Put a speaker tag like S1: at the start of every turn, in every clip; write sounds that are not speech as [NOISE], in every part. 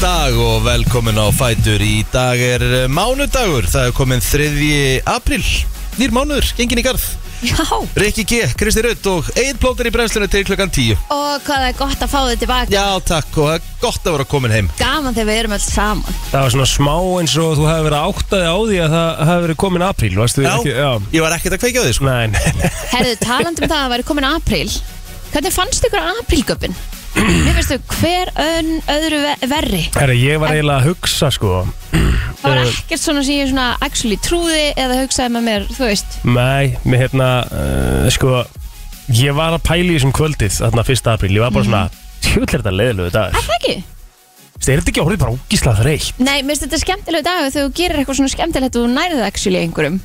S1: dag og velkomin á Fætur Í dag er eh, mánudagur, það er komin 3. april Nýr mánuður, gengin í garð
S2: Já,
S1: Rikki G, Kristi Rutt og Eid Plóter í brennslunni til klukkan 10
S2: og hvað það er gott að fá þau tilbaka
S1: Já takk og það er gott að vera komin heim
S2: Gaman þegar við erum öll saman
S3: Það var svona smá eins og þú hefði verið áttaði á því að það hefði verið komin apríl, varstu ekki?
S1: ég var ekkert að kveikja á því sko
S3: Nei, nei, nei.
S2: Herðu, talandi um það að væri komin apríl Hvernig fannst ykkur aprílgöpin? Mér finnst þau hver ön öðru ve- verri
S3: Herra, ég var eiginlega að hugsa, sko.
S2: Það var ekkert svona sem ég svona actually trúði eða hugsaði með mér, þú veist
S3: Nei, með hérna, uh, sko, ég var að pæla í þessum kvöldið, þarna fyrsta apríl. Ég var bara svona, tjóðlega þetta leðilegu
S2: Er
S3: dagur.
S2: það ekki?
S3: Þú veist, er þetta ekki orðið bara ógíslað þreytt?
S2: Nei, mér finnst þetta skemmtilega dagur þegar þú gerir eitthvað svona skemmtilegt og þú nærið actually einhverjum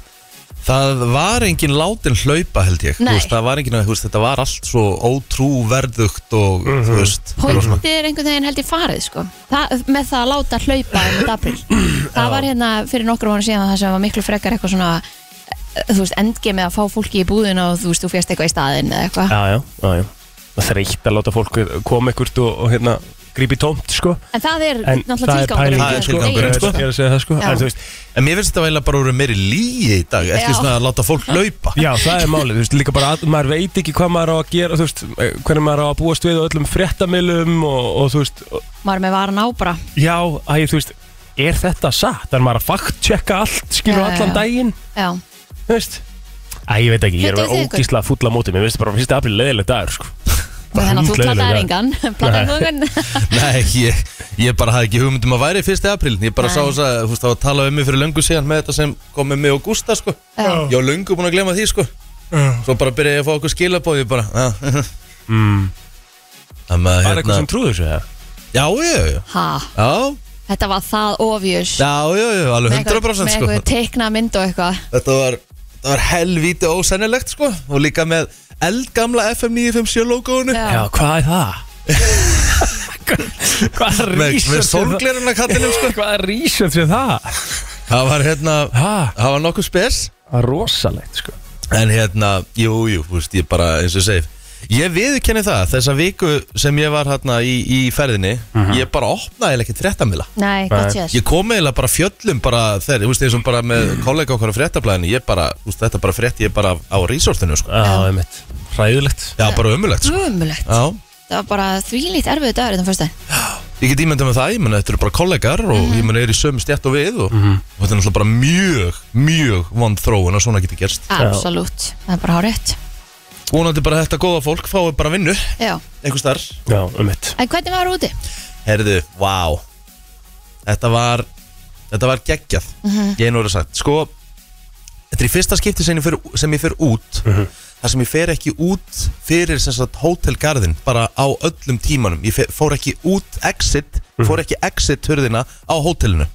S1: Það var engin látin hlaupa held ég Þú
S2: Nei.
S1: veist, Það var engin, þú veist, þetta var allt svo ótrúverðugt og þú veist það var svona-
S2: Pointið er einhvern veginn held ég farið sko. Þa, með það að láta hlaupa um
S1: [CLEARS THROAT]
S2: april. það var hérna fyrir nokkur vonu síðan það sem var miklu frekar eitthvað svona eh, þú veist, endgemið að fá fólki í búðina og þú veist, þú fjast eitthvað í staðinn eða eitthvað
S3: Já, já, já, já. Það er þreytt að láta fólk koma ekkert og, og hérna, grípi tómt, sko.
S2: en það er
S3: En
S2: náttúrulega tilgangurinn
S1: Það er
S2: sko.
S1: tilgangurinn,
S2: Eigin,
S1: sko.
S3: Ég er að segja það, sko.
S2: Já.
S3: En, þú veist,
S1: En mér finnst þetta eiginlega bara úr meiri líi í dag Ekki
S2: Já.
S1: svona að láta fólk hlaupa
S3: Já, það er málið, þú veist, líka bara að maður veit ekki hvað maður á að gera, þú veist, eh, hvernig maður á að búast við á öllum fréttamilum og, og þú veist, og,
S2: maður er með varan á bara
S3: já, æ, þú veist, er þetta satt? Er maður að fact-checka allt, skilur
S2: Já,
S3: allan
S2: já.
S3: daginn,
S2: já.
S3: þú veist? Æ, ég veit ekki, ég er
S2: Hittuð þið
S3: verið
S2: ykkur?
S3: ógísla fúll á móti, mér veist bara fyrst april leðileg dagur, sko.
S2: og þannig að þú
S3: Hundleiðileg
S2: plattaðir
S3: dagur.
S2: engan [LAUGHS] plattaðir þú engan
S1: [LAUGHS] Nei, ég, ég bara hafði ekki hugmyndum að væri fyrsti apríl Ég bara
S2: Nei.
S1: sá þess að, þú veist, það var að tala um mig fyrir löngu síðan með þetta sem kom með mig og Gústa, sko
S2: Já.
S1: Ég var löngu búin að glemma því, sko Svo bara byrjaði ég að fá okkur skilabóð, ég bara, að
S3: Mm.
S1: Þannig að,
S3: Var
S1: hérna,
S3: eitthvað sem trúður þessu, eða?
S1: já, já, já,
S2: ha,
S1: já,
S2: þetta var það ofjus
S1: já, já, já, alveg 100%
S2: með
S1: sko
S2: eitthvað teikna mynd og eitthvað
S1: Þetta var, þetta var helvíti ósennilegt, sko Og líka með eldgamla FM 957 logoinu
S2: Já.
S3: Já, hvað er
S1: [LAUGHS]
S3: það? hvað
S1: Með,
S3: rísum
S1: með sorgleruna kallinum,
S3: [LAUGHS]
S1: sko
S3: Hvað rísum sem það?
S1: Það var, hérna,
S3: Ha,
S1: það var nokkuð spes
S3: það er rosalegt, sko.
S1: En hérna, jú, jú, þú veist, ég bara eins og segir Ég viðkenni það, þessa viku sem ég var hérna í, í ferðinni Ég bara opnaði eiginlega ekki fréttamila
S2: nei,
S3: Nei.
S2: gott séð
S1: Ég kom eiginlega bara fjöllum bara þegar, þú veist, eins og bara með kollega okkar á fréttablaðinu Ég bara, þú veist, þetta bara frétti ég bara á resortinu, sko
S3: Já, einmitt. Ræðilegt.
S1: Já, bara umulegt, sko
S2: umulegt
S1: Já,
S2: það var bara þvílíkt erfiðu dagur hérna þetta fyrst
S1: ég get ímyndað með það, ég menna, þetta eru bara kollegar Og ég menna, er í sömu stjætt og við Og, og þetta er náttúrulega bara mjög, mjög vond þróun að svona geti gerst
S2: Absolutt, það er bara hárétt
S1: Vonandi bara þetta góða fólk fái bara vinnu,
S2: Já,
S1: einhvers þar
S3: Já, einmitt.
S2: en hvernig var úti?
S1: Herðu, vá Þetta var Þetta var geggjað Ég er nú að sagt Sko, þetta er í fyrsta skipti sem ég fer, sem ég fer út Það sem ég fer ekki út Fyrir sem sagt hótelgarðin Bara á öllum tímanum Ég fer, fór ekki út exit Fór ekki exit hurðina á hótelinu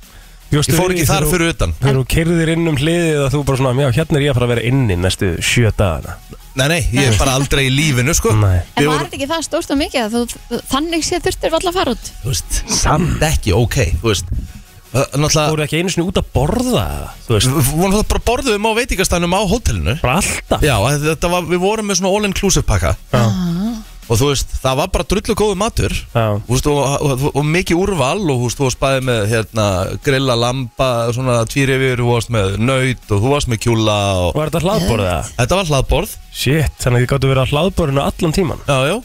S1: Ég fór ekki þar fyrir utan
S3: Þegar þú kerðir inn um hliðið að þú bara svona, já, hérna er ég að fara að vera inni næstu sjö dagana.
S1: Nei, nei, ég er bara aldrei í lífinu sko
S3: Nei.
S2: En
S1: Við
S2: var
S1: vorum-
S2: þetta ekki það stórt og mikið að þú, þú- þannig sé þurftir valla að fara út?
S1: Þú veist, samt ekki, ok Þú veist, uh,
S3: Þú
S1: náttúrulega
S3: voru ekki einu sinni út að borða, þú veist,
S1: Vona það bara borðum á veitingastænum á hótelinu
S3: bara alltaf.
S1: Já, að þetta var, við vorum með svona all-inclusive pakka Ah.
S3: Já.
S1: Og þú veist, það var bara drullu góðu matur
S3: Já.
S1: Þú veist, og, og, og, og mikið úrval Og þú veist, þú varst bæði með hérna, grilla lamba Svona tvírifir, þú varst með naut Og þú varst með kjúla og...
S3: Var þetta hlaðborða?
S1: Þetta var hlaðborð
S3: Shit, þannig að þið gáttu að vera hlaðborðinu allan tíman.
S1: Já, já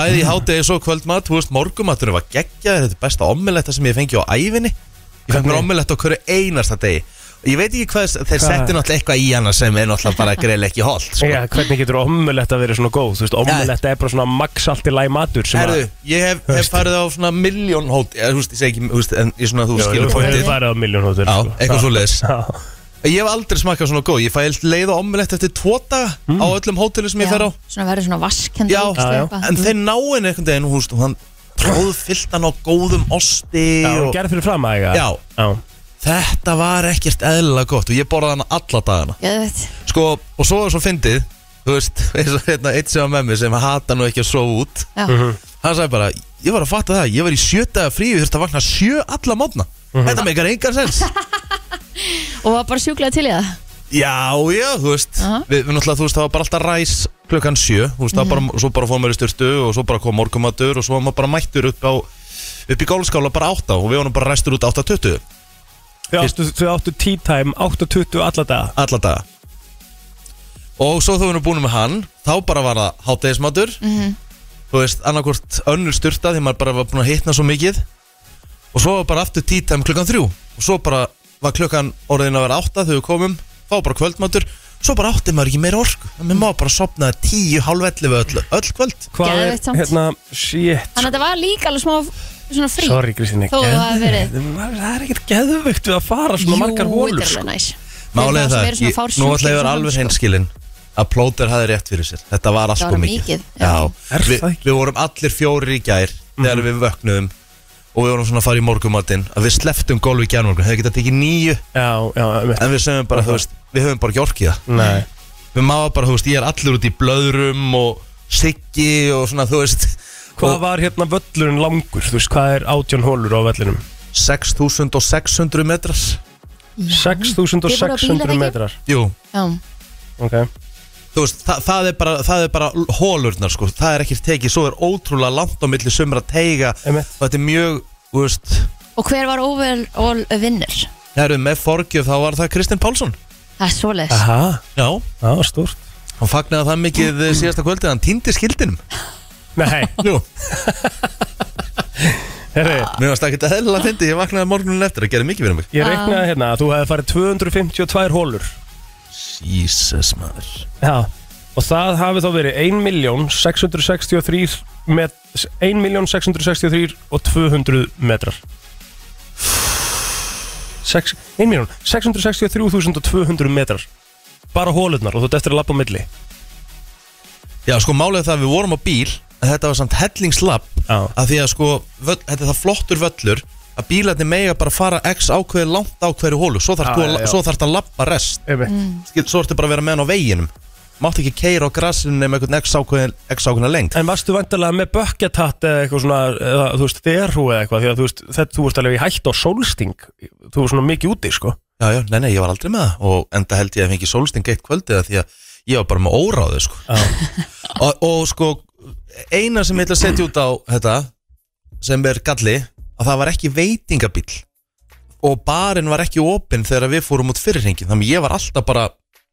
S1: Bæði
S3: Mm.
S1: í hátegi svo kvöldmat, þú veist, morgumaturinn var geggjaður Þetta er besta omeletta sem ég fengi á ævinni Ég fengi mér
S3: Hvernig?
S1: omeletta á hverju einasta degi Ég veit ekki hvað, þeir
S3: Hvað?
S1: setti náttúrulega eitthvað í hana sem er náttúrulega bara grill ekki holt sko.
S3: Já, hvernig getur omuletta verið svona góð? Þú veist, omuletta er bara svona maxalti læg matur sem
S1: Herðu, ég hef, hef
S3: Veist.
S1: farið á svona miljón hót Ég veist, ég segi ekki, þú veist, en ég svona, þú
S3: Já,
S1: skilur
S3: þú hefur
S1: pointið Já,
S3: farið á miljónhóttur.
S1: eitthvað svo leiðis
S3: Já,
S1: Ég hef aldrei smakað svona góð, ég fæ eilt leið og omelett eftir tvo daga á
S3: Mm.
S1: öllum hótelu sem ég fer á
S2: Svona verður svona hérna vaskend
S1: Já,
S3: Já, já.
S1: en þeir ná henni einhvern veginn, þú veist, og hann tróðfyllt hann á góðum osti
S3: Já,
S1: og
S3: gerð fyrir fram aðeins.
S1: Já. þetta var ekkert eðlilega gott og ég borðaði hann alla dagana
S2: Ég veit,
S1: Sko, og svo er svo fyndið, þú veist, [LAUGHS] eins og hérna eitt sem var með mig sem hata nú ekki að sofa út
S2: já,
S1: hann sagði bara, ég var að fatta það ég var í sjö daga frí, ég þurfti að vakna sjö alla mótna þetta meikar engan sens
S2: og var bara sjúklega til í það
S1: [LAUGHS] já, já, þú veist
S2: Aha.
S1: við, við náttúrulega, þú veist, það var bara alltaf ræs klukkan sjö, þú veist, það var bara, svo bara fóðum við í styrtu og svo bara kom morgumatur og svo var maður bara mættur upp á upp í gólfskála bara 8 og við vorum bara ræstur út 8.20
S3: Þau áttu, þau áttu tea time 8.20 alla daga
S1: alla daga og svo þú erum búin með hann þá bara var það hátæðismatur þú veist, annarkvort önnur styrta því maður bara var búin að hitna svo mikið og svo var bara aftur títam klukkan þrjú og svo bara var klukkan orðin að vera átta þegar við komum, þá var bara kvöldmatur svo bara átti maður ekki meira orku maður má bara sopnaði tíu, hálf ellu við öll, öll kvöld
S3: Hvað er,
S2: Geðveikt samt.
S3: hérna, shit
S2: Þannig að þetta var líka alveg smá svona frí
S3: Sorry Kristina,
S2: Þó það hafi verið-
S3: Það er ekkert geðvögt við að fara svona margar hólur
S2: sko.
S3: sko.
S2: næs
S1: Málega það,
S2: er svona
S1: ég,
S2: fársjúkir
S1: nú ætla ég að vera
S2: svona,
S1: alveg
S2: sko.
S1: hreinskilinn að plóter hafði rétt fyrir sér Þetta var allt
S2: Það
S1: sko
S2: var
S1: mikið,
S2: mikið, já.
S1: Já,
S3: Er
S1: Vi,
S3: það ekki? Mhm.
S1: Við vorum allir fjórir í gær þegar við vöknuðum og við vorum svona að fara í morgumatinn að við sleftum gólfi í gærmorgun, hefði getað tekið nýju
S3: Já, já, einmitt.
S1: en við sögum bara, þú veist, við höfum bara gjorkið það
S3: Nei
S1: Við máum bara, þú veist, ég er allur út í blöðrum og siggi og svona, þú veist
S3: Hvað
S1: og
S3: var hérna völlurinn langur? Þú veist, hvað er átjón hólur á vellinum?
S1: 6600 metrar
S2: Þið voru á bílar,
S3: 6600
S2: ekki?
S3: metrar
S1: Jú,
S2: Já,
S3: Ok
S1: þú veist, það, það, er bara, það er bara hólurnar sko, það er ekkert tekið, svo er ótrúlega langt á milli sumra teiga
S3: Einmitt.
S1: og þetta er mjög, þú veist,
S2: og hver var overall vinnur?
S1: herru með forgjöf þá var það Kristinn Pálsson.
S2: Það er svoleiðis
S3: Aha,
S1: Já.
S3: það var stórt
S1: Hann fagnaði það mikið eh, síðasta kvöldið, hann týndi [LAUGHS] skildinum.
S3: Nei,
S1: Jú.
S3: herri,
S1: Mér varst ekkert eðlilega fyndi, ég vaknaði morgunin eftir að gera mikið fyrir mig.
S3: ég reiknaði hérna að þú hefði farið 252 hólur
S1: Jesus maður.
S3: Já Og það hafi þá verið 1.663 met, 1.663 og 200 metrar 6, 1.663.200 metrar Bara hólurnar og þú ert eftir að labba á milli
S1: Já sko málið er það að við vorum á bíl, en þetta var samt hellingslapp
S3: Já.
S1: að því að sko, völl, þetta er það flottur völlur að bílarnir mega bara fara x ákveði langt á hverju hólu, svo þarf
S3: Já,
S1: þú að,
S3: já, já.
S1: svo þarft að lappa rest
S3: mm.
S1: skil, svo ertu bara að vera með hann á veginum mátt ekki keira á grassinu nema einhvern x ákveðin x ákveðina lengt
S3: En varstu vantarlega með bökkjatatt eða eitthvað svona, eða, þú veist, derhú eða eitthvað því að þú veist, þetta, þú veist alveg í hætt á sólsting þú veist svona mikið úti, sko
S1: já, já, nei, nei, ég var aldrei með það og enda held ég að fengi sólsting eitt kvöldið af því að ég var bara með óráðu sko. [LAUGHS] og, og sko eina sem ég ætla að setja út á þetta sem er galli að það var ekki veitingabíl og barinn var ekki opinn þegar við fórum út fyrirhengin þannig að ég var alltaf bara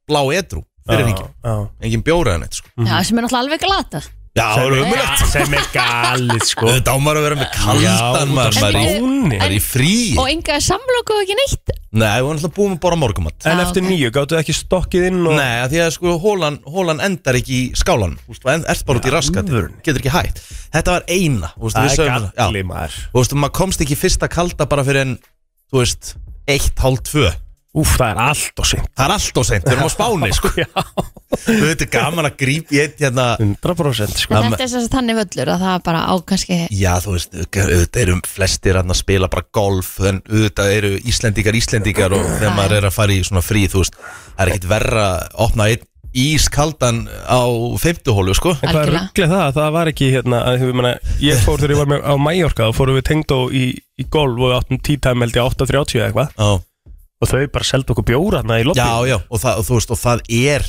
S1: blá edru fyrirhengin,
S3: Já, já.
S1: engin bjóra en eitt sko.
S2: Já, sem er náttúrulega alveg glata
S1: já, það var umulegt
S3: sem er galið, sko
S1: þetta ámar að vera með
S3: Já,
S1: kaldan maður, maður er í-
S3: Spáni.
S1: maður er í fríi
S2: Og enga samloku og ekki neitt
S1: Nei, við varum alltaf búin að bora morgumat
S3: En
S2: Já,
S3: eftir
S2: ok.
S3: nýju, gáttu ekki stokkið inn og...
S1: Nei, af því að sko hólan, hólan endar ekki í skálan Þú veist, en- ert bara út í raskat
S3: alvörinni.
S1: Getur ekki hægt Þetta var eina Þú veist,
S3: það
S1: við
S3: er
S1: sögum
S3: galli,
S1: Já.
S3: maður
S1: Þú veist, maður komst ekki í fyrsta kalda bara fyrir en Þú veist, eitt, hálf, tvö
S3: Úf, það er allt og seint
S1: Það er allt og seint, við erum á Spáni
S3: [LAUGHS]
S1: sko.
S3: Já,
S1: Þú veit, þetta er gaman að grípa í eitt hérna
S3: 100% sko
S1: Já,
S2: Þetta er þess að þannig völlur að það var bara á kannski
S1: Já, þú veist, auðvitað eru flestir hérna að spila bara golf En auðvitað eru Íslendingar, Íslendingar Og þegar maður er að fara í svona frí, þú veist Það er ekkit verra að opna einn ískaldan á fimmtuhólu, sko
S3: En hvað er
S2: Algjörlega.
S3: rugglið það? Það var ekki hérna að, ég, meina, ég fór þegar ég var með á Mallorca þá fórum við tengdó í, í golf og við áttum tíðtæmi held ég 8.30 eða eitthvað
S1: Já
S3: og þau bara seldu okkur bjóra þarna í lobby
S1: Já, já, og það, og þú veist, og það er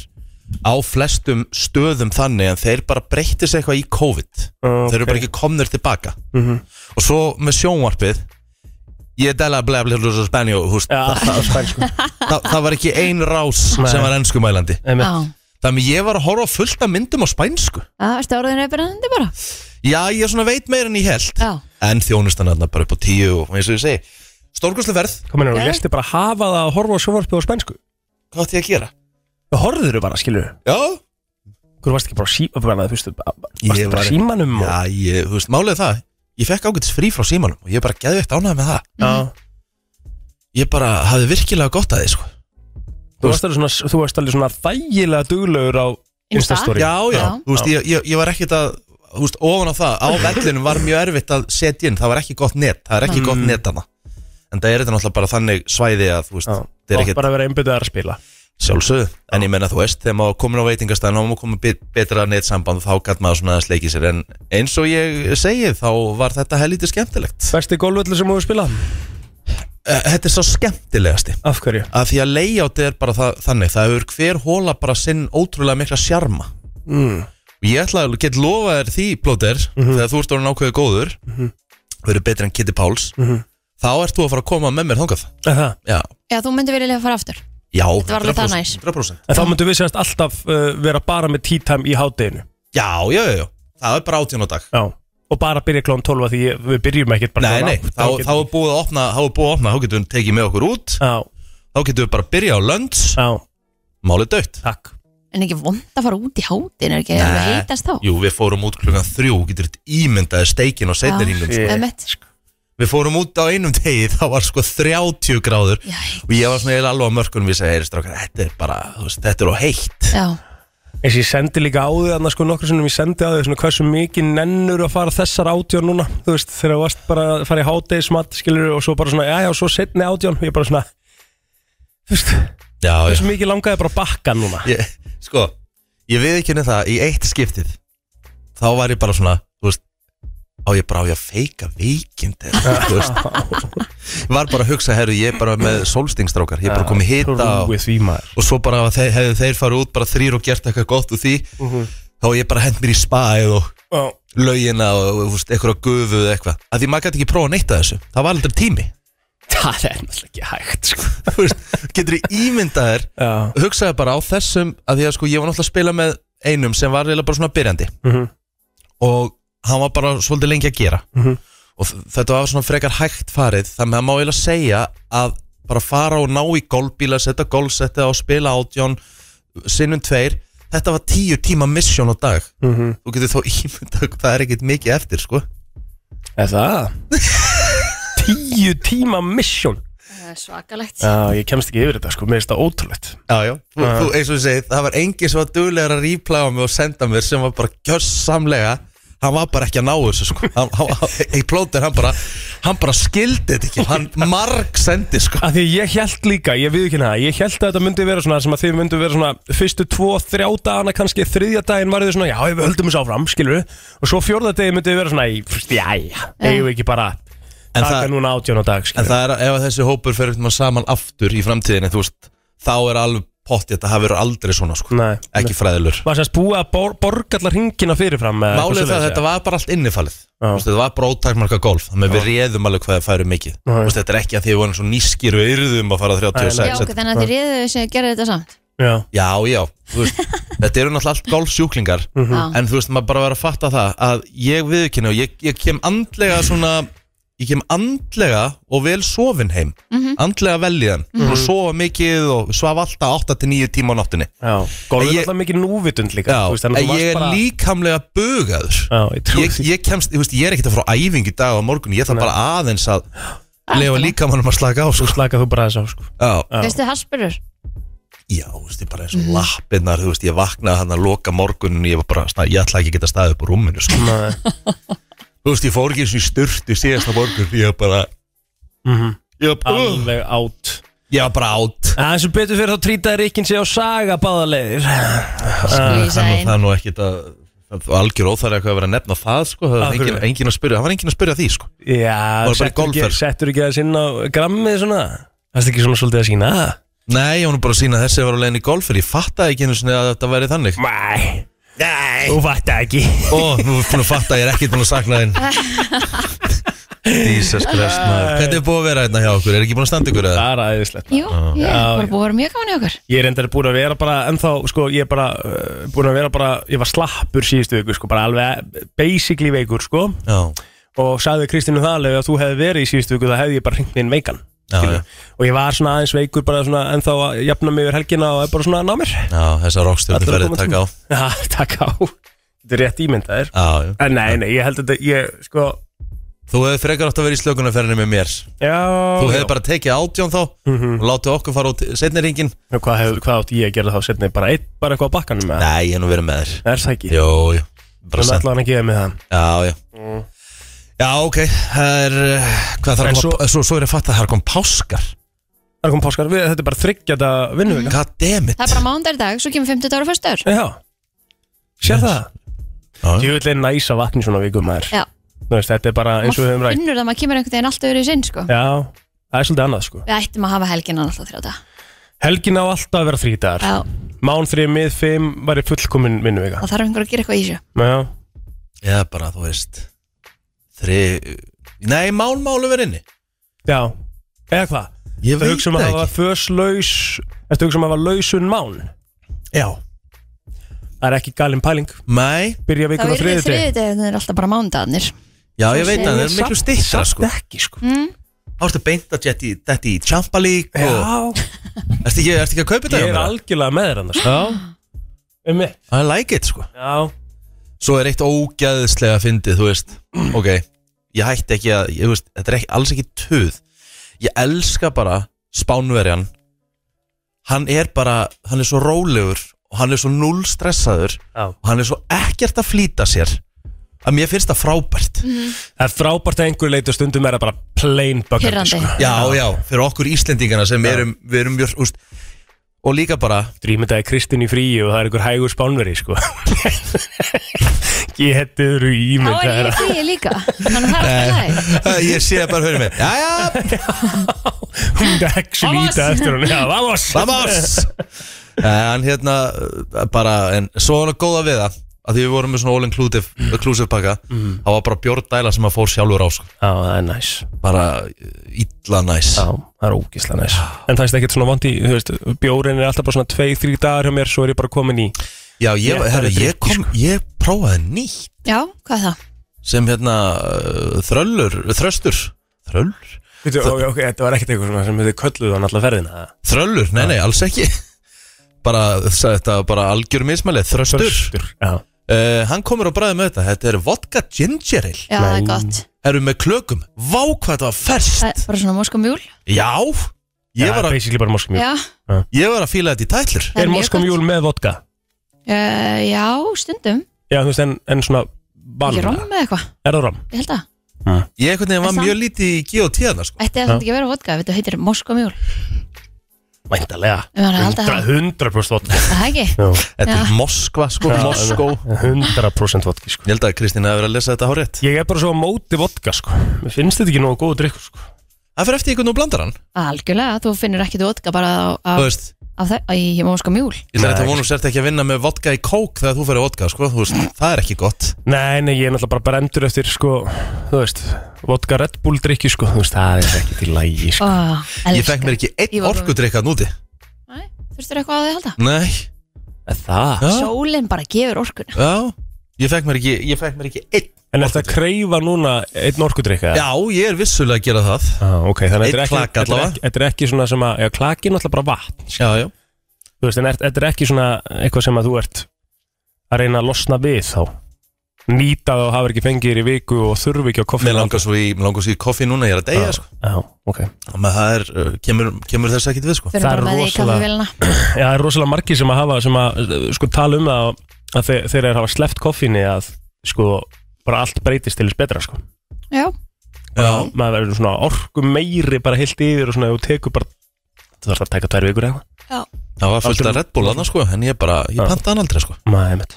S1: á flestum stöðum þannig en þeir bara breytti sig eitthvað í COVID
S3: Ok.
S1: þeir eru bara ekki komnir tilbaka og svo með sjónvarpið ég dæla blefli hlusa spenju [LAUGHS] húst,
S3: Já, það var [LAUGHS] spænsku
S1: það, það var ekki ein rás
S3: Nei.
S1: sem var ennskumælandi
S2: Já,
S1: þannig ég var að horfa á fullt af myndum á spænsku
S2: það er stóruðin reyfirandi bara
S1: já, ég svona veit meira en ég held
S2: Já,
S1: en þjónustan er bara upp á tíu og eins og ég segi, stórkurslu verð
S3: Komin og lesti bara hafa það að horfa á sjónvarpið á spænsku
S1: hvað átti ég að gera?
S3: Það horfður þau bara, skilur
S1: Já,
S3: Hvor varst ekki bara á sí, bara, þú veist, bara,
S1: Ég
S3: varst bara
S1: var-
S3: á símanum og,
S1: Já, ég, þú veist, málið er það Ég fekk ágætis frí frá símanum og ég bara geði eitt ánægð með það
S3: já.
S1: Ég bara hafði virkilega gott að þið, sko
S3: Þú varst alveg svona, þú varst alveg svona þægilega duglegur á
S2: Insta?
S3: Instastory
S1: Já, já,
S2: Já.
S1: þú veist, ég, ég, ég var ekkert að Þú veist, ofan á það, á vellinum var mjög erfitt að setja inn Það var ekki gott net, það er ekki
S3: Mm.
S1: gott net hana En það er þetta náttúrulega bara þannig svæði að, þú veist,
S3: Já.
S1: það er
S3: Átt
S1: ekkert
S3: bara að vera einbyttiðar að spila
S1: sjálfsögðu En ég menna, þú veist, þegar maður komin á veitingastæðan og maður komið betra netsamband þá gætt maður svona að sleiki sér En eins og ég segi, þá var þetta helítið skemmtilegt
S3: Besti gólvöldu sem þú hefur spilað?
S1: Eh, Þetta er svo skemmtilegasti
S3: Af hverju?
S1: að því að layoutið er bara það, þannig það hefur hver hóla bara sinn ótrúlega mikla sjarma
S3: Mm. Mhm.
S1: og ég ætla að get lofa þér því blóter þegar þú ert orðin ákveðið góður verður betri en Kitty Páls
S3: Mhm.
S1: þá ert þú að fara að koma með mér þangað
S3: En það
S1: já,
S2: Já, þú myndir vilja fara aftur
S1: já
S2: var alveg það
S1: 100%,
S2: næs.
S1: 100%.
S3: En þá myndum við sérst alltaf uh, vera bara með tea time í hádeginu
S1: já, já, já, já, það er bara átjón á dag
S3: Já Og bara byrja klón 12 af því ég- við byrjum ekkert bara
S1: nei,
S3: klón
S1: nei,
S3: átta,
S1: þá,
S3: getum-
S1: þá er búið að opna þá er búið að opna, þá getum við tekið með okkur út
S3: Já,
S1: þá getum við bara að byrja á lönds
S3: já,
S1: málið dött
S3: takk
S2: En ekki vond að fara út í hátinn Er ekki
S1: Nei.
S2: alveg heitast þá?
S1: Jú, við fórum út klukkan þrjú, getur þetta ímyndaði steikin og seinni
S2: Já.
S1: hringum
S3: Shit.
S1: sko.
S3: Ég-
S2: Ömmett
S1: Við fórum út á einum degi, [LAUGHS] það var sko 30 gráður og ég var svona eiginlega alveg á mörkunum ég segi, heyri strákar, þetta er bara, þú veist, þetta er á heitt
S2: Já,
S3: Eins og ég sendi líka á því annars sko nokkur sinnum ég sendi á því svona hversu mikið nennur að fara þessar átjón núna þú veist þegar þú varst bara að fara í hátegismat skilur og svo bara svona já já svo setni átjón ég bara svona þú veist
S1: Já, já,
S3: hversu mikið langaði bara að bakka núna
S1: ég, sko ég við ekki henni það, í eitt skiptið þá var ég bara svona, þú veist á ég bara á ég að feika veikind eða, [LAUGHS] þú veist ég var bara að hugsa, herru, ég er bara með solstingstrákar ég er bara komið hita og,
S3: Rúið því maður
S1: og svo bara að þeir, hefðu þeir farið út bara þrýr og gert eitthvað gott úr því þá hef ég bara hent mér í spaðið og
S3: Já,
S1: laugina og þú veist, eitthvað gufu eða eitthvað að því maður gæti ekki prófa að neyta þessu það var aldrei tími [LAUGHS]
S3: það er náttúrulega ekki hægt sko
S1: Þú veist, getur þið ímyndað þér
S3: Já,
S1: hugsaði bara á þessum að því að sko ég var náttúrulega að spila með einum sem var reyla bara svona byrjandi
S3: Mhm.
S1: og hann var bara svolítið lengi að gera
S3: Mhm.
S1: og þ- þetta var svona frekar hægt farið þannig að maður eiginlega segja að bara fara og ná í golfbíla setja golfsettið og spila átjón sinnum tveir, þetta var tíu tíma misjón á dag,
S3: mhm
S1: þú getur þá [LAUGHS] ímyndað það er ekkert mikið eftir sko
S3: Er það? [LAUGHS] Tíu tíma mission
S2: það er svakalegt
S3: Já, ég kemst ekki yfir þetta sko, mér finnst það ótrúlegt
S1: Já, já, þú,
S3: Já.
S1: þú, eins og ég segi, það var engin sem var duglegar að ríplæga mig og senda mér sem var bara gjössamlega hann var bara ekki að ná þessu sko hann, hann, hann, í plótir, hann bara hann bara skildi þetta ekki, hann marg sendi sko
S3: Af því ég held líka, ég við ekki það Ég held að þetta myndi vera svona sem að þið myndi vera svona Fyrstu tvo, þrjá dagana kannski Þriðja daginn var þið svona, já, við höldum þessu áfram Skilur Og svo fjórða degi myndi vera svona í, fyrst, Já, já, eigum við ekki bara
S1: En
S3: Taka
S1: það-
S3: núna átjón á dag,
S1: en
S3: skilur
S1: það er að ef að þessi hópur fer eitthvað saman aftur í framtíðinni, þú veist þá er alveg pottið að það hafi verið aldrei svona sko
S3: Nei.
S1: ekki fræðilur
S3: Var sérst búið að bor, borgallar hringina fyrirfram
S1: Málið er það að þetta var bara allt innifalið Þú veist, Þetta var bara ótakmarka golf Þannig að við réðum alveg hvað það færi mikið
S3: Já, já.
S1: Þú veist, Þetta er ekki að því við vorum svo nýskir og yrðum að fara
S2: Já,
S1: 36
S2: ok, þannig að þið reyðu sem gerðu þetta samt
S3: Já,
S1: Já, já, þú veist, þetta eru náttúrulega allt golfsjúklingar
S3: Mm. Mhm.
S2: Já.
S1: En þú veist, maður bara verður að fatta það Að ég viðkynna og ég, ég kem andlega svona Ég kem andlega og vel sofin heim Andlega veljiðan mm
S3: Mhm.
S1: Og sofa mikið og svafa alltaf 8-9 tíma á náttinni
S3: já Golfið
S1: En
S3: er
S1: ég-
S3: alltaf mikið núvitund líka
S1: Já,
S3: þú veist, þannig
S1: en
S3: að þú varst
S1: ég er
S3: bara-
S1: líkamlega bugaður
S3: Já, ég trúi
S1: ég,
S3: því.
S1: ég kemst, þú veist, ég er ekkert að fara á æfingu í dag og á morgun Ég þarf
S3: Nei.
S1: bara aðeins að Lefa líkamanum að slaka á,
S3: Þú
S1: sko
S3: slakað þú bara þess á, sko
S1: Já,
S3: Já. Ah,
S2: Veistu Hasperur?
S1: já, þú veist, ég bara eins og lappirnar Þú veist, ég vaknaði hann að loka morgunin Ég var bara, svona, ég ætla ekki að geta staðið upp á rúminu, sko
S3: Nei.
S1: Þú veist, ég fór ekki eins og í styrtu síðasta morgun Ég var bara
S3: Mhm.
S1: Ég var bara, uh,
S3: Alveg átt
S1: ég var bara átt
S3: Það er sem betur fyrir þá trýtaði Rikkin sig á saga báðarleðir
S1: Það er
S2: Skvísa
S1: nú-
S2: einn
S1: það er nú ekkit að það var Algjör óþæri eitthvað að vera að nefna það sko Það
S3: Af
S1: var engin,
S3: hverju?
S1: engin að spyrja, það var engin að spyrja því sko
S3: Já,
S1: bara í
S3: settur ekki,
S1: golfferð.
S3: settur ekki aðeins inn á grammið svona Það er ekki svona svolítið að sína það
S1: Nei, ég var nú bara að sína að þessi var á leiðin í golfer Ég fattaði ekki einu sinni að þetta væri þannig
S3: Nei, þú fattar ekki
S1: Ó, nú er búin að fatta, að ég er ekkit búin að sakna þinn Jesus Christ maður Hvernig er búið að vera hérna hjá okkur? Er ekki búin að standa ykkur eða?
S3: Það er aðeinslegt
S2: Jú, ég var búið að vera mjög gaman í okkur
S3: Ég er endar búin að vera bara, ennþá, sko, ég er bara uh, búin að vera bara, ég var slappur síðustu viku, sko, bara alveg basically veikur, sko,
S1: Já,
S3: og sagði Kristínu það alveg að þú hefði verið í síðustu viku, það hefði ég bara hringt inn veikan,
S1: Já,
S3: skilur.
S1: já.
S3: og ég var svona aðeins veikur, bara svona, ennþá að jafna mig yfir helgina og er bara svona að ná mér. [LAUGHS]
S1: já þessar rockstjórnir
S3: Allir að
S1: ferðið
S3: koma
S1: taka á
S3: Já, takk á Þetta er rétt ímyndaðir
S1: Já, já.
S3: En nei, nei, ég held að þetta, ég, sko
S1: Þú hefði frekar átt að vera í slökunarferðinni með mér
S3: Já
S1: Þú
S3: já.
S1: hefði bara tekið átjón þá og látið okkur fara út setni ringin
S3: Nú, hvað, hef, hvað átt ég að gera þá setni? Bara einn, bara eitthvað á bakkanum með það?
S1: Nei, ég hef nú verið með þér
S3: Er það ekki?
S1: Jó, jú, bara
S3: Þannig
S1: sent
S3: ætlaði hann að gefa mig það
S1: Já, já Já, ok, það er uh, Hvað þarf
S3: En
S1: að koma
S3: svo-
S1: svo, svo, er að fatta að það er kom páskar
S3: Það kom páskar, við, þetta er bara þryggjað að vinnu mm.
S1: God damn it
S2: Það er bara mándar í dag, svo kemur 50 ára fyrstur
S3: Já
S1: Mm. Yes.
S3: Sér það?
S1: Já, já.
S3: Ég vil einn næsa vatni svona vikum maður
S2: Já.
S3: Þú veist, þetta er bara eins og við höfum rætt
S2: finnur það að maður kemur einhvern veginn alltaf öðru í sinn sko.
S3: Já, það er svolítið annað sko
S2: Við ættum að hafa helginan alltaf þrjóta
S3: Helgin á alltaf að vera þrítagar
S2: Já,
S3: Mán þrið, mið, fimm, var ég fullkomin vinnu vika
S2: það þarf einhver að gera eitthvað í þessu
S3: Já,
S1: Já, bara, þú veist Þri Nei, málmálu verið inni
S3: Já, eða hvað?
S1: Ég
S3: Þú
S1: veit
S3: hugsa um að
S1: það
S3: hafa
S1: ekki.
S3: föslaus Ertu hugsa um að hafa lausun mán? Já Það er ekki galin pæling
S1: Nei,
S3: Byrja
S2: Það
S3: vikur á
S2: er
S3: þriðið
S2: þriðið, það er alltaf bara mándagarnir
S1: já ég veit að það er miklu stittra sko
S3: ekki sko
S1: Þá ertu beint að jetti þetta í Champa League og
S3: Já,
S1: Ertu ekki, ertu ekki að kaupa þetta?
S3: ég
S1: hjá
S3: er
S1: mér?
S3: algjörlega með þér annars
S1: Já,
S3: Um mitt
S1: I like it sko
S3: Já,
S1: Svo er eitt ógæðislega fyndið, þú veist Ok, ég hætti ekki að ég, þú veist, Þetta er ekki, alls ekki töð Ég elska bara spánverjan Hann er bara Hann er svo rólegur Og hann er svo null stressaður
S3: já
S1: Og hann er svo ekkert að flýta sér Að mér finnst það frábært
S3: Það er frábært að einhverju leitu stundum er það bara plain böggandi
S2: Pirrandi.
S3: sko.
S1: Já, já, fyrir okkur Íslendingana sem erum, við erum mjög, úst, Og líka bara
S3: Drýmyndaði Kristinn í fríi og það er einhver hægur spánveri sko [LAUGHS] Getur
S2: Þá er
S3: ímyndaði
S2: ég í fríi líka Þannig að það er alltaf
S1: [LAUGHS]
S2: læg
S1: Ég sé bara, hörum við Jæja,
S3: Hún myndi ekki
S2: Vamos.
S3: líta eftir hún Já, vamos
S1: [LAUGHS] Vamos En hérna eh, bara en, Svo var það góða við það að því við vorum með svona all inclusive, inclusive pakka það var bara bjórdæla sem að fór sjálfur á sko.
S3: Já, það er næs
S1: bara eh, illa næs
S3: Já, það er ógislega næs En það er ekkert svona vant í, þú veist, bjórin er alltaf bara svona 2-3 dagar hjá mér Svo er ég bara komin í
S1: Já, ég,
S3: Réttari
S1: herri, ég,
S3: drykki,
S1: kom, ég prófaði nýtt
S2: Já, hvað er það?
S1: sem hérna eh, þröllur, þröstur þröllur?
S3: Veitu, ok, ok, þetta var ekkert eitthvað svona sem þið kölluðu hann alltaf ferðina
S1: Þröllur, nei, nei, alls ekki [LAUGHS] bara, sagði þetta var bara algjör mismæli, þröstur, þröstur.
S3: Já,
S1: hann komur og bræði með þetta þetta er vodka ginger ale
S2: Já, það er
S3: Nei.
S2: gott
S1: erum með klökum, vá hvað þetta var ferskt
S2: Það er bara svona moskomjúl
S1: Já, ég,
S3: það
S1: var
S3: er
S1: að,
S3: basically bara moskumjúl
S2: Já,
S1: ég var að fíla þetta í tætlur
S2: það
S3: Er
S2: mjög
S3: moskumjúl með vodka?
S2: gott. Eh, Já, stundum
S3: Já, þú veist, en, en svona
S2: Ekki
S3: banna
S2: rom með eitthvað,
S3: Er það rom?
S2: ég held að
S1: Ég einhvern veginn var
S2: En samt-
S1: mjög lítið í GOT þarna sko
S2: Ætti það samt ekki að vera vodka, þetta heitir moskomjúl
S3: Væntalega
S2: Ég var að halda
S3: 100%, 100 vodka
S2: Það er ekki
S3: Já,
S1: Þetta
S2: Já.
S1: er Moskva sko,
S3: Já,
S1: Moskó
S3: 100% vodka, sko
S1: Ég held að Kristín hafi verið að lesa þetta hár rétt
S3: Ég er bara svo á móti vodka, sko Mér finnst þetta ekki nógu góð drikkur, sko
S1: Það fyrir eftir einhvern og blandar hann
S2: Algjörlega, þú finnur ekki vodka bara á, á,
S1: Þú veist,
S2: á það, í moskomjúl
S1: ég ætla
S3: Nei,
S1: þetta
S3: ekki.
S1: vonum sért ekki að vinna með vodka í kók þegar þú fyrir vodka sko Þú veist, það er ekki gott
S3: Nei, nei, ég er náttúrulega bara brendur eftir, sko, þú veist, vodka Red Bull drikki, sko, þú veist, það er ekki til lægi, sko.
S2: oh,
S1: Ég fekk mér ekki
S2: Ég
S1: einn
S2: var-
S1: orkudrykka núti
S2: Þurftur eitthvað á því að halda?
S1: Nei,
S3: Það?
S1: já,
S2: Sólin bara gefur orkun
S1: já Ég fekk mér ekki, ég fekk mér ekki einn
S3: En eftir að kreyfa núna einn orkudrykka?
S1: Já, ég er vissulega að gera það
S3: Ah, ok, þannig að þetta
S1: Einn
S3: er ekki,
S1: klak
S3: þetta er
S1: allavega.
S3: ekki, þetta er ekki svona sem að, já, klaki er náttúrulega bara vatn,
S1: Já, já
S3: þú veist, en er- þetta er ekki svona eitthvað sem að þú ert að reyna að losna við þá. Nýta það og hafa ekki fengið þér í viku og þurfi ekki á koffinu.
S1: Mér langar svo í, mér langar svo í koffi núna, ég er að deyja sko
S3: Já, ok.
S1: Þannig að það er, uh, kemur, kemur þess ekkit við sko
S2: Fyrir
S3: Það er
S2: bara með því
S3: rosalega-
S2: kaffivélina
S3: Já, það er rosalega margir sem að hafa sem að uh, sko tala um það að þeir, þeir eru að hafa sleppt koffinni að sko bara allt breytist til þess betra sko
S2: Já,
S1: Já,
S3: maður verður svona orku meiri bara heilt yfir og svona og tekur bara þú þarfst að taka tvær vikur eða eitthvað
S1: Það var fullt
S3: Aldrei-
S1: af Red Bull annars sko En ég bara, ég
S3: Já.
S1: panta hann aldrei sko
S3: Nei, einmitt.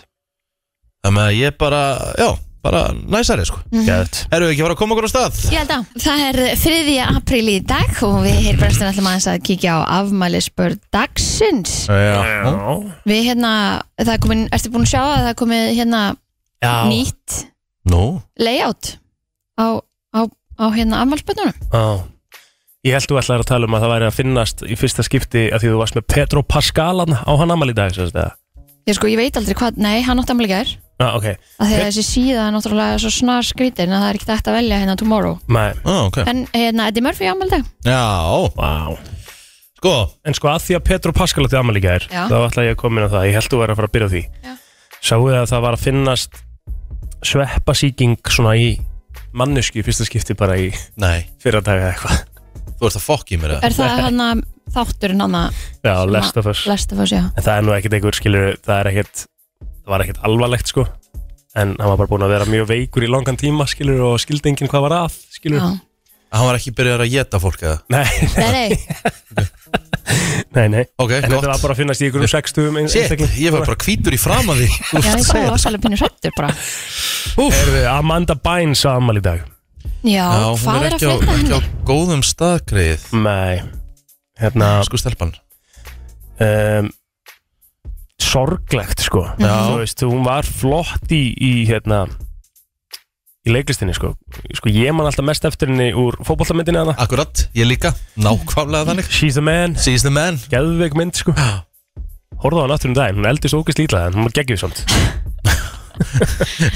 S1: Þannig að ég bara, já, bara næsari sko
S2: Mhm.
S3: Geðveikt.
S1: Erum við ekki að fara að koma okkur á stað?
S2: Ég held að það er 3. apríl í dag og við heyrbrenstum alltaf aðeins að kíkja á afmælisbörn dagsins
S1: Já
S2: Við hérna, það er komin, ertu búin að sjá að það er komið hérna
S3: Já.
S2: nýtt
S1: Nú,
S2: layout á, á, á hérna afmælisbörnunum
S3: Já Ég held þú ætlaðir að tala um að það væri að finnast í fyrsta skipti að því þú varst með Petro Pascalan á hann amal í dag sem sagt, eða?
S2: Ég sko, ég veit aldrei hvað, nei, hann átti afmæli í gær
S3: Já, ok
S2: að því að
S3: Hver-
S2: þessi síða er náttúrulega svo snar skrítin að það er ekki hægt að velja hérna tomorrow
S3: Nei
S1: á, ok
S2: En hérna, Eddie Murphy afmæli í dag
S1: Já,
S3: Vá
S1: sko,
S3: En sko að því að Petru Paskal átti afmæli í gær
S2: Já.
S3: þá ætla ég að koma inn á það, ég held þú verið að fara að byrja á því
S2: Já.
S3: Sáu þið að það var að finnast sveppasíking svona í mannesku í fyrsta skipti bara í
S1: nei,
S3: fyrra daga eitthvað
S1: þú ert að fokk í mér eða?
S2: Er það hann að þátturinn hann að
S3: Já, lest af þess
S2: lesta fyrir sig
S3: En það er nú ekkit einhver skilur, það er ekkit það var ekkit alvarlegt sko en hann var bara búin að vera mjög veikur í langan tíma skilur og skildi enginn hvað var að skilur
S2: Já,
S1: Að Hann var ekki byrjar að geta fólk eða?
S3: Nei, [LAUGHS]
S2: nei, nei,
S3: nei, nei
S1: Ok,
S3: En þetta var
S1: gott
S3: bara að finnast í ykkur um 60
S1: Shit, ég var bara hvítur í framan því Þú
S2: já,
S1: veist að
S2: ég var
S1: segja sko.
S2: rosalega pínu hrættur bara
S1: Úff.
S3: Amanda Bynes á afmæli í dag
S1: Já,
S2: Já,
S1: hún
S2: hvað
S1: er
S2: er að
S1: ekki á,
S2: frétta
S1: ekki
S2: henni?
S1: á góðum staðgreið
S3: Nei Hérna
S1: Sko stelpan
S3: um, sorglegt sko
S1: Já.
S3: þú veist, hún var flott í, í hérna í leiklistinni sko. sko ég man alltaf mest eftir henni úr fótbollamyndinni hana
S1: Akkurat, ég líka, nákvæmlega þannig
S3: She's the man,
S1: She's the man
S3: geðveik mynd sko Horfðu á hann aftur um daginn, hún eldist ógist lítla en hún var geggjuð samt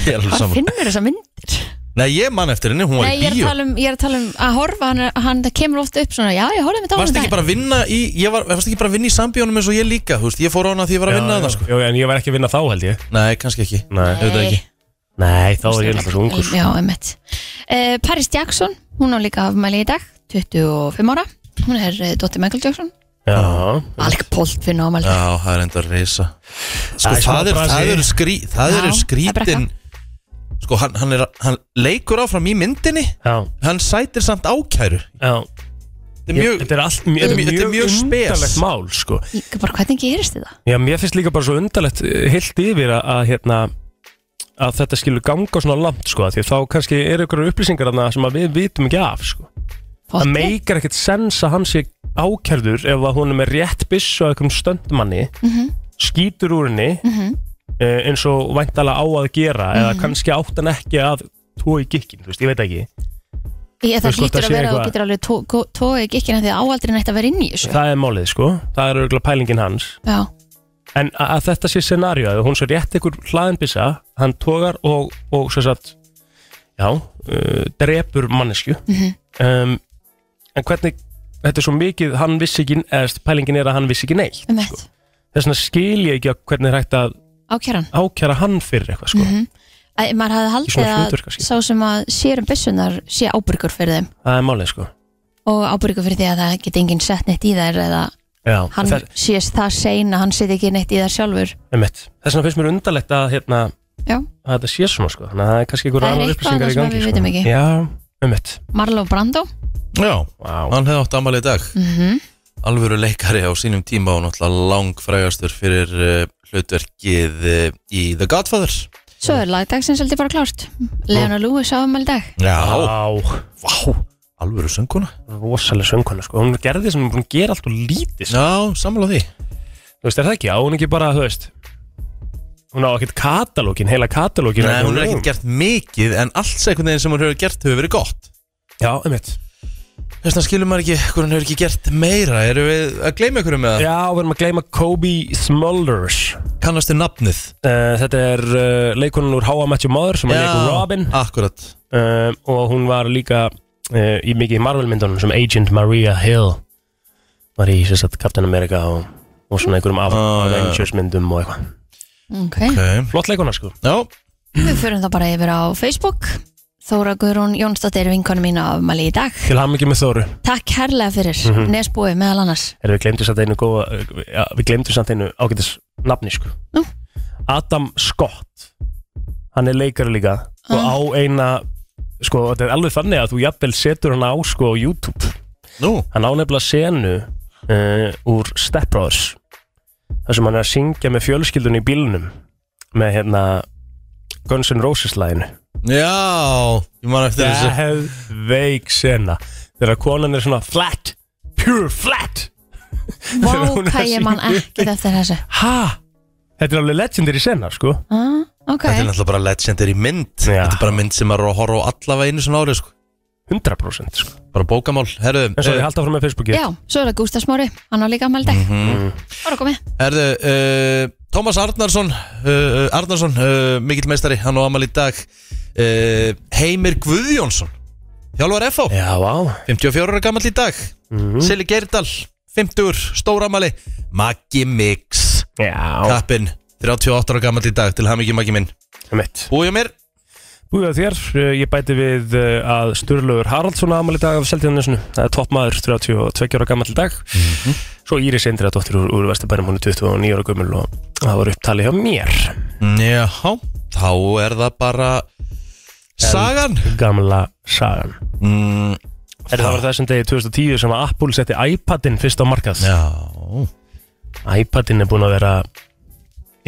S1: Ég er alveg
S2: Hvað
S1: saman
S2: finnur þessa myndir?
S1: Nei, ég man eftir henni, hún var
S2: Nei,
S1: í
S2: ég er, að
S1: bíó
S2: tala um, ég er að tala um að horfa hann, hann það kemur oft upp svona, já, ég horfði með
S1: Varst
S2: dálega
S1: ekki bara að vinna í Ég var, varst ekki bara að vinna í sambíónum eins og ég líka Þú veist, ég fór á hana því ég var að vinna
S3: Já,
S1: hana sko.
S3: já, já, en ég var ekki að vinna þá held ég
S1: Nei, kannski ekki
S3: Nei,
S1: auðvitað ekki.
S3: Nei þá var ég alltaf svo ungur
S2: Já, emmett uh, Paris Jackson, hún á líka afmæli í dag 25 ára, hún er uh, Dóttir Michael Jackson,
S3: Já,
S2: Alk Poltfinn á afmæli
S1: Já, það er enda reysa Sko,
S3: Það er smá
S1: það, er,
S3: brasi.
S1: það eru skrí, það
S2: Já,
S1: eru
S2: það er brekka.
S1: skrítin Sko, hann, hann, er, hann leikur áfram í myndinni
S3: já,
S1: Hann sætir samt ákæru
S3: já
S1: Þetta er
S3: Ég-
S1: mjög
S3: Þetta er allt mjög,
S1: Þetta er
S3: mjög,
S1: mjög
S3: mjög
S1: spes.
S3: undarlegt mál sko.
S2: Líka bara hvernig gerist þið það?
S3: Já, mér finnst líka bara svo undarlegt eh, heilt yfir að, að hérna að þetta skilur ganga svona langt sko, af því að þá kannski eru ykkur upplýsingar þarna sem að við vitum ekki af sko. það
S2: Pottet?
S3: meikar ekkert sens að hann sé ákjörður ef að hún er með rétt byssu á einhverjum stöndmanni skýtur úr henni eh, eins og væntalega á að gera eða kannski átt hann ekki að tói gikkin, þú veist, ég veit ekki
S2: Ég,
S3: Þú
S2: það
S3: veist, hvort
S2: hlýtur að
S3: það sé
S2: vera að þú
S3: eitthvað-
S2: getur alveg tó- gó- tóið gikkina því að áaldri nætti að vera inn í þessu
S3: það er málið sko, það er örgulega pælingin hans
S2: Já,
S3: en að, að þetta sé scenaríu að hún svo rétt einhver hlaðinbyssa, hann tógar og, og svo sagt já, uh, drepur mannesku
S2: Mhm.
S3: um, en hvernig þetta er svo mikið, hann vissi ekki eða pælingin er að hann vissi ekki neitt
S2: emmett
S3: þess vegna skil ég ekki að hvernig er hægt að
S2: Ákjæran
S3: ákjæra hann fyrir eitthvað
S2: Mhm.
S3: sko.
S2: Æ, Maður hafði
S3: Í svona
S2: haldið að
S3: hlutverk, kannski.
S2: sá sem að sér um byssunar sé ábyrgur fyrir þeim
S3: það er málið sko.
S2: og ábyrgur fyrir því að það geti enginn sett neitt í þær eða
S3: Já,
S2: hann
S3: það,
S2: sé það sein að hann seti ekki neitt í þær sjálfur
S3: einmitt. þess vegna finnst mér undarlegt að, hérna,
S2: Já,
S3: að þetta sé svona sko. þannig að það er kannski einhver
S2: Það er
S3: annar
S2: eitthvað annað
S3: upplýsingar í
S2: sem
S3: gangi sko.
S2: við vitum ekki.
S3: já, einmitt
S2: Marlo Brando
S1: Já,
S3: wow.
S1: hann hefði átt ammali í dag Alvöru leikari á sínum tíma og náttúrulega langfrægastur fyrir uh, hlutverkið uh, í The Godfather
S2: Svo er lagdagsins heldur bara klárt Leona Lewis á afmæli í dag
S1: Já,
S3: Vá,
S1: alvöru sönguna
S3: rosalega söngkona sko. hún gerði sem hún er búin að gera allt og lítið sko.
S1: Já, sammála því
S3: þú veist, er það ekki, á hún ekki bara þú veist, hún á ekkert katalógin heila katalógin
S1: Nei, hún er ekkert gert mikið en allt einhvern veginn sem hún hefur gert hefur verið gott
S3: já, einmitt
S1: Þess vegna skilur maður ekki hvernig hún hefur ekki gert meira Eru við að gleyma ykkur með það?
S3: já, við erum að gleyma Kobe Smulders
S1: Kannast þið nafnið?
S3: uh, þetta er uh, leikonan úr How I Met Your Mother sem er leikur Robin
S1: Akkurat
S3: um, og hún var líka uh, í mikið Marvel-myndunum sem Agent Maria Hill var í sem sagt Captain America og, og svona einhverjum
S1: Ah,
S3: af
S1: já, já.
S3: Avengers-myndum og eitthvað
S2: okay.
S1: okay.
S3: flott leikona sko
S1: Já,
S2: Við förum þá bara yfir á Facebook Þóra Guðrún Jónsdóttir vinkonu mín á afmæli í dag
S3: til ham ekki með Þóru
S2: Takk herrlega fyrir mm Nesbúi meðal annars
S3: er við glemdu samt einu góða eh, ja, við glemdu samt einu ágætis nafni sko
S2: Nú?
S3: Adam Scott hann er leikari líka og á eina sko þetta er alveg þannig að þú jafnvel setur hann á sko á YouTube
S1: nú
S3: hann á nefnilega senu uh, úr Step Brothers þar sem hann er að syngja með fjölskyldunni í bílnum með hérna Guns N' Roses læginu
S1: Já, ég man eftir
S3: það
S1: þessu
S3: hef veik sena þegar konan er svona flat pure flat
S2: Vá,
S3: Hún er að
S2: hvað ég man
S3: syngja.
S2: ekkert eftir þessu
S3: ha þetta er alveg legendary sena sko
S2: ah, Ok,
S1: Þetta er náttúrulega bara legendary mynd
S3: Já.
S1: Þetta er bara mynd sem maður er að horfa á allavega einu svona ári sko.
S3: 100% sko
S1: Bara bókamál, herðu eh,
S3: en svo ég haldi áfram með Facebooki
S2: já, svo er það Gústaf Smári Hann á líka afmæli í dag
S1: Mhm.
S2: Bara komið
S1: Herðu, uh, Tómas Arnarsson uh, Arnarsson, uh, mikill meistari Hann á amal í dag uh, Heimir Guðjónsson Hjálfar FH,
S3: já vá
S1: 54 ára gammal í dag
S3: Mhm.
S1: Sili Geirdal, 50 Stóramali, Maggi Mix
S3: já
S1: Kappinn, 38 ára gammal í dag Til hamingi Maggi minn
S3: mitt
S1: Búið hjá mér,
S3: Búið að þér, eh, ég bæti við eh, að Sturlaugur Haraldsson aðmæli dag af Seltjarnesinu, það er toppmaður, 32 ára gammal dag Mhm. Svo Íris Eindra dóttir úr, úr Vesturbænum, hún er 29 ára gömul og það var upptalið hjá mér
S1: Já, þá er það bara Sagan
S3: Gamla sagan
S1: mm,
S3: Er það var þessum degi 2010 sem að Apple setti iPadin fyrst á markað
S1: Já
S3: iPadin er búin að vera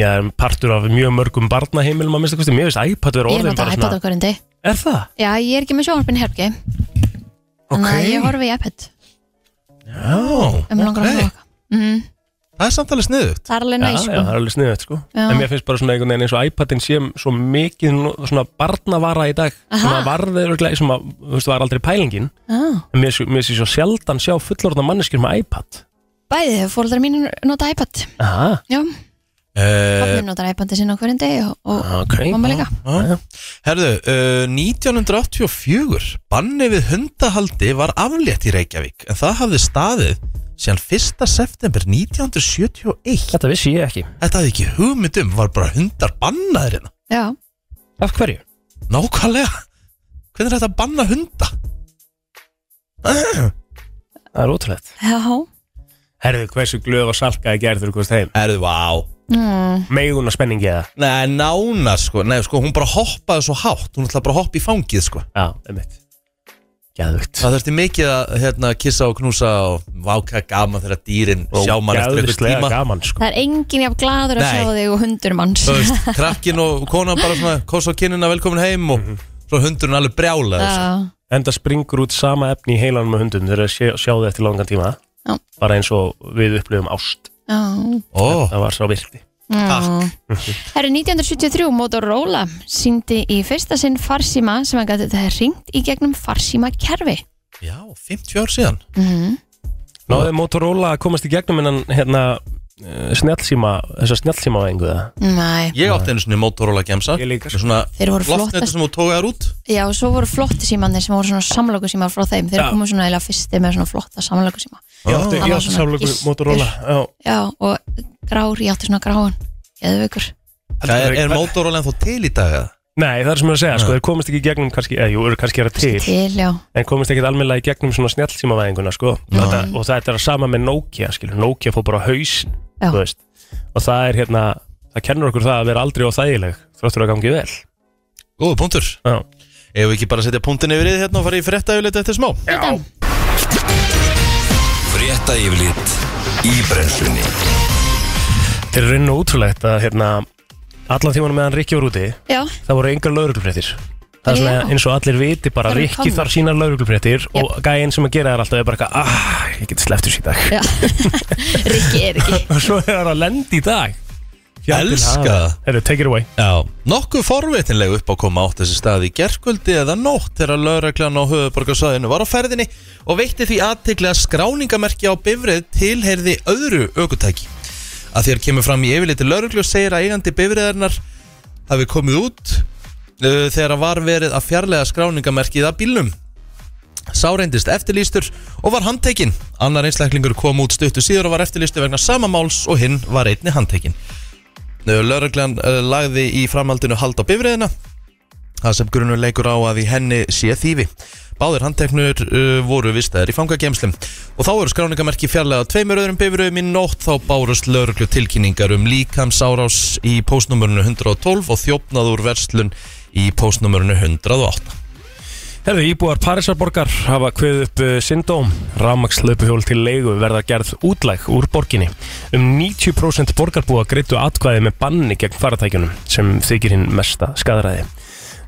S3: já, partur af mjög mörgum barnaheimilum að minnsta kosti, mér finnst iPad vera
S2: Ég
S3: orðin
S2: nota
S3: bara
S2: iPad
S3: svona
S2: okkur en dag
S3: Er það?
S2: Já, ég er ekki með sjónvarpin í herbergi Þannig að eh, ég horfi í iPad
S1: Já,
S2: um langar að
S1: ok.
S2: horfa á eitthvað. mm.
S1: Það er samtalið sniðugt
S2: það er alveg
S3: Já,
S2: næs
S3: já,
S2: sko.
S3: það er alveg sniðið sko.
S2: Já.
S3: En mér finnst bara svona einhvern veginn eins og iPadin sé svo mikið no- svona barnavara í dag
S2: Aha.
S3: sem að varði örglega, sem að, þú veist, var aldrei pælingin
S2: Já.
S3: en mér, sé- mér sé svo sjaldan sjá fullorðna manneskir með iPad
S2: Bæði, fóreldrar mínir nota iPad
S3: Aha,
S2: Já,
S1: uh,
S2: pappi notar iPad sinna á hverjum degi og, og
S1: Ah,
S3: ok
S2: mamma líka
S1: Já. Herðu, uh, 1984 banni við hundahaldi var aflétt í Reykjavík en það hafði staðið síðan 1. september 1971
S3: Þetta vissi ég ekki
S1: Þetta hafði ekki hugmyndum, var bara hundar bannaðir hérna
S2: Já,
S3: Af hverju?
S1: Nákvæmlega Hvernig er þetta að banna hunda?
S3: Það er ótrúlegt
S2: já
S3: Herðu, hversu glöð og salkaði gerður hvort þeim
S1: Erðu, vá
S2: mm.
S3: Meiguna spenningi eða
S1: Nei, nána sko, nei sko, hún bara hoppaði svo hátt Hún ætlaði bara að hoppa í fangið sko
S3: Já, einmitt Gæðvögt
S1: Það þurfti mikið að hérna, kissa og knúsa og váka gaman þegar dýrin sjá mann eftir einhver tíma
S3: gaman sko
S2: Það er enginn jafn gladur að
S1: Nei.
S2: sjá þig og hundur manns
S1: Þú veist, krakkin og konan bara svona kosa á kinnina velkomin heim og
S3: Mhm.
S1: svo hundurinn alveg sko. brjálaði þessu.
S2: Já,
S3: Enda springur út sama efni í heilanum með hundum þegar sjá, sjáðu eftir langan tíma
S2: Já.
S3: bara eins og við upplifum ást
S2: já
S1: Ó,
S2: Ah.
S3: það var svo virkni
S2: Mm.
S1: [LAUGHS]
S2: Það eru 1973 Motorola síndi í fyrsta sinn farsíma sem hann gæti þetta ringt í gegnum farsíma kerfi
S1: já, 50 ár síðan
S3: Náðu Motorola að komast í gegnum innan hérna eh, snjallsíma þessa snjallsíma á engu það
S2: Næ,
S1: Ég átti einu svona mótoróla gemsa
S3: Ég líka, sko.
S1: Svona
S2: þeir voru
S1: loftnetta
S2: flottast
S1: sem þú tókaðar út
S2: Já, og svo voru flottu símanir sem voru svona samlöku símar frá þeim Þeir
S3: Já.
S2: komu svona eiginlega fyrsti með svona flotta samlöku síma
S3: Ég
S2: Það
S3: átti, ég
S2: var
S3: átti
S2: svona
S3: samlöku
S2: gistur.
S3: Motorola Já,
S2: Já, og grár, ég átti svona gráan Geðveikur
S1: Það er, er mótoróla en þó til í dag eða?
S3: Nei, það er sem ég er að segja, sko, þeir komast ekki í gegnum kannski, eða jú, eru kannski að gera til
S2: Til, já
S3: en komist ekkert almennilega í gegnum svona snjallsímavæðinguna sko. þetta, og þetta er að sama með Nokia skilur. Nokia fór bara á hausin
S2: Já.
S3: og það er hérna það kennur okkur það að vera aldrei óþægileg þróttur að gangi vel
S1: Góðu punktur
S3: Já.
S1: Ef við ekki bara setja punktin yfir þið hérna og fara í frétta eftir smá
S4: Frétta yfirlit í brennslunni
S3: Þetta er raun og útrúlegt að hérna, allan tímanum meðan Rikki var úti
S2: Já,
S3: það voru engar lauruglufréttir það er svona
S2: Já.
S3: eins og allir viti bara
S2: Það eru
S3: Rikki
S2: komnar.
S3: þarf sínar lauruglufréttir og gæinn sem að gera þær alltaf er bara eitthvað ah, ég geti sleppt þessu í dag
S2: Rikki er ekki
S3: [LAUGHS] og svo er það að lendi í dag Fjandinn
S1: Elska
S3: hafi.
S1: það.
S3: Heyrðu, take it away
S1: Já, nokkuð forvitinleg upp á koma átt þessi stað í gerkvöldi eða nótt þegar lögreglan á höfuborgarsvæðinu var á ferðinni og veitti því aðtegli að skráningamerki á bifrið tilherði öðru ökutæki. Að þér kemur fram í yfirliti lögreglu og segir að eigandi bifriðarnar hafi komið út uh, þegar var verið að fjarlæga skráningamerkið að bílnum. Sá reyndist eftirlýstur og var handtekinn. Annar einslæklingur kom út stuttu síður og var eftirlýstur vegna sama máls og hinn var einni handtekinn. Lörglan eh, lagði í framhaldinu hald á bifriðina Það sem grunur leikur á að í henni sé þýfi Báðir handteknur uh, voru vistaðir í fangagemslum Og þá eru skráningamerki fjarlæða tveimur öðrum bifriðum í nótt Þá bárust lörglu tilkynningar um líkamsárás í postnumörunu 112 Og þjófnað úr verslun í postnumörunu 108
S3: Herðu, íbúar Parísarborgar hafa kveð upp uh, syndóm. Rafmagslaupahjól til leigu verða gerð útlæg úr borginni. Um 90% borgarbúa greittu atkvæði með banni gegn faratækjunum sem þykir hinn mesta skadaræði.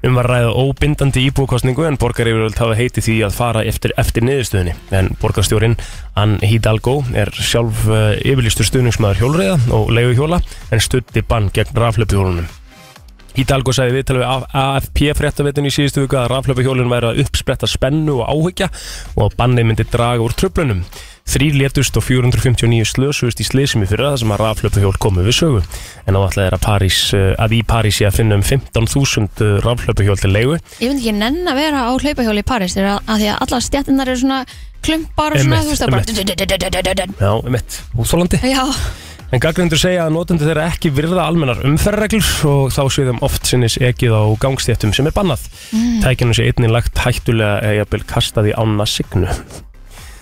S3: Um var að ræða óbindandi íbúkostningu en borgaryfiröld hafa heiti því að fara eftir, eftir niðurstöðunni. En borgarstjórin Ann Hidalgo er sjálf uh, yfirlýstur stuðningsmaður hjólreiða og leiguhjóla en stutti bann gegn raflöpuhjólunum. Hidalgo sagði viðtal við talveg AFP fréttavitun í síðustu viku að raflöfuhjólun væri að uppspretta spennu og áhyggja og að bannið myndi draga úr tröflunum. Þrýr létust og 459 slösust í slysum í fyrra þar sem að raflöfuhjól komu við sögu. En áallega er að, París, eh, að í París sé að finna um 15.000 raflöfuhjól til leigu.
S2: Ég myndi ekki nenn að vera á hlaupahjóli í París þegar að, að því að allar stjættinnar eru svona klumpar og svona,
S3: Einmitt,
S2: þú veist, það bara
S3: Já, um mitt, útþólandi.
S2: Já,
S3: En gaggrindur segja að notendur þeirra ekki virða almennar umferðreglur og þá séu þeim oft sinnis ekið á gangstéttum sem er bannað. Mm. Tækinu sé einnig lagt hættulega eða jafnvel kastað í ána signu.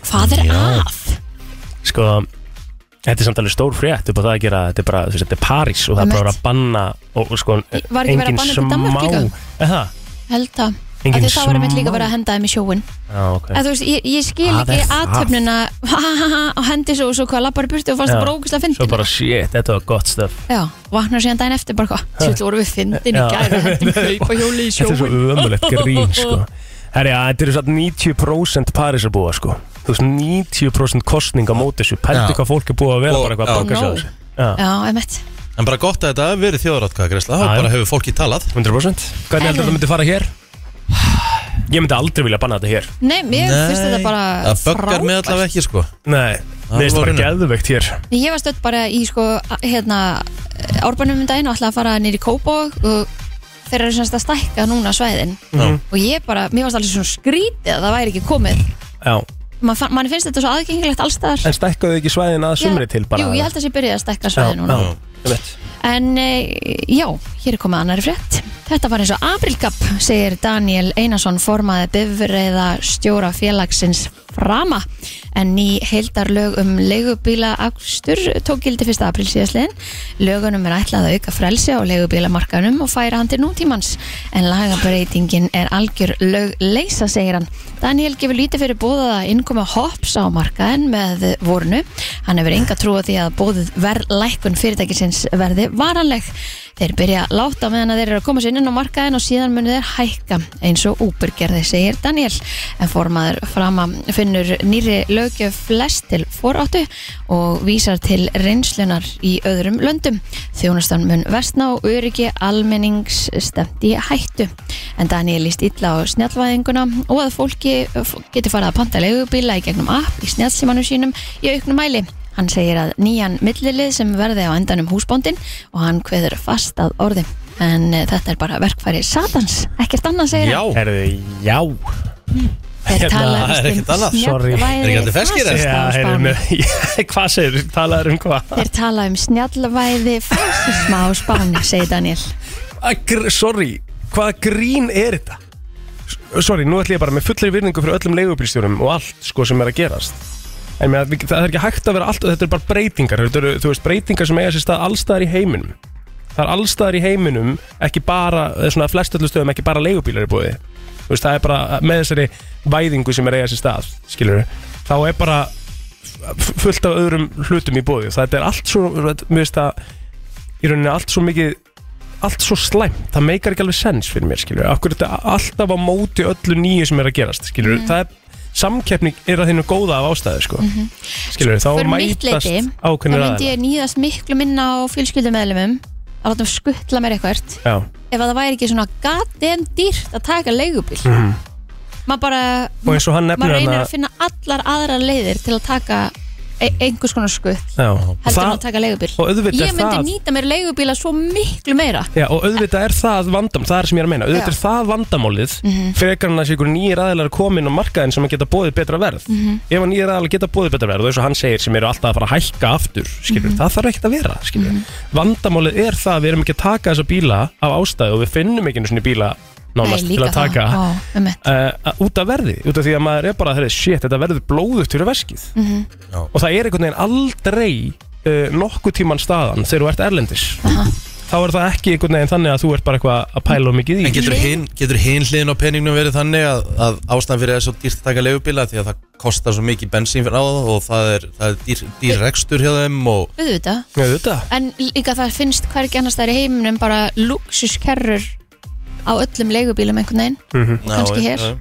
S2: hvað er að?
S3: Sko, þetta er samt alveg stór frétt upp á það að gera, þetta er bara, þú veist, þetta er París og það er bara að vera að banna og, og sko,
S2: Í- var ekki verið að
S3: engin
S2: banna þetta í Danmörku líka?
S3: Er það?
S2: Held að
S3: Engin
S2: Af því þá varum við
S3: smá-
S2: líka verið að henda þeim í sjóin
S3: Já, ok.
S2: En þú veist, ég, ég skil
S3: Hvað
S2: ekki
S3: er það?
S2: aðtöfnuna [LAUGHS] ha, ha, ha, og hendi svo og svo hvað lappar í burtu og fannst
S3: Já.
S2: það bara ógust að
S3: Svo
S2: fyndin
S3: bara, shit, þetta var gott stöf.
S2: Já, vaknar síðan daginn eftir bara hvað Sjöld voru við fyndin í
S3: Já.
S2: gæri og hendum hlaupahjóli í
S3: Þetta er svo
S2: sjóin [LAUGHS]
S3: ömulegt grín, sko. Herri, já, þetta eru satt 90% Parísarbúa, sko. þú veist, 90% kostning á móti þessu pæltu
S1: Já.
S3: hvað fólk er búið að vera
S1: Og-
S3: bara eitthvað að
S1: já.
S3: baka sig á
S2: Nóg.
S3: þessu Já,
S2: Já, emitt
S1: En bara gott að þetta hafi verið þjóðratkvæðagreysla
S3: Já,
S1: og
S3: já.
S1: bara hefur fólki talað
S3: 100% Hvernig heldur þetta myndi fara hér? Ég myndi aldrei vilja banna þetta hér
S2: Nei, mér finnst þetta bara
S1: Það böggar mig allavega ekki sko
S3: Nei,
S1: Það
S3: mér finnst
S1: var
S3: bara
S1: raunin.
S3: geðveikt hér
S2: Ég var stödd bara í sko a- hérna árbænum um daginn og ætlaði að fara nýri Kópog og þeir eru semst að stækka núna svæðin og ég bara, mér varst alveg svona skrítið að það væri ekki komið
S3: Já,
S2: Man, fann, mann finnst þetta svo aðgengilegt allstaðar
S3: en stækkaðu þið ekki svæðin að sumri til bara
S2: Jú, ég held að sé byrjaði að stækka svæðin núna
S3: Já, ég veit
S2: En e, já, hér er komið annari frétt. Þetta var eins og aprilkapp, segir Daniel Einarsson, formaði bifreiða stjóra félagsins frama. En ný heildarlög um leigubílaakstur tók gildi 1. april síðastliðin. Lögunum er ætlað að auka frelsi á leigubílamarkanum og færa hann til nútímans. En lagabreitingin er algjör lög leysa, segir hann. Daniel gefur lítið fyrir bóðaða innkoma hops á markaðin með vornu. Hann hefur enga trú á því að bóðið verðlækun fyrirtækisins verði varanleg. Þeir byrja látt á meðan að þeir eru að koma sér inn á markaðin og síðan munu þeir hækka eins og úbergerði, segir Daniel. En formaður frama finnur nýri lögjöf flest til foráttu og vísar til reynslunar í öðrum löndum. Þjónustan mun versna og öryggi almennings stemt í hættu. En Daniel líst illa á snjallvæðinguna og að fólki f- geti farið að panta leigubíla í gegnum app í snjallsímanum sínum í auknum mæli. Hann segir að nýjan millilið sem verði á endanum húsbóndin og hann kveður fast að orði. En eh, þetta er bara verkfæri satans, ekkert annað segir
S1: Já,
S2: hann.
S1: er
S3: Herðu, já
S2: Þeir
S3: hérna,
S2: tala
S1: það er
S2: víst um
S1: ekkert annað.
S3: Sorry.
S2: snjallvæði
S1: Er ekki allir feskir, eða?
S2: fasista á
S3: [LAUGHS] Já,
S2: Spáni.
S3: heyrðu, hvað segir, talaður um hvað?
S2: Þeir tala um snjallvæði fasisma á Spáni, segir Daniel.
S3: Að gr- Sorry, hvaða grín er þetta? S- Sorry, nú ætlum ég bara með fullri virðingu fyrir öllum leigubílstjórum og allt sko sem er að gerast En mér, það er ekki hægt að vera allt og þetta er bara breytingar Þetta eru, þú veist, breytingar sem eiga sér stað allstaðar í heiminum Það er allstaðar í heiminum, ekki bara, eða svona flest öllu stöðum, ekki bara leigubílar í búið Þú veist, það er bara með þessari væðingu sem er að eiga sér stað, skilur Þá er bara f- fullt af öðrum hlutum í búið Það er allt svo, mér veist það, í rauninni allt svo mikið allt svo slæmt, það meikar ekki alveg sens fyrir mér, skilur, akkur þetta er alltaf á móti öllu nýju sem er að gerast, skilur
S2: Mm.
S3: það er, samkeppni er að þínu góða af ástæðu, sko, mm þá
S2: Mhm. Fyrir mitt
S3: mætast
S2: leiti, þá
S3: ákveðnir
S2: myndi ég nýðast miklu minna á fjölskyldumeðlumum að láta um skuttla mér eitthvert
S3: Já,
S2: ef að það væri ekki svona goddamn dýrt að taka leigubíl maður bara
S3: Mhm. og eins og hann nefnir
S2: maður reynir
S3: hana-
S2: að finna allar aðra leiðir til að taka e einhvers konar skutt
S3: já,
S2: heldur en
S3: það-
S2: að taka leigubíl
S3: og auðvitað
S2: ég
S3: er
S2: myndi
S3: það-
S2: nýta mér leigubíla svo miklu meira
S3: Já, og auðvitað er það vandam, það er sem ég er að meina auðvitað
S2: Já. Mhm.
S3: er það vandamálið frekar hann að sé ykkur nýjir aðeinar komin á markaðin sem að geta bóðið betra verð
S2: Mhm.
S3: ef að nýjir aðeinar geta bóðið betra verð og eins og hann segir sem eru alltaf að fara að hækka aftur
S2: Mhm.
S3: skilur, það þarf ekkert að vera skilur. vandamálið er það að við erum ekki að taka þessa bíla af ástæðu og við finnum ekki einu sinni bíla nánast til að taka
S2: það, Ó, einmitt.
S3: uh, út af verði, út af því að maður er bara heyrðu, shit, þetta verður blóðugt fyrir veskið
S1: Já.
S3: og það er einhvern veginn aldrei uh, nokkuð tíman staðan þegar þú ert erlendis þá er það ekki einhvern veginn þannig að þú ert bara eitthvað að pæla of mikið í
S1: En getur hin, getur hin hliðin á peningnum verið þannig að, að ástæðan fyrir þessu dýrt að taka leigubíla því að það kostar svo mikið bensín fyrir á það og það er, það er dýr, dýr rekstur hjá þeim og
S2: auðvitað
S3: Já, þetta
S2: en líka það finnst hvergi annars það er í heiminum bara luxuskerrur á öllum leigubílum einhvern veginn kannski
S1: Já,
S2: hér.
S1: já.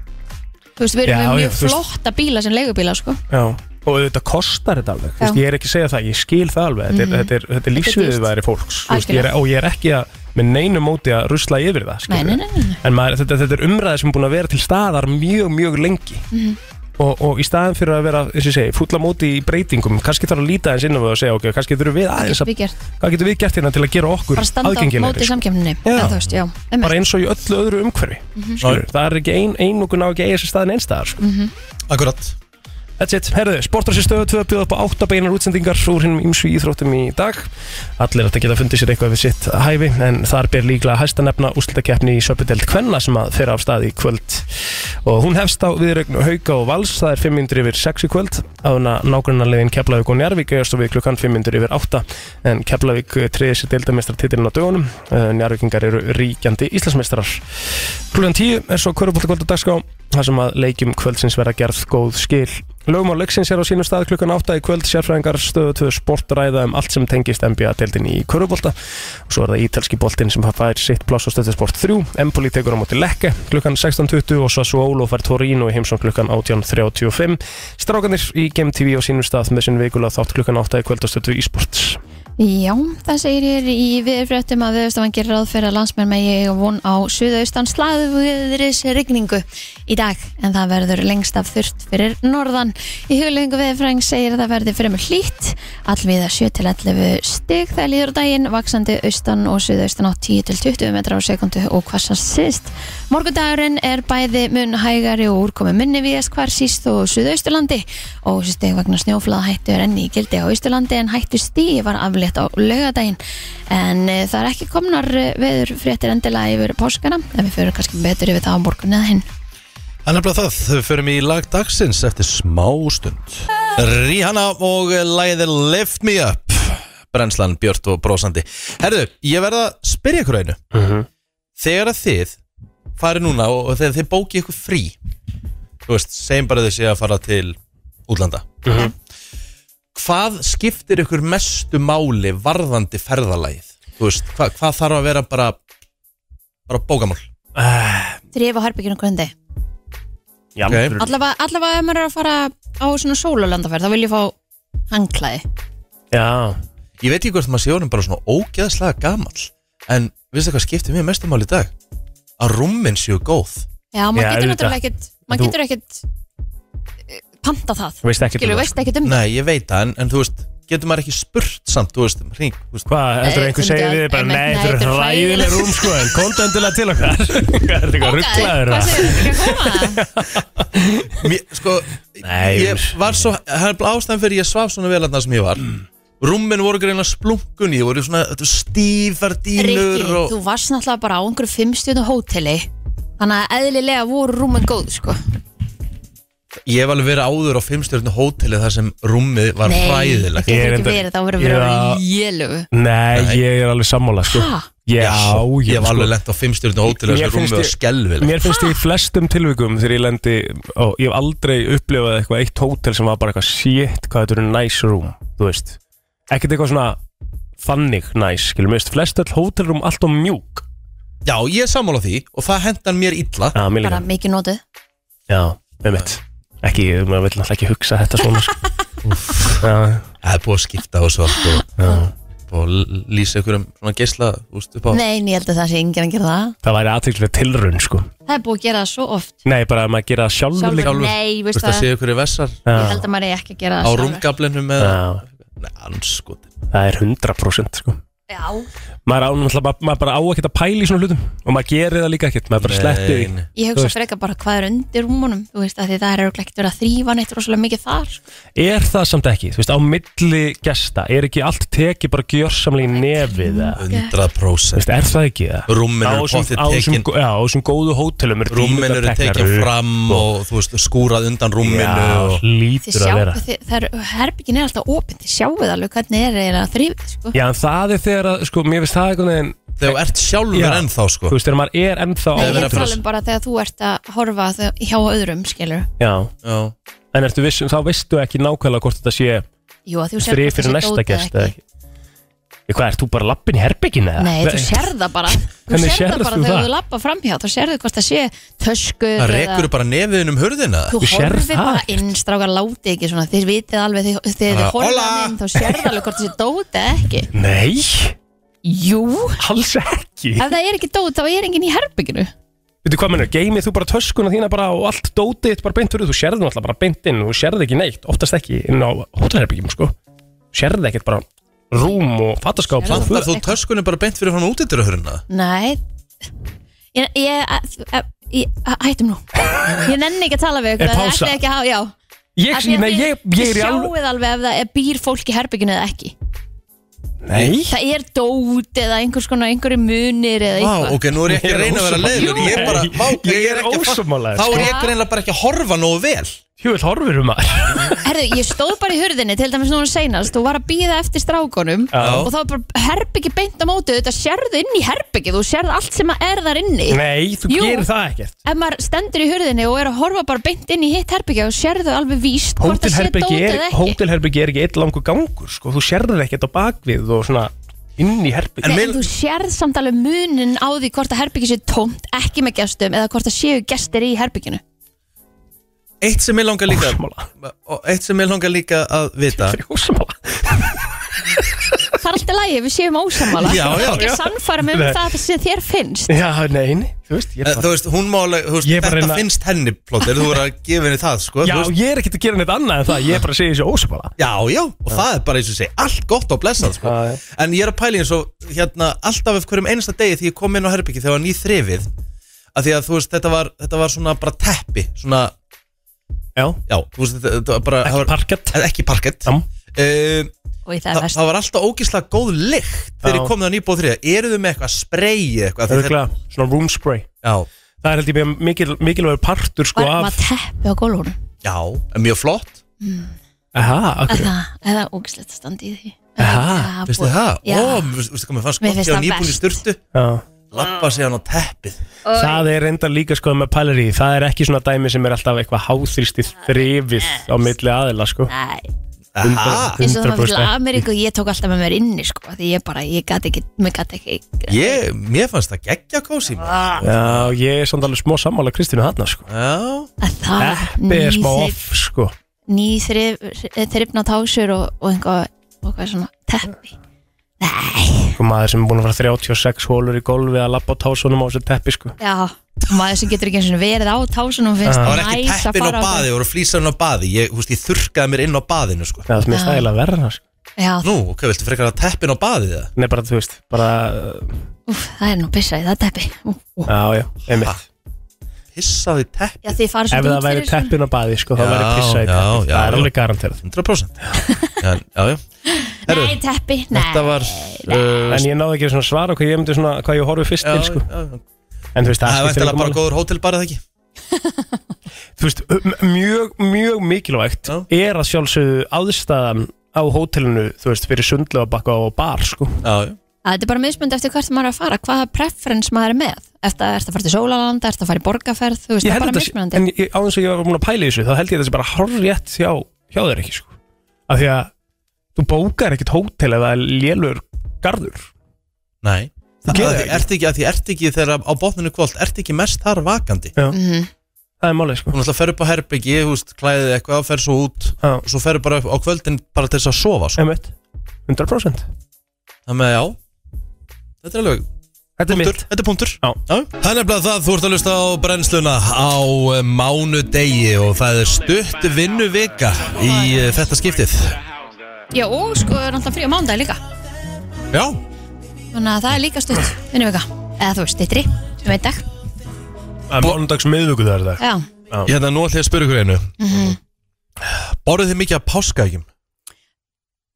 S2: þú veist, við erum
S3: Já,
S2: með
S3: já,
S2: mjög
S3: þú veist-
S2: flotta bíla sem leigubíla sko.
S3: Já, og þetta kostar þetta alveg Þú
S2: Já.
S3: veist,
S2: Mm.
S3: ég er ekki að segja það, ég skil það alveg þetta er, þetta er, þetta er lífsviðið væri fólks þú veist, ég er, og ég er ekki að með neinu móti að rusla yfir það
S2: nei,
S3: skilur
S2: nei, nei, nei.
S3: en maður, þetta, þetta er umræði sem er búin að vera til staðar mjög, mjög lengi
S2: Mhm.
S3: og, og í staðan fyrir að vera, eins og ég segi, fulla móti í breytingum, kannski þarf að líta eins inn á það og segja, ok, kannski þurfum við aðeins
S2: Við
S3: að,
S2: gert.
S3: hvað getum við gert hérna til að gera okkur
S2: bara standa á móti
S3: aðgengilegri, sko?
S2: samkjöfninni
S3: Já.
S2: eða þú veist, já, einmitt.
S3: bara eins og í öllu öðru umhverfi
S2: Mhm.
S3: skilur, það er ekki ein, einokun á ekki að eiga sér staðin einstæðar, sko.
S1: Akkurat
S3: That's it, herðu, sportrassi stöðu 2 bjóða upp á 8 beinar útsendingar úr hinnum ímsu íþróttum í dag Allir ættu að geta fundið sér eitthvað við sitt hæfi en þar ber líklega hæsta nefna úrslitakeppni í Söpudeld Kvenna sem að fer af stað í kvöld og hún hefst á viðrögnu Hauka og Vals, það er 500 yfir 6 í kvöld áðuna nágrunarlegin Keflavík og Njarvík eigast og við klukkan 500 yfir 8 en Keflavík treðið sér deildamestrar titilin á dögunum, Eh, Njarvíkingar eru ríkjandi Íslandsmeistarar Klukkan 10 er svo Köruboltakvöld og dagská þar sem að leikjum kvöldsins verða gerð góð skil Lögum á leiksins er á sínum stað klukkan 8 í kvöld sérfræðingar stöðu 2 sportræða um allt sem tengist NBA-deildin í Körubolta og svo er það ítalski boltin sem fær sitt pláss á stöðu sport 3 Empoli tekur á móti Lekke klukkan 16.20 og Sassuolo fær Torino í heimsum klukkan 18.35 Strákanir í Game TV á sínum stað með sinn vikulega þátt klukkan 8 í kvöld á stöðu e-sports
S2: Já, það segir hér í viðurfréttum að viðurstofan gerir ráð fyrir að landsmenn megi eiga von á suðaustan slagviðuris rigningu í dag en það verður lengst af þurft fyrir norðan. Í huglegingu viðurfræng segir að það verði fremur hlýtt allviða 7-11 stig þegar líður á daginn, vaksandi austan og suðaustan á 10-20 metrar á sekundu og hvassast síðst. Morgundagurinn er bæði mun hægari og úrkomi minni viðast hvar síst og suðausturlandi og stig vegna snjóflaða hættu er enni í gildi á austurlandi en hættu stigi var aflétt á laugadaginn en e, það er ekki komnar veður fréttir endilega yfir páskana en við fyrir kannski betur yfir það á morgun eða hinn
S1: Það er nefnilega það, við förum í lag dagsins eftir smá stund Rihanna og lagið Lift Me Up Brennslan, Björt og Brósandi Herðu, ég verða að spyrja ykkur einu Þegar að þið farið núna og, og þegar þið bókið ykkur frí Þú veist, segjum bara þið sé að fara til útlanda Hvað skiptir ykkur mestu máli varðandi ferðalagið? Þú veist, hva, hvað þarf að vera bara, bara bókamál?
S2: þrýfa harbygginu hverjum deg
S3: Já,
S1: Ok.
S3: okay.
S2: allavega, allavega ef maður er að fara á svona sólulandaferð þá vil ég fá hangklæði
S3: já.
S1: Ég veit ekki hvort maður sé orðin bara svona ógeðslega gamall En veistu hvað skiptir mér mestum mál í dag? Að rúmmin séu góð
S2: já, maður
S3: Já,
S2: getur
S3: auðvitað.
S2: náttúrulega ekkit maður
S3: Þú-
S2: getur ekkit eh, panta það
S3: Veist ekkert um
S2: Skilur,
S3: það,
S2: veist ekkit um það
S1: Nei, ég veit það, en, en þú veist, getur maður ekki spurt samt, þú veist, hring þú veist,
S3: Hvað, heldur
S2: Nei,
S3: einhver
S2: þetta
S3: segir
S2: er-
S3: við þig bara
S2: einmitt,
S3: Nei, þetta eru
S2: þetta er
S3: hræðileg
S2: hræðileg."
S3: rúm sko En komdu endilega til
S2: [LAUGHS]
S3: okkar Hvað er þetta eitthvað rugglaður
S2: hvað segir þú ekki að koma
S1: mér, Sko,
S3: Nei,
S1: ég var svo Það er bara ástæðan fyrir ég svaf svona vel þarna sem ég var
S3: Mm.
S1: Rúmmin voru greina splunkunni Ég voru svona þetta voru stífar
S2: Rikki,
S1: dýnur og,
S2: þú varst náttúrulega bara á einhverju fimmstjöndu hóteli Þannig að eðlilega voru rúmin góð sko.
S1: Ég hef alveg verið áður á fimmstjörnu hóteli þar sem rúmmið var
S2: Nei, það
S1: hræðilegt
S3: Ég er
S2: getur ekki
S3: enda-
S2: verið, þá verður verið
S3: Já.
S2: að lélugu
S3: Nei, ég er alveg sammála sko
S2: Ha?
S3: Já, ég
S1: ég hef
S3: sko-
S1: alveg lent á fimmstjörnu hóteli þar
S3: Mér
S1: sem
S3: finnst
S1: rúmmið var
S3: ég-
S1: skelvilegt
S3: Mér finnst ég í flestum tilvikum þegar ég lendi og ég hef aldrei upplifað eitthvað eitt hótel sem var bara eitthvað shit, hvað þetta eru nice room, þú veist ekkert eitthvað svona þannig nice, skilum við, flest öll hótelrúm allt og mjúk
S1: Já, ég er sammála því og það hendan mér illa
S3: Já, mér
S2: Bara
S3: líka,
S2: mikið notuð
S3: já, með mitt ekki, maður vil náttúrulega ekki hugsa þetta svona sko.
S2: [LAUGHS]
S3: já,
S1: Það er búið að skipta og svo
S2: [GASPS]
S1: allt og, og l- lýsa ykkur um svona geisla úst, upp á
S2: Nei, en ég held að það sé enginn að gera það
S3: það væri aðtýrlega tilrun sko.
S2: Það er búið að gera það svo oft
S3: nei, bara að maður gera það sjálfur,
S2: Sjálfur,
S3: líka
S1: Þú
S2: nei, veist
S1: veist að
S2: það
S1: séu ykkur í vessar
S2: Ég
S3: já,
S2: held að maður er ekki að
S1: á
S2: gera það sjálfur.
S1: rúmgaflinu með
S3: já,
S1: Nei, anskotin
S3: það er 100% sko.
S2: Já,
S3: maður, á, náttúrulega bara- maður bara á ekkert að pæla í svona hlutum og maður gerir það líka ekkert, maður bara slettir því
S1: Nei, nei.
S2: ég
S3: Þú
S2: hugsa
S3: veist.
S2: frekar bara hvað er undir rúmunum Þú veist að því það er örugglega ekkert verið að þrýfa neitt rosalega mikið þar sko.
S3: Er það samt ekki, þú veist, á milli gesta Er ekki allt tekið bara gjörsamlega í nefið eða?
S1: 100%
S3: Þú veist, er það ekki það?
S1: Rúmmin
S3: Á
S1: eru
S3: þessum-
S1: pottið
S3: á þessum
S1: tekin-
S3: gó- Já, á þessum góðu hótelum eru
S1: Rúmmin
S3: dýnurnar
S1: eru tekin
S3: teknar upp
S1: fram og þú veist skúrað undan rúmminu
S3: Já,
S1: og
S2: Þið
S3: lítur að
S2: sjáu,
S3: vera
S2: þið, það er, herbyggin er alltaf opinn Þið sjáuð alveg hvernig er eiginlega að þrýfa sko.
S3: Já, en það er þegar að, sko, mér finnst það einhvern veginn
S1: þegar þú ert sjálfur
S3: Já.
S1: ennþá sko
S3: Þú veist, þegar maður er ennþá á
S2: Nei,
S1: verið
S2: ég
S1: að fara-
S2: tala um bara þegar þú ert að horfa þau- hjá öðrum, skilur
S3: Já,
S1: Já.
S3: en ertu viss, um- þá veistu ekki nákvæmlega hvort þetta sé
S2: Jú, að þú sér
S3: Þrið fyrir næsta gest eða ekki Ég, Hvað, ert þú bara lappin í herbygginu? eða?
S2: Nei, þú sér það
S3: [LAUGHS]
S2: bara Þú
S3: Hvernig
S2: sér það
S3: sérð
S2: bara
S3: þú
S2: þegar
S3: það?
S2: þú lappa framhjá Þú sér það hvort það sé töskur
S1: Það
S2: eða-
S1: rekur bara nefiðin um hurðina
S2: Þú
S3: Þú sérð
S2: horfir
S3: það
S2: bara
S3: ekkert.
S2: inn, strákar láti ekki svona Þið vitið alveg, þið- þegar
S1: Bara,
S2: þið horfið
S1: "Hola!"
S2: hann inn Þá sér það alveg hvort það sé dót eða ekki
S3: Nei,
S2: Jú,
S3: alls ekki
S2: ef það er ekki dót Þá er enginn í herbygginu
S3: Veitu hvað mennur, geymið þú bara töskuna þína bara og allt dótið þitt bara beint fyrir, þú sérði náttúrulega bara beint inn, þú sérði ekki neitt, oftast ekki inn á hótelherbyggjum sko, sérði ekkert bara rúm og fattaskáp
S2: Sérðu
S3: og
S1: Plantar
S3: föt.
S1: þú töskunni bara beint fyrir frá útindur hurðina
S2: Nei Ég, ég, ég, ég hættum nú Ég nenni ekki að tala við ykkur
S3: Er
S2: að þið
S3: pása?
S2: ætlið ekki að hafa- Já,
S3: Ég,
S2: Af því að
S3: nei,
S2: þið-
S3: ég, ég er
S2: þið
S3: í alveg,
S2: sjáið alveg ef það er býr fólk í herbygginu eða ekki
S3: nei,
S2: það er dót eða einhvers konar einhverju munir eða
S1: Vá,
S2: eitthvað
S1: ok, nú er ég ekki
S3: Ég
S1: að
S3: er
S1: reyna að vera
S3: ósammála.
S1: leiður Ég er bara,
S3: Jú,
S1: vá,
S3: ég er
S1: ekki að fatta-
S3: ósammála,
S1: Þá
S3: sko.
S1: er ég greinlega bara ekki að horfa nógu vel
S3: Hjúvill horfir um maður
S2: Herðu, ég stóð bara í hurðinni til dæmis núna seinast og var að býða eftir strákonum
S3: Já.
S2: og þá var bara herbyggi beint á móti þetta sérðu inn í herbyggi, þú sérðu allt sem að er þar inni
S3: Nei, þú
S2: Jú.
S3: gerir það ekkert
S2: ef maður stendur í hurðinni og er að horfa bara beint inn í hitt herbyggi og sérðu alveg víst hvort það sé dót
S3: Hótelherbyggi er,
S2: eða ekki
S3: hótelherbyggi er ekki eitt langur gangur sko. Þú sérður ekkert á bakvið og svona inn í herbyggi
S2: Nei,
S1: En
S2: en
S1: vil-
S2: þú sérð samt alveg munin á því hvort að herbyggi sé tómt, ekki með gestum eða hvort að séu gestir í herbygginu
S1: Eitt sem ég langar líka
S3: Ósmála
S1: og Eitt sem ég langar líka að vita
S3: Ósmála
S2: Það er alltaf lægi, við séum ósamála
S1: Já, já,
S2: Ekki
S3: já.
S2: sannfæra mig um
S3: Nei.
S2: það sem þér finnst
S3: Já, nei, nei, þú veist ég
S1: Eh,
S3: er bara,
S1: Þú veist, hún má alveg, þú veist,
S3: Ég er bara
S1: þetta
S3: reyna-
S1: finnst henni plóter, þú voru að gefa henni það, sko
S3: Já,
S1: þú veist,
S3: ég er ekkert að gera neitt annað en það Ég er bara að segja þessi ósmála
S1: já, já, og það er bara eins og sé, allt gott og blessað, sko
S3: Já, já.
S1: En ég er að pæli eins og, hérna, alltaf ef hverjum einasta degi því ég kom inn á herbyggi þegar var ný þrifið að Því að, þú veist, þetta var, þetta var svona bara teppi, svona,
S3: Já,
S1: já, þú veist, þetta, þetta var bara það
S3: ekki
S1: var,
S3: parkett
S1: eh, Ekki parkett
S3: Já.
S1: um,
S2: Og í það
S1: það,
S2: er verst
S1: það var alltaf ógíslega góð lykt þegar
S3: Já.
S1: ég kom það nýbúð þriða Eru þau með eitthvað spreyi eitthvað Því
S3: Örgulega, svona room spray
S1: þetta-
S3: Það er held ég bara mikil, mikilvægur partur sko
S2: Var
S3: af
S2: maður teppi á gólfur
S1: Já, já, mjög flott
S3: Aha, akkur
S2: Eða, eða úkslegt standi í því
S3: Aha,
S2: Já,
S1: Veistu
S2: búið-
S1: það?
S2: Já.
S1: Ó, mér finnst- veistu hvað mér fannst
S2: Mér
S1: gott
S2: finnst
S1: þegar
S2: það
S1: nýbúin í
S2: best.
S1: sturtu
S3: Já
S1: Lappa sig hann á teppið
S3: Það er enda líka sko með pælir í því. Það er ekki svona dæmi sem er alltaf eitthvað háþrýstið þrifið á milli aðila sko
S2: Nei,
S1: Aha,
S2: eins og það var
S3: 100%
S2: fyrir Ameríku Ég tók alltaf með mér inni sko Því ég bara, ég gat ekki, mér gat ekki
S1: ég, mér fannst það geggja kósi
S2: Ah.
S1: Já,
S3: Já, ég er samt alveg smó sammála Kristínu Hanna sko
S2: að það
S3: Eppi er smá off sko
S2: Nýþrifna tásur og, og einhvað og hvað svona teppi Nei,
S3: Sko maður sem er búin að fara 36 hólur í golfi að lappa á tásunum á þessu teppi sko
S2: já maður sem getur ekki eins og verið á tásunum finnst
S1: það
S2: það
S1: var ekki
S2: næs að
S1: teppin á
S2: fara á
S1: baði, það voru flýsan á baði Ég, húst, ég þurrkaði mér inn á baðinu, sko
S3: Já, það er mér stæla verra sko
S2: Já,
S1: Nú, ok, viltu frekar að teppin á baði það?
S3: Nei, bara þú veist, bara,
S2: úf, það er nú pissa í það teppi Ú, ú.
S3: já, já, einmitt
S1: Pissaði teppin
S2: Já, þið fara
S3: Ef
S2: svolítið
S3: það
S2: út
S3: væri
S2: fyrir svona
S3: teppin á baði sko, þá
S1: Já,
S3: væri pissa í
S1: já,
S3: teppi
S1: já,
S3: Það er
S1: já.
S3: alveg garanterað
S1: 100% En, Já, já Herru,
S2: Nei, teppi, nei
S1: Þetta var uh,
S3: En ég náði ekki svona svara hvað ég myndi svona, hvað ég horfi fyrst
S1: já,
S3: til sko
S1: já, já.
S3: En þú veist,
S1: Það er
S3: skiptir
S1: væntanlega
S3: engu
S1: bara
S3: máli.
S1: góður hótel bara það ekki
S3: þú veist, m- mjög, mjög mikilvægt
S1: Já.
S3: er að sjálfsögðu aðstæðan á hótelinu, þú veist, fyrir sundlega bakka og bar, sko.
S1: Já, já
S2: Að Þetta er bara mismund eftir hvert maður er að fara hvaða preference maður er með eftir að ertu að fara til Sólaland, ertu að fara í borgarferð þú veist, það er bara
S3: þetta sé-
S2: mismunandi
S3: en ég, á þess að ég var búin að pæla í þessu, þá held ég þessi bara horrétt hjá, hjá þér ekki, sko. Af því að þú bókar ekkert hótel eða lélur garður.
S1: Nei
S3: Þú
S1: Það
S3: gerir
S1: er
S3: ekki.
S1: ekki, að því ert ekki þegar á botninu kvöld Ert ekki mest þar vakandi
S2: Mhm.
S3: Það er málið, sko.
S1: Þú náttúrulega ferur upp á herbyggi, þú veist, klæðið eitthvað, fer svo út
S3: Já,
S1: og svo ferur bara upp á kvöldin bara til þess að sofa, sko.
S3: emitt. 100%.
S1: Þannig að já, þetta er alveg
S3: Þetta er
S1: punktur,
S3: mitt.
S1: þetta er punktur.
S3: Já.
S1: Það er nefnilega það, þú ert að lusta á brennsluna á eh, mánudegi og það er stutt vinnuvika í eh, þetta skiptið.
S2: Já, og sko, er náttúrulega frí á mándag líka
S1: Já,
S2: Þannig að það er líka stutt vinnuvika Eða þú veist, stittri, sem eitt dag
S3: Það er mándags miðvöku það er það.
S2: Já,
S1: hérna nú ætlum ég að spyrja ykkur einu. Mm Borðuð þið mikið að páskaægjum?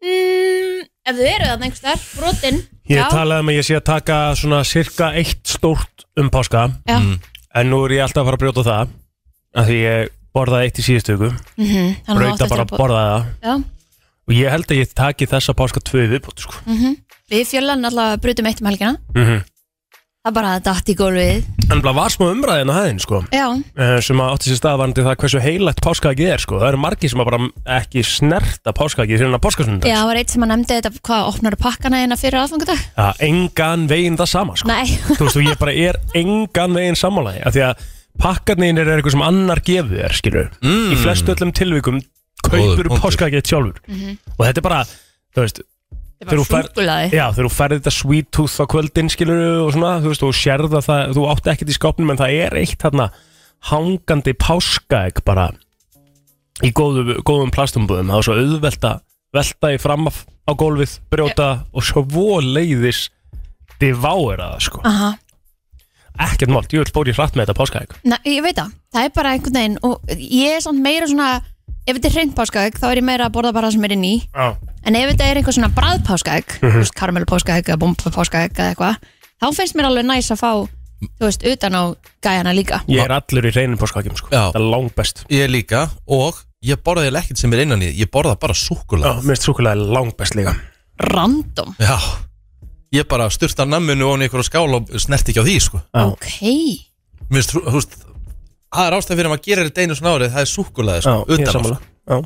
S2: mm, Ef þau eru þarna einhvers þar, brotin
S3: Ég
S2: Já,
S3: talaði um að ég sé að taka svona cirka eitt stórt um páska.
S2: já,
S3: En nú er ég alltaf að fara að brjóta það af Því ég borðaði eitt í síðustu viku
S2: mhm, þannig að þú átt
S3: Brauta
S2: eftir að
S3: bara að
S2: bor-
S3: borða það
S2: Já,
S3: Og ég held að ég taki þessa páska tvö í viðbót sko.
S2: mhm Við fjölan allavega brutum eitt um helgina
S3: mm -hmm.
S2: Það bara datt í gólfið
S3: En bara var smá umræðin á hæðin sko,
S2: Já,
S3: eh, Sem að átti sér staðvarandi það hversu heilagt páskaðið er sko. Það eru margir sem að bara ekki snerta páskaðið Fyrir hennar páskasundag
S2: já, það var eitt sem að nefndi þetta Hvað opnar pakkana eina fyrir aðfangadag?
S3: ja, Engan veginn það sama sko.
S2: Nei,
S3: Þú veist og ég bara er engan veginn sammálaði af Því að pakkarnir er eitthvað sem annar gefið er skilur
S1: Mm.
S3: Í flestu öllum tilvikum
S1: Góður
S3: Kaupur
S1: punktur.
S3: páskaðið sjálfur Og þetta er bara, þú veist
S2: þetta
S3: Þegar
S2: var
S3: þú fær-
S2: súkkulaði
S3: Já, þegar þú færði þetta sweet tooth á kvöldin skilur og svona, þú veist, og sérð að það þú átti ekkert í skápnum, en það er eitt þarna hangandi páskaegg bara í góðu, góðum plastumbúðum, það var svo auðvelta velta í framaf á gólfið brjóta og svo leiðis deváera það, sko
S2: Aha,
S3: ekkert mál, ég vil bóri hratt með þetta páskaegg
S2: Nei, ég veit það, það er bara einhvern veginn og ég er samt meira svona ef þetta er hreint páskaegg þá er ég meira að borða bara það sem er inn í
S3: Já,
S2: en ef þetta er einhver svona Mhm. bræð páskaegg mm -hmm. karamelu páskaegg eða bomba páskaegg eða eitthvað þá finnst mér alveg næs að fá þú veist, utan á gæjana líka
S3: Ég er allur í reynum páskaðgjum sko
S1: Já.
S3: Það er langbest
S1: Ég líka og ég borða eiginlega ekkert sem er innan í Ég borða bara súkkula
S3: Já, minnst súkulega langbest líka
S2: random,
S1: Já Ég bara styrta namminu og hann ykkur að skála og snert ekki á því sko
S3: Já.
S2: Ah. ok já,
S1: Mér finnst, þú veist Það er ástæð fyrir að maður gerir þetta einu svona árið Það er súkkulaði sko,
S3: Já, ég er
S1: utan á
S3: sammála
S1: sko.
S3: Já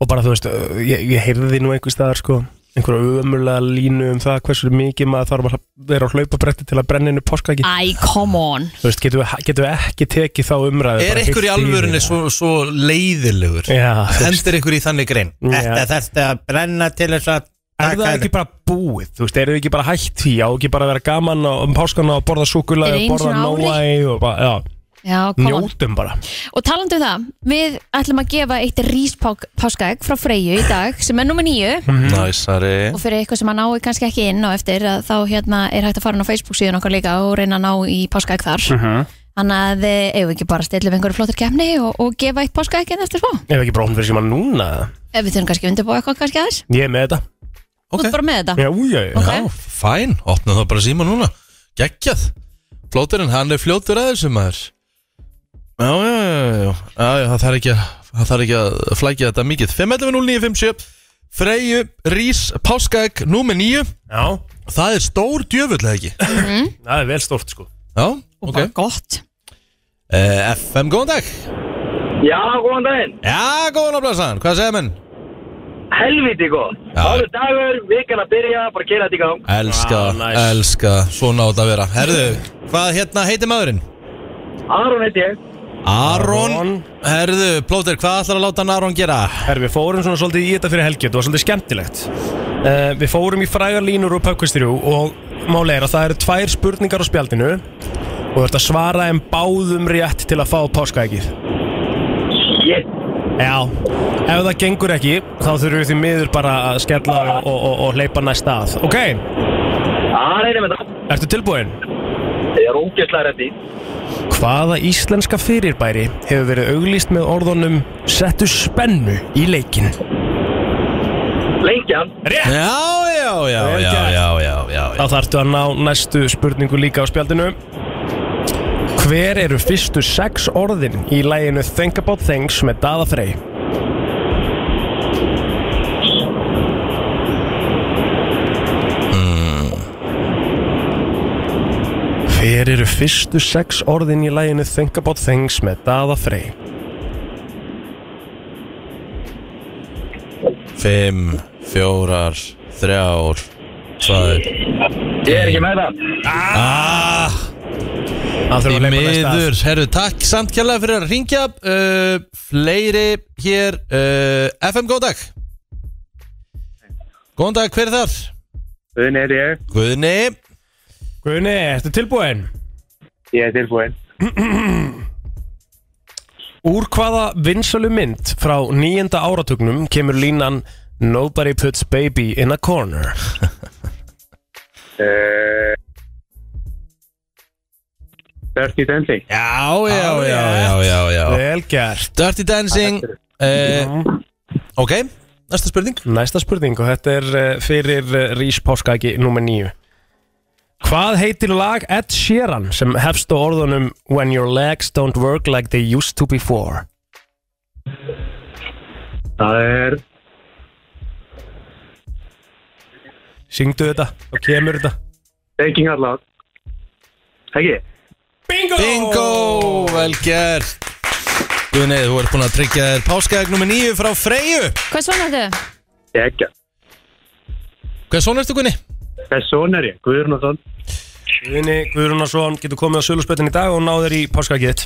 S3: Og bara þú veist, ö, ég, ég heyrði nú einhver staðar sko einhverja ömurlega línu um það hversu mikið maður þarf að vera á hlaupabretti til að brenna innu páskæki
S1: Ah.
S2: æ, come on
S3: Þú veist, getum við, getum við ekki tekið þá umræðu
S1: Er
S3: bara
S1: ykkur í
S3: heilt yfir
S1: alvörunni
S3: það?
S1: svo, svo leiðilegur
S3: Já, þú veist,
S1: Hendur ykkur í þannig grein
S3: Já.
S1: Þetta þarfti að brenna til þess að
S3: er það
S1: taka-
S3: ekki bara búið? Þú veist, eru þið ekki bara hætt því? Já, ekki bara að vera gaman á, um páskana og borða súkulega
S2: Er
S3: og
S2: einu
S3: borða
S2: sinni á ári?
S3: nóæ og bara, já,
S2: já, come on
S3: njótum bara
S2: og talandu um það, við ætlum að gefa eitt ríspáskaegg frá Freyju í dag sem er nummer nýju
S3: Mm.
S1: Næsari
S2: og fyrir eitthvað sem að náu kannski ekki inn á eftir að þá hérna er hægt að fara inn á Facebook síðan okkar líka og reyna að ná í páskaegg þar
S3: Mhm.
S2: þannig að eh, eigum við ekki bara að stilla við einhverju flottur kemni og, og gefa eitt páskaegg inn eftir svo
S3: Ef ekki bara hún fyrir síma núna
S2: ef við þurfum kannski að undirbúa eitthvað kannski aðeins
S3: Ég er með þetta
S2: okay. út
S1: Ok,
S2: bara með þetta
S3: Já, já, já
S2: Ok.
S1: já, fæn, opnaðu það bara síma núna Geggjað Flóturinn, hann er fljótur að þessu maður Já, já, já, já, já, já Það þarf ekki, að- það þarf ekki að flækja þetta mikið 5.11.09.57 Freyju, Rís, Páskaegg, númer 9
S3: Já,
S1: Það er stór djöfull, eða ekki?
S3: það er vel stórt sko
S1: Já,
S2: og
S1: ok
S2: bara gott
S1: uh, FM, góðan dag
S5: Já, góðan daginn.
S1: Já, góðan að blæsaðan, hvað segir menn?
S5: Helviti góð.
S1: Já.
S5: Áður dagur, vikan að byrja, bara kera þetta í gang.
S1: Elska,
S3: Ah, nice.
S1: elska, svona átt að vera Herðu, hvað hérna heitir maðurinn?
S5: Aron heiti ég.
S1: Aron
S3: Aron.
S1: Herðu, Plóter, hvað ætlar að láta hann Aron gera?
S3: Herri, við fórum svona svolítið í þetta fyrir helgi Þetta var svolítið skemmtilegt uh, Við fórum í frægar línur og pökkvistirjú Og máli er að það eru tvær spurningar á spjaldinu Og þú ert að svara en báðum rétt til að fá páskaækið
S5: Shit.
S3: Já, ef það gengur ekki Þá þurfum við því miður bara að skella og, og, og, og hleypa næsta að Ok,
S5: Það er með það.
S3: ertu tilbúin?
S5: Ég er ógeðslega rétt í.
S3: Hvaða íslenska fyrirbæri hefur verið auglýst með orðunum Settu spennu í leikin?
S5: Lengjan.
S3: Rétt!
S1: Já, já, já,
S3: Vel
S1: já,
S3: gert.
S1: já, já, já,
S3: Þá
S1: já.
S3: þarftu að ná næstu spurningu líka á spjaldinu Hver eru fyrstu sex orðin í læginu Think About Things með Dada Frey? Hmm. Hver eru fyrstu sex orðin í læginu Think About Things með Dada Frey?
S1: 5, 4, 3, 2
S5: Ég er ekki með það.
S1: Ah,
S3: Það
S1: í
S3: þurfum að leipa næsta að.
S1: miður, herru, takk samt kjærlega fyrir að ringja uh, Fleiri hér uh, FM, góðan dag Góðan dag, hver er þar?
S6: Unni er ég,
S1: Guðni
S3: Guðni, ertu tilbúin?
S6: ég er tilbúinn.
S3: Úr hvaða vinsölu mynd frá nýjenda áratugnum kemur línan Nobody puts baby in a corner
S6: Uh, Dirty Dancing.
S1: Já, já, já, já, já, já
S3: Vel gert
S1: Dirty Dancing uh, Ok, næsta spurning
S3: Næsta spurning og þetta er eh, fyrir eh, Rís Páskagi nummer 9 Hvað heitir lag Ed Sheeran sem hefst á orðunum When your legs don't work like they used to before
S6: Það er,
S3: Syngdu þetta og kemur þetta
S6: Taking Out Loud. Ekki?
S3: Bingo!
S1: Bingo, vel gert Guðni, þú ert búinn að tryggja þér páskaðeg nummer 9 frá Freyju
S2: hvað svona þetta?
S6: Ekki.
S1: Hvað svona ertu Guðni?
S6: Person er ég, Guðrún og Són.
S3: Guðni Guðrunarsson getur komið á söluspötin í dag og náður í páskagiðt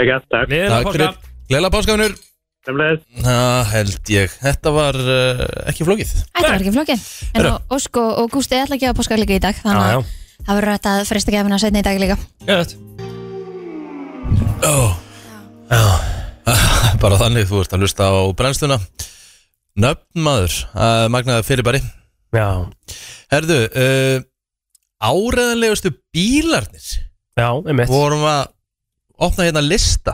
S6: Ekki, takk.
S3: Gleðilega páska
S1: Gleila páskaðunur
S6: Semlega,
S1: Það held ég, þetta var uh, ekki flókið
S2: Þetta var ekki flókin en
S1: Herra.
S2: og, Ósk og, og Gústi ætla að gefa páskaegg líka í dag þannig
S3: Já, já.
S2: að það verður þetta að fresta gefina setna í dag líka
S1: Gæðið Ó Já [LAUGHS] Bara þannig, þú ert að lusta á brennsluna Nöfn maður, uh, magnaði fyrirbæri
S3: Já,
S1: Herðu, uh, áreðanlegustu bílarnir
S3: já, einmitt
S1: Vorum að opna hérna lista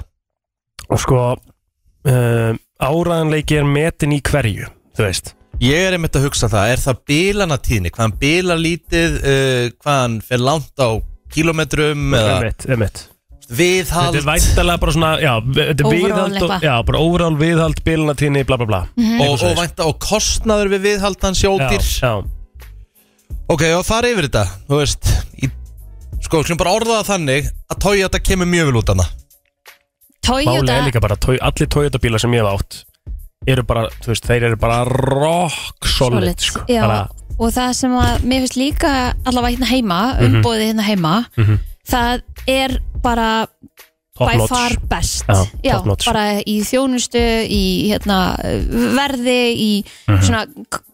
S3: og sko uh, áræðanleiki er metin í hverju þú veist
S1: Ég er einmitt að hugsa það, er það bílanatíðni, hvaðan bílar lítið, uh, hvaðan fer langt á kilometrum eða
S3: Emitt, emitt Þetta
S1: viðhald
S3: er væntalega bara svona, já, þetta er
S2: Overall
S3: viðhald og,
S2: eitthvað. Mhm.
S3: Já, bara óvrál viðhald, bílunatíni, bla bla bla
S1: og, og vænta og kostnaður við viðhald hans
S3: Já,
S1: jótir
S3: já,
S1: ok, og fara yfir þetta, þú veist í, sko, við skulum bara orða það þannig að Toyota kemur mjög vel út hana
S3: Máli
S2: Toyota
S3: er líka bara, to- allir Toyota bílar sem ég hef átt eru bara, þú veist, þeir eru bara rock solid,
S2: Solid,
S3: sko.
S2: já,
S3: bara,
S2: og það sem að mér finnst líka allavega hérna heima,
S3: Mhm.
S2: umbóðið hérna heima það er bara
S3: top
S2: by
S3: notch.
S2: far best
S3: Já, top notch.
S2: bara í þjónustu í hérna, verði í
S3: Mhm.
S2: svona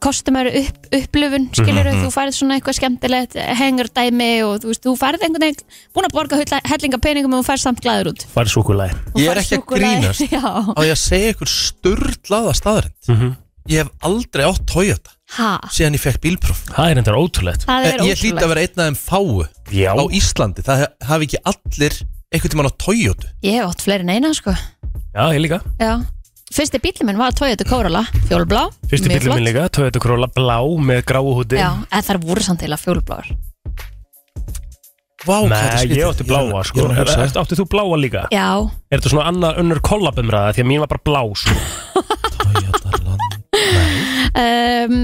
S2: kostumæru upp, upplöfun skilur þú færið svona eitthvað skemmtilegt hengur dæmi og þú veist þú færið einhvern veginn búin að borga hulla- hellinga peningum og þú færið samt glæður út
S3: Fær súkulæði.
S2: Þú
S1: Ég er
S2: færð
S1: ekki að
S2: súkkulaði.
S1: grínast.
S2: [LAUGHS] Já.
S1: á ég að segja ykkur sturdlaða staðarind
S3: Mhm.
S1: ég hef aldrei átt Toyota
S2: Ha,
S1: síðan ég fekk bílpróf
S3: Það er endur ótrúlegt.
S2: það er
S1: Eh, ég hlýt að
S2: ótrúlega
S1: vera einn af þeim fáu
S3: Já,
S1: á Íslandi, það hef- hafi ekki allir einhvern tímann á Toyota
S2: ég hef átt fleiri en eina sko
S3: já, ég líka.
S2: Já. Fyrsti bílum minn var Toyota Corolla, fjólblá
S3: Fyrsti
S2: mjög
S3: bílum
S2: flott.
S3: minn líka, Toyota Corolla blá með gráu húti.
S2: Já, eða þar voru samt eila fjólbláar
S1: Vá, hvað þetta er
S3: Nei,
S1: skrítið.
S3: ég átti
S1: Ég
S3: bláa,
S1: var-
S3: sko.
S1: ég var að
S3: Er,
S1: hugsa
S3: [LAUGHS] er, átti þú bláa líka?
S2: Já,
S3: Er þetta svona annar önnur kollabumræða? Því að mín var bara blá, sko.
S2: um,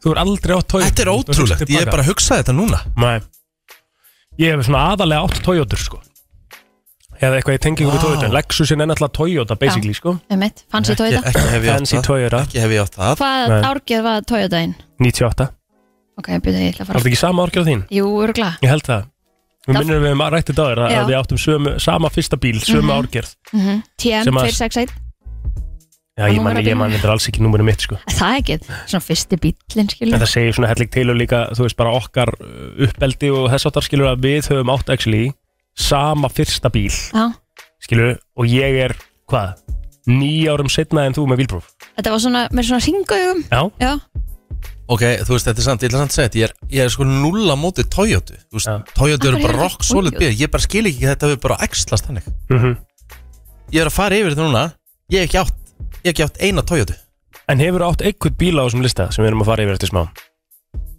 S3: Þú er aldrei átt Toyota.
S1: Þetta er ótrúlegt, ég er bara að hugsa þetta núna
S3: Nei. Ég hef svona aðalega átt Toyota, sko. Eða eitthvað í tengingu við
S1: Vá.
S3: Toyota. Lexusin er náttúrulega Toyota, basically, sko.
S2: einmitt, fanns ég
S1: Ekki,
S2: Toyota
S1: ekki hef ég átt
S3: Fancy
S1: það
S3: Toyota.
S1: Ekki hef ég átt það
S2: Hvað
S3: Nei.
S2: árgjör var Toyotain?
S3: 98
S2: Ok, ég byrja, ég ætla að
S3: Er
S2: fara
S3: þetta ekki sama árgjörð þín?
S2: Jú, örgla
S3: Ég held það Við
S2: Það-
S3: minnum að við hefum rættið dagur að
S2: Já.
S3: að við áttum sömu, sama fyrsta bíl, sömu mm árgjörð
S2: TM
S3: Sem að-
S2: 261
S3: Já,
S2: Og
S3: ég man,
S2: númerabílnum.
S3: ég man, þetta er alls ekki númurinn mitt sko
S2: Það er ekki, svona fyrsti bílinn
S3: En
S2: skilur
S3: það segir svona hellig til og líka, þú veist, bara okkar uh, uppeldi og þess áttar skilur að við höfum átt actually sama fyrsta bíl
S2: Já,
S3: skilur og ég er, hvað, níu árum setna en þú með bílpróf
S2: þetta var svona, með svona ringaugum
S3: Já,
S2: Já,
S1: Ok, þú veist, þetta er samt, ég ætla samt að segja þetta Ég er, ég er sko nulla móti Toyota Þú veist,
S3: Já.
S1: Toyota eru
S2: Af hverju
S1: bara
S2: eru
S1: rock
S2: þetta
S1: solid
S2: Toyota?
S1: bíl Ég bara skil ekki að þetta hefur bara æxlast þannig
S3: mm
S1: Ég er að fara yfir þetta núna Ég hef ekki átt, ég hef ekki átt eina Toyota
S3: en hefur átt einhvern bíl á þessum lista sem við erum að fara yfir eftir smá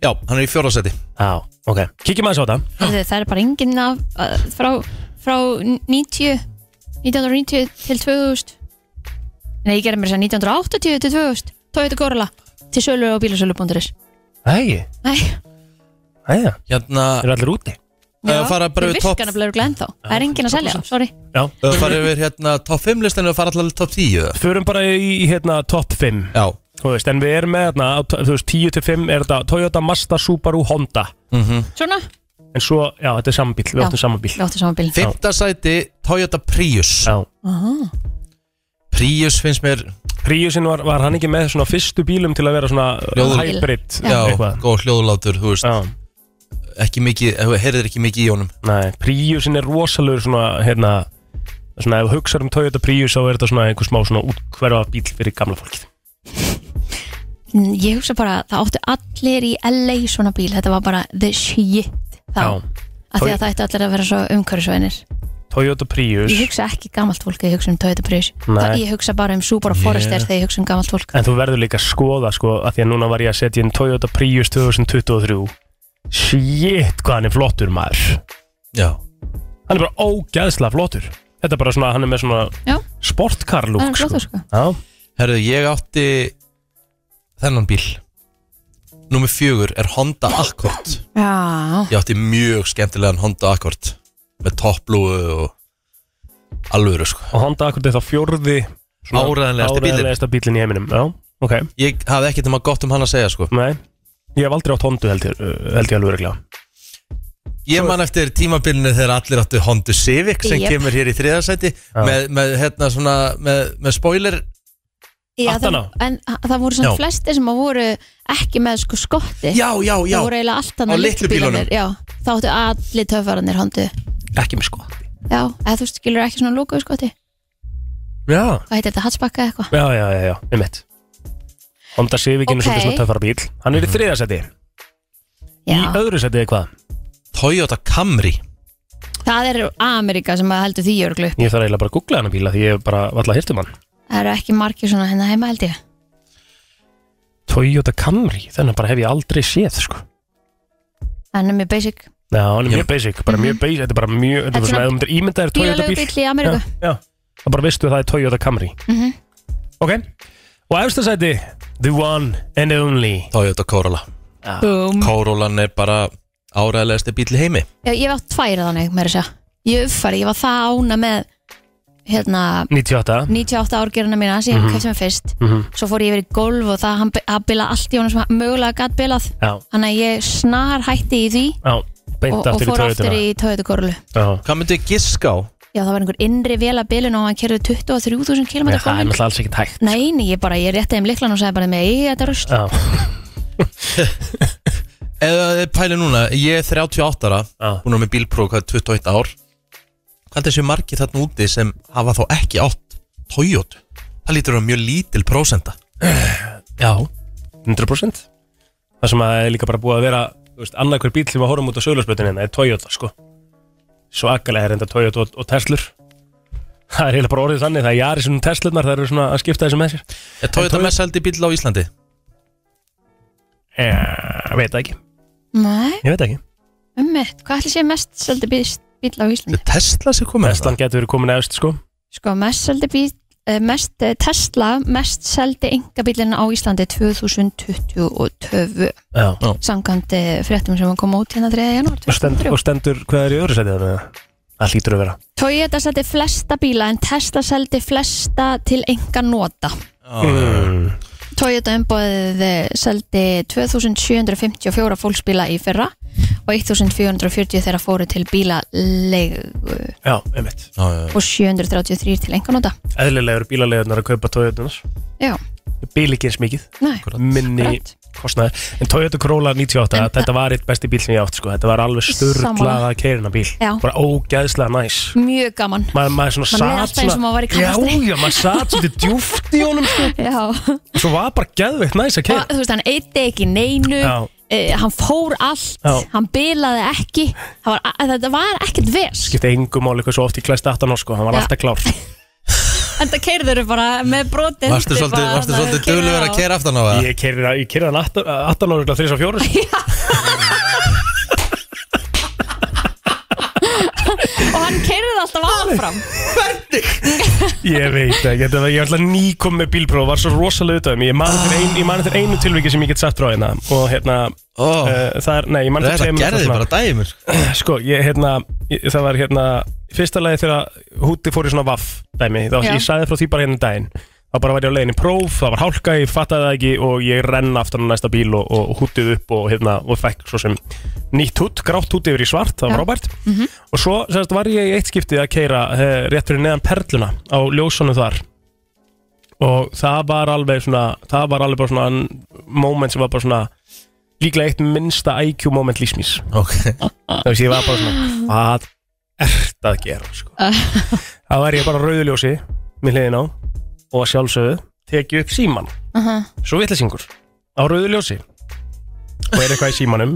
S1: Já, hann er í fjórðarsæti
S3: Já, ok, kíkjum aðeins á þetta
S2: Heyrðu, það er bara enginn af að- frá, frá 90 1990 til 2000 Nei, ég gerði mér þess að 1980 til 2000 Toyota Corolla til sölu og bílasölu.is
S3: Æ,
S2: Nei,
S3: æja,
S1: Hérna,
S3: eru allir úti
S1: Ef að fara bara
S2: við
S1: yfir topp-
S2: virkana blöður glenn þá Það er enginn að selja, það, sorry
S3: Já,
S1: ef þú farið yfir hérna top 5 listinu og farið allavega top 10 eða?
S3: förum bara í, í hérna top 5
S1: Já,
S3: Þú veist, en við erum með þarna, á- þú veist, 10 til 5 er þetta Toyota, Mazda, Subaru, Honda
S2: Svona,
S3: En svo, já, þetta er saman bíl, við
S2: Já.
S3: áttum saman bíl
S2: við áttum saman bíl
S1: fimmtarsæti Toyota Prius
S3: Já
S1: Prius finnst mér,
S3: Priusin var, var hann ekki með svona fyrstu bílum til að vera svona
S1: Ljóður.
S3: hybrid
S1: já,
S3: eitthvað
S1: góð hljóðlátur Þú veist,
S3: Já,
S1: ekki mikið, heyrðir ekki mikið í honum
S3: nei, Priusin er rosalegur svona, hérna Svona, ef hugsaður um Toyota Prius þá er þetta svona einhver smá svona útkverfa bíl fyrir gamla fólkið
S2: Mm, Ég hugsa bara, það áttu allir í LA svona bíl Þetta var bara the shit
S3: Já,
S2: þá Af því að það ætti allir að vera svo umhverfisvænir
S3: Toyota Prius
S2: Ég hugsa ekki gamalt fólk þegar ég hugsa um Toyota Prius
S3: Nei.
S2: Það- Ég hugsa bara um Subaru Forester þegar ég hugsa um gamalt fólk
S3: En þú verður líka að skoða, sko, að því að núna var ég að setja inn Toyota Prius 2023 Shit, hvað hann er flottur maður
S1: Já,
S3: hann er bara ógæðslega flottur þetta er bara svona, hann er með svona
S2: Já.
S3: sportkar
S2: Það er
S3: lúk
S2: flottur, sko.
S3: Já,
S1: Herðu, ég átti þennan bíl Númer fjögur er Honda Accord
S2: Já,
S1: Ég átti mjög skemmtilegan Honda Accord Með toppblúu og alvöru sko
S3: og Honda Accord er þá fjórði
S1: Áræðanlegasti bílinn
S3: áræðanlegasta bílinn í heiminum Já, ok,
S1: Ég hafði ekkert um að gott um hann að segja sko
S3: nei Ég hef aldrei átt Honda held ég, uh, held ég alveg regla
S1: Ég man eftir tímabilinu þegar allir áttu Honda Civic sem
S2: Jep.
S1: kemur hér í þriðarsæti með, með, hérna, svona, með, með spoiler
S2: Já það,
S3: Aftana.
S2: en það voru svona
S1: Já.
S2: flesti sem að voru ekki með sko skotti
S1: Já, já, já
S2: Það voru eiginlega allt
S1: Á
S2: annað
S1: litlu bílunum.
S2: Já, þá áttu allir töfvaranir hóndu
S3: Ekki með sko
S2: Já, eða þú skilur ekki svona lókuðu skotti
S3: Já,
S2: Hvað heitir þetta, hatsbakka eða eitthvað
S3: já, já, já, já, um mitt Honda Civic er
S2: Ok.
S3: svolítið svona töffara bíl Hann er í þriða seti, í
S2: Já,
S3: öðru seti eða hvað
S1: Toyota Camry
S2: það er Amerika sem að heldur því örglu
S3: Ég þarf eiginlega bara að googla hann bíla því ég hef bara valla hirtum hann
S2: Það eru ekki margir svona hérna heima held ég
S3: Toyota Camry, þennan bara hef ég aldrei séð sko
S2: Það er mér basic
S3: Já, hann er
S1: Já.
S3: mjög basic, bara mjög basic Þetta er bara mjög,
S2: Mhm. Þetta
S3: þetta er
S2: er
S3: svona,
S2: svona
S3: ef þú myndir ímynda þér Toyota bíl
S2: Bílaleigubíll í Ameríku.
S3: Já, já. Það bara veistu að það er Toyota Camry
S2: Mhm.
S3: Ok, og efsta sæti The one and only
S1: Toyota Corolla
S2: Búm
S1: Corollan er bara áræðilegasti bíl í heimi
S2: Já, ég var tvær þannig, mér að segja Ég uppfæri, ég var það ána með hérna
S3: 98
S2: 98 árgerina mína sem
S3: Mhm.
S2: ég mm sem er fyrst svo fór ég yfir í golf og það hann, hann bila allt í honum sem hann mögulega gætt bilað
S3: Já,
S2: þannig að ég snar hætti í því
S3: já, beint
S2: og, og
S3: aftur í
S2: fór aftur
S3: Toyota
S2: í Toyota-gorlu
S3: Já,
S1: Hvað myndi ég giska á?
S2: Já, það var einhver innri vélabilun og hann kerði 23.000 km
S3: Nei, það er náttúrulega alls ekkert hægt
S2: Nei, nei, ég bara, ég rétti þeim líklan og sagði bara með ég, þetta er röst
S3: Já,
S1: Eða þið pæli núna, ég er 38 ára
S3: Já.
S1: Hún er með bílpróf, hvað er 21 ár Hvað er þessi margi þarna úti sem hafa þá ekki átt Toyota? Það lítur að vera mjög lítil prósenda
S3: já, 100% Það sem að er líka bara búið að vera þú veist, annað hver bíl sem við horfum út á sögulagsbrötinu Það er Toyota, sko Svo akkalega er enda Toyota og, og Teslur Það er heila bara orðið þannig Það er jari sem Teslunar, það eru svona að skipta þessu með sér
S1: Er Toyota
S3: Toyota-
S1: mest seldi bíl á Íslandi?
S3: Ég veit það ekki,
S2: Nei,
S3: ég veit það ekki
S2: ummitt, hvað ætli sé mest seldi bíl, bíl á Íslandi?
S1: Er Tesla sem komið
S3: Vestan getur verið komin eðast sko
S2: Sko, mest seldi bíl eh, mest, eh, Tesla mest seldi engabílinn á Íslandi 2022
S3: Já
S2: samkvæmt eh, fréttum sem kom út hérna 3. janúar
S3: Og stendur,
S2: 2023.
S3: og stendur hvað er í öðru sætið þannig Það hlýtur að vera
S2: Toyota seldi flesta bíla en Tesla seldi flesta til enga nota
S3: mm.
S2: Toyota umbóðið seldi 2754 fólksbíla í fyrra og 1440 þeirra fóru til bílalegu
S3: Já, einmitt
S1: Já, já, já.
S2: og 733 til enga nota
S3: Eðlilegur bílaleigurnar að kaupa sko. Toyotunas
S2: Já,
S3: Bíl ekki eins mikið
S2: nei,
S3: Minni
S2: Akkurat.
S3: kostnaðar En Toyota Corolla 98
S2: En-
S3: Þetta var eitt besti bíl sem ég átt sko Þetta var alveg sturglaða
S2: Sammála.
S3: keirina bíl
S2: Já.
S3: Bara ógæðslega næs
S2: mjög gaman
S3: Maður, maður svona
S2: Maður leið alltaf
S3: satt
S2: eins og maður var í
S3: Já,
S2: kappakstri.
S3: já, maður satt svona djúft í honum
S2: [LAUGHS]
S3: sko
S2: Já,
S3: Og Svo var bara geðveikt næs að
S2: og,
S3: keira
S2: þú veist, hann eitti ekki neinu
S3: Já.
S2: Uh, hann fór allt,
S3: Já.
S2: hann bilaði ekki Það var, þetta var ekkert vesk
S3: Skipti engum máli hvað svo oft ég klæst aftan á sko Hann var
S2: Já.
S3: alltaf klár
S2: en það keirður bara með brotin
S1: Varstu svolítið, varstu svolítið duglegur að kera aftan á það?
S3: Ég kerði hann 18 ára 3 og sko. 4
S2: og hann keirði alltaf áfram
S3: Ég veit ekki, þetta var, ég var alltaf nýkom með bílpróf var svo rosalega utöðum, ég mani til, ein, ég man eftir einu tilviki sem ég get sagt frá hérna og hérna,
S1: Ó,
S3: uh, það er, nei, ég mani
S1: þetta gerði bara dæmur
S3: sko, ég, hérna, ég, það var hérna í fyrsta lagi þegar húti fór í svona vaff dæmi, þá
S2: Já.
S3: ég sagði frá því bara hérna um daginn þá bara var ég á leiðinni í próf, það var hálka ég fattaði það ekki og ég renn aftan á næsta bíl og, og hútið upp og hérna og fekk svo sem nýtt hút, grátt hút yfir í svart það var
S2: Já. Mhm.
S3: Robert og svo semst, var ég í eitt skiptið að keira eh, rétt fyrir neðan perluna á ljósunum þar og það var alveg svona það var alveg bara svona moment sem var bara svona líklega eitt minnsta IQ moment lísmís
S1: Ok,
S3: Þú veist, ég var bara svona, hvað ert að gera, sko? Þá er ég bara á rauðu ljósi, mér hliðin á, og að sjálfsögðu, tekið upp síman,
S2: uh -huh.
S3: svo vittlisingur, á rauðu ljósi, og er eitthvað í símanum,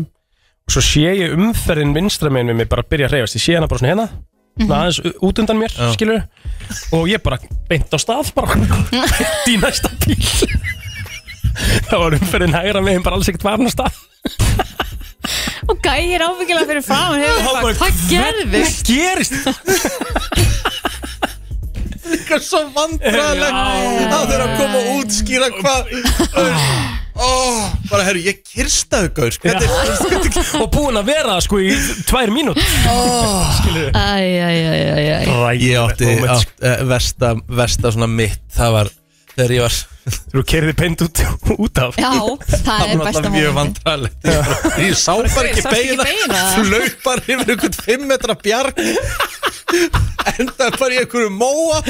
S3: og svo sé ég umferðin vinstra meginn við mig bara byrja að reyfast, ég sé hana bara svona hérna, mm aðeins út undan mér,
S1: Já.
S3: skilur, og ég bara beint á stað, bara beint í næsta bíl. [LAUGHS] Það var umferðin hægra meginn bara alls ekkert varin á stað.
S2: og gæir ábyggilega fyrir fram hann hefur
S3: bara,
S2: bara, hvað gerðist
S3: Gerist
S1: líka svo vandræðilegt á þeirra að koma og útskýra hvað oh, bara herru, ég kirstaðu gaur sko. hvernig
S3: og búin að vera sko í tvær mínút
S2: æjæjæjæjæj
S1: ég átti átt, eh, versta, versta svona mitt það var þegar ég var
S3: þú kerði peint út, út af
S2: já, það er
S1: var
S2: besta
S1: alltaf mjög
S2: móment
S1: vandræðilegt ég, bara- ég sá bara ekki
S2: sástu ekki
S1: beina
S2: beina?
S1: þú laug bara yfir einhvern 5 metra bjarg enda bara í einhverju móa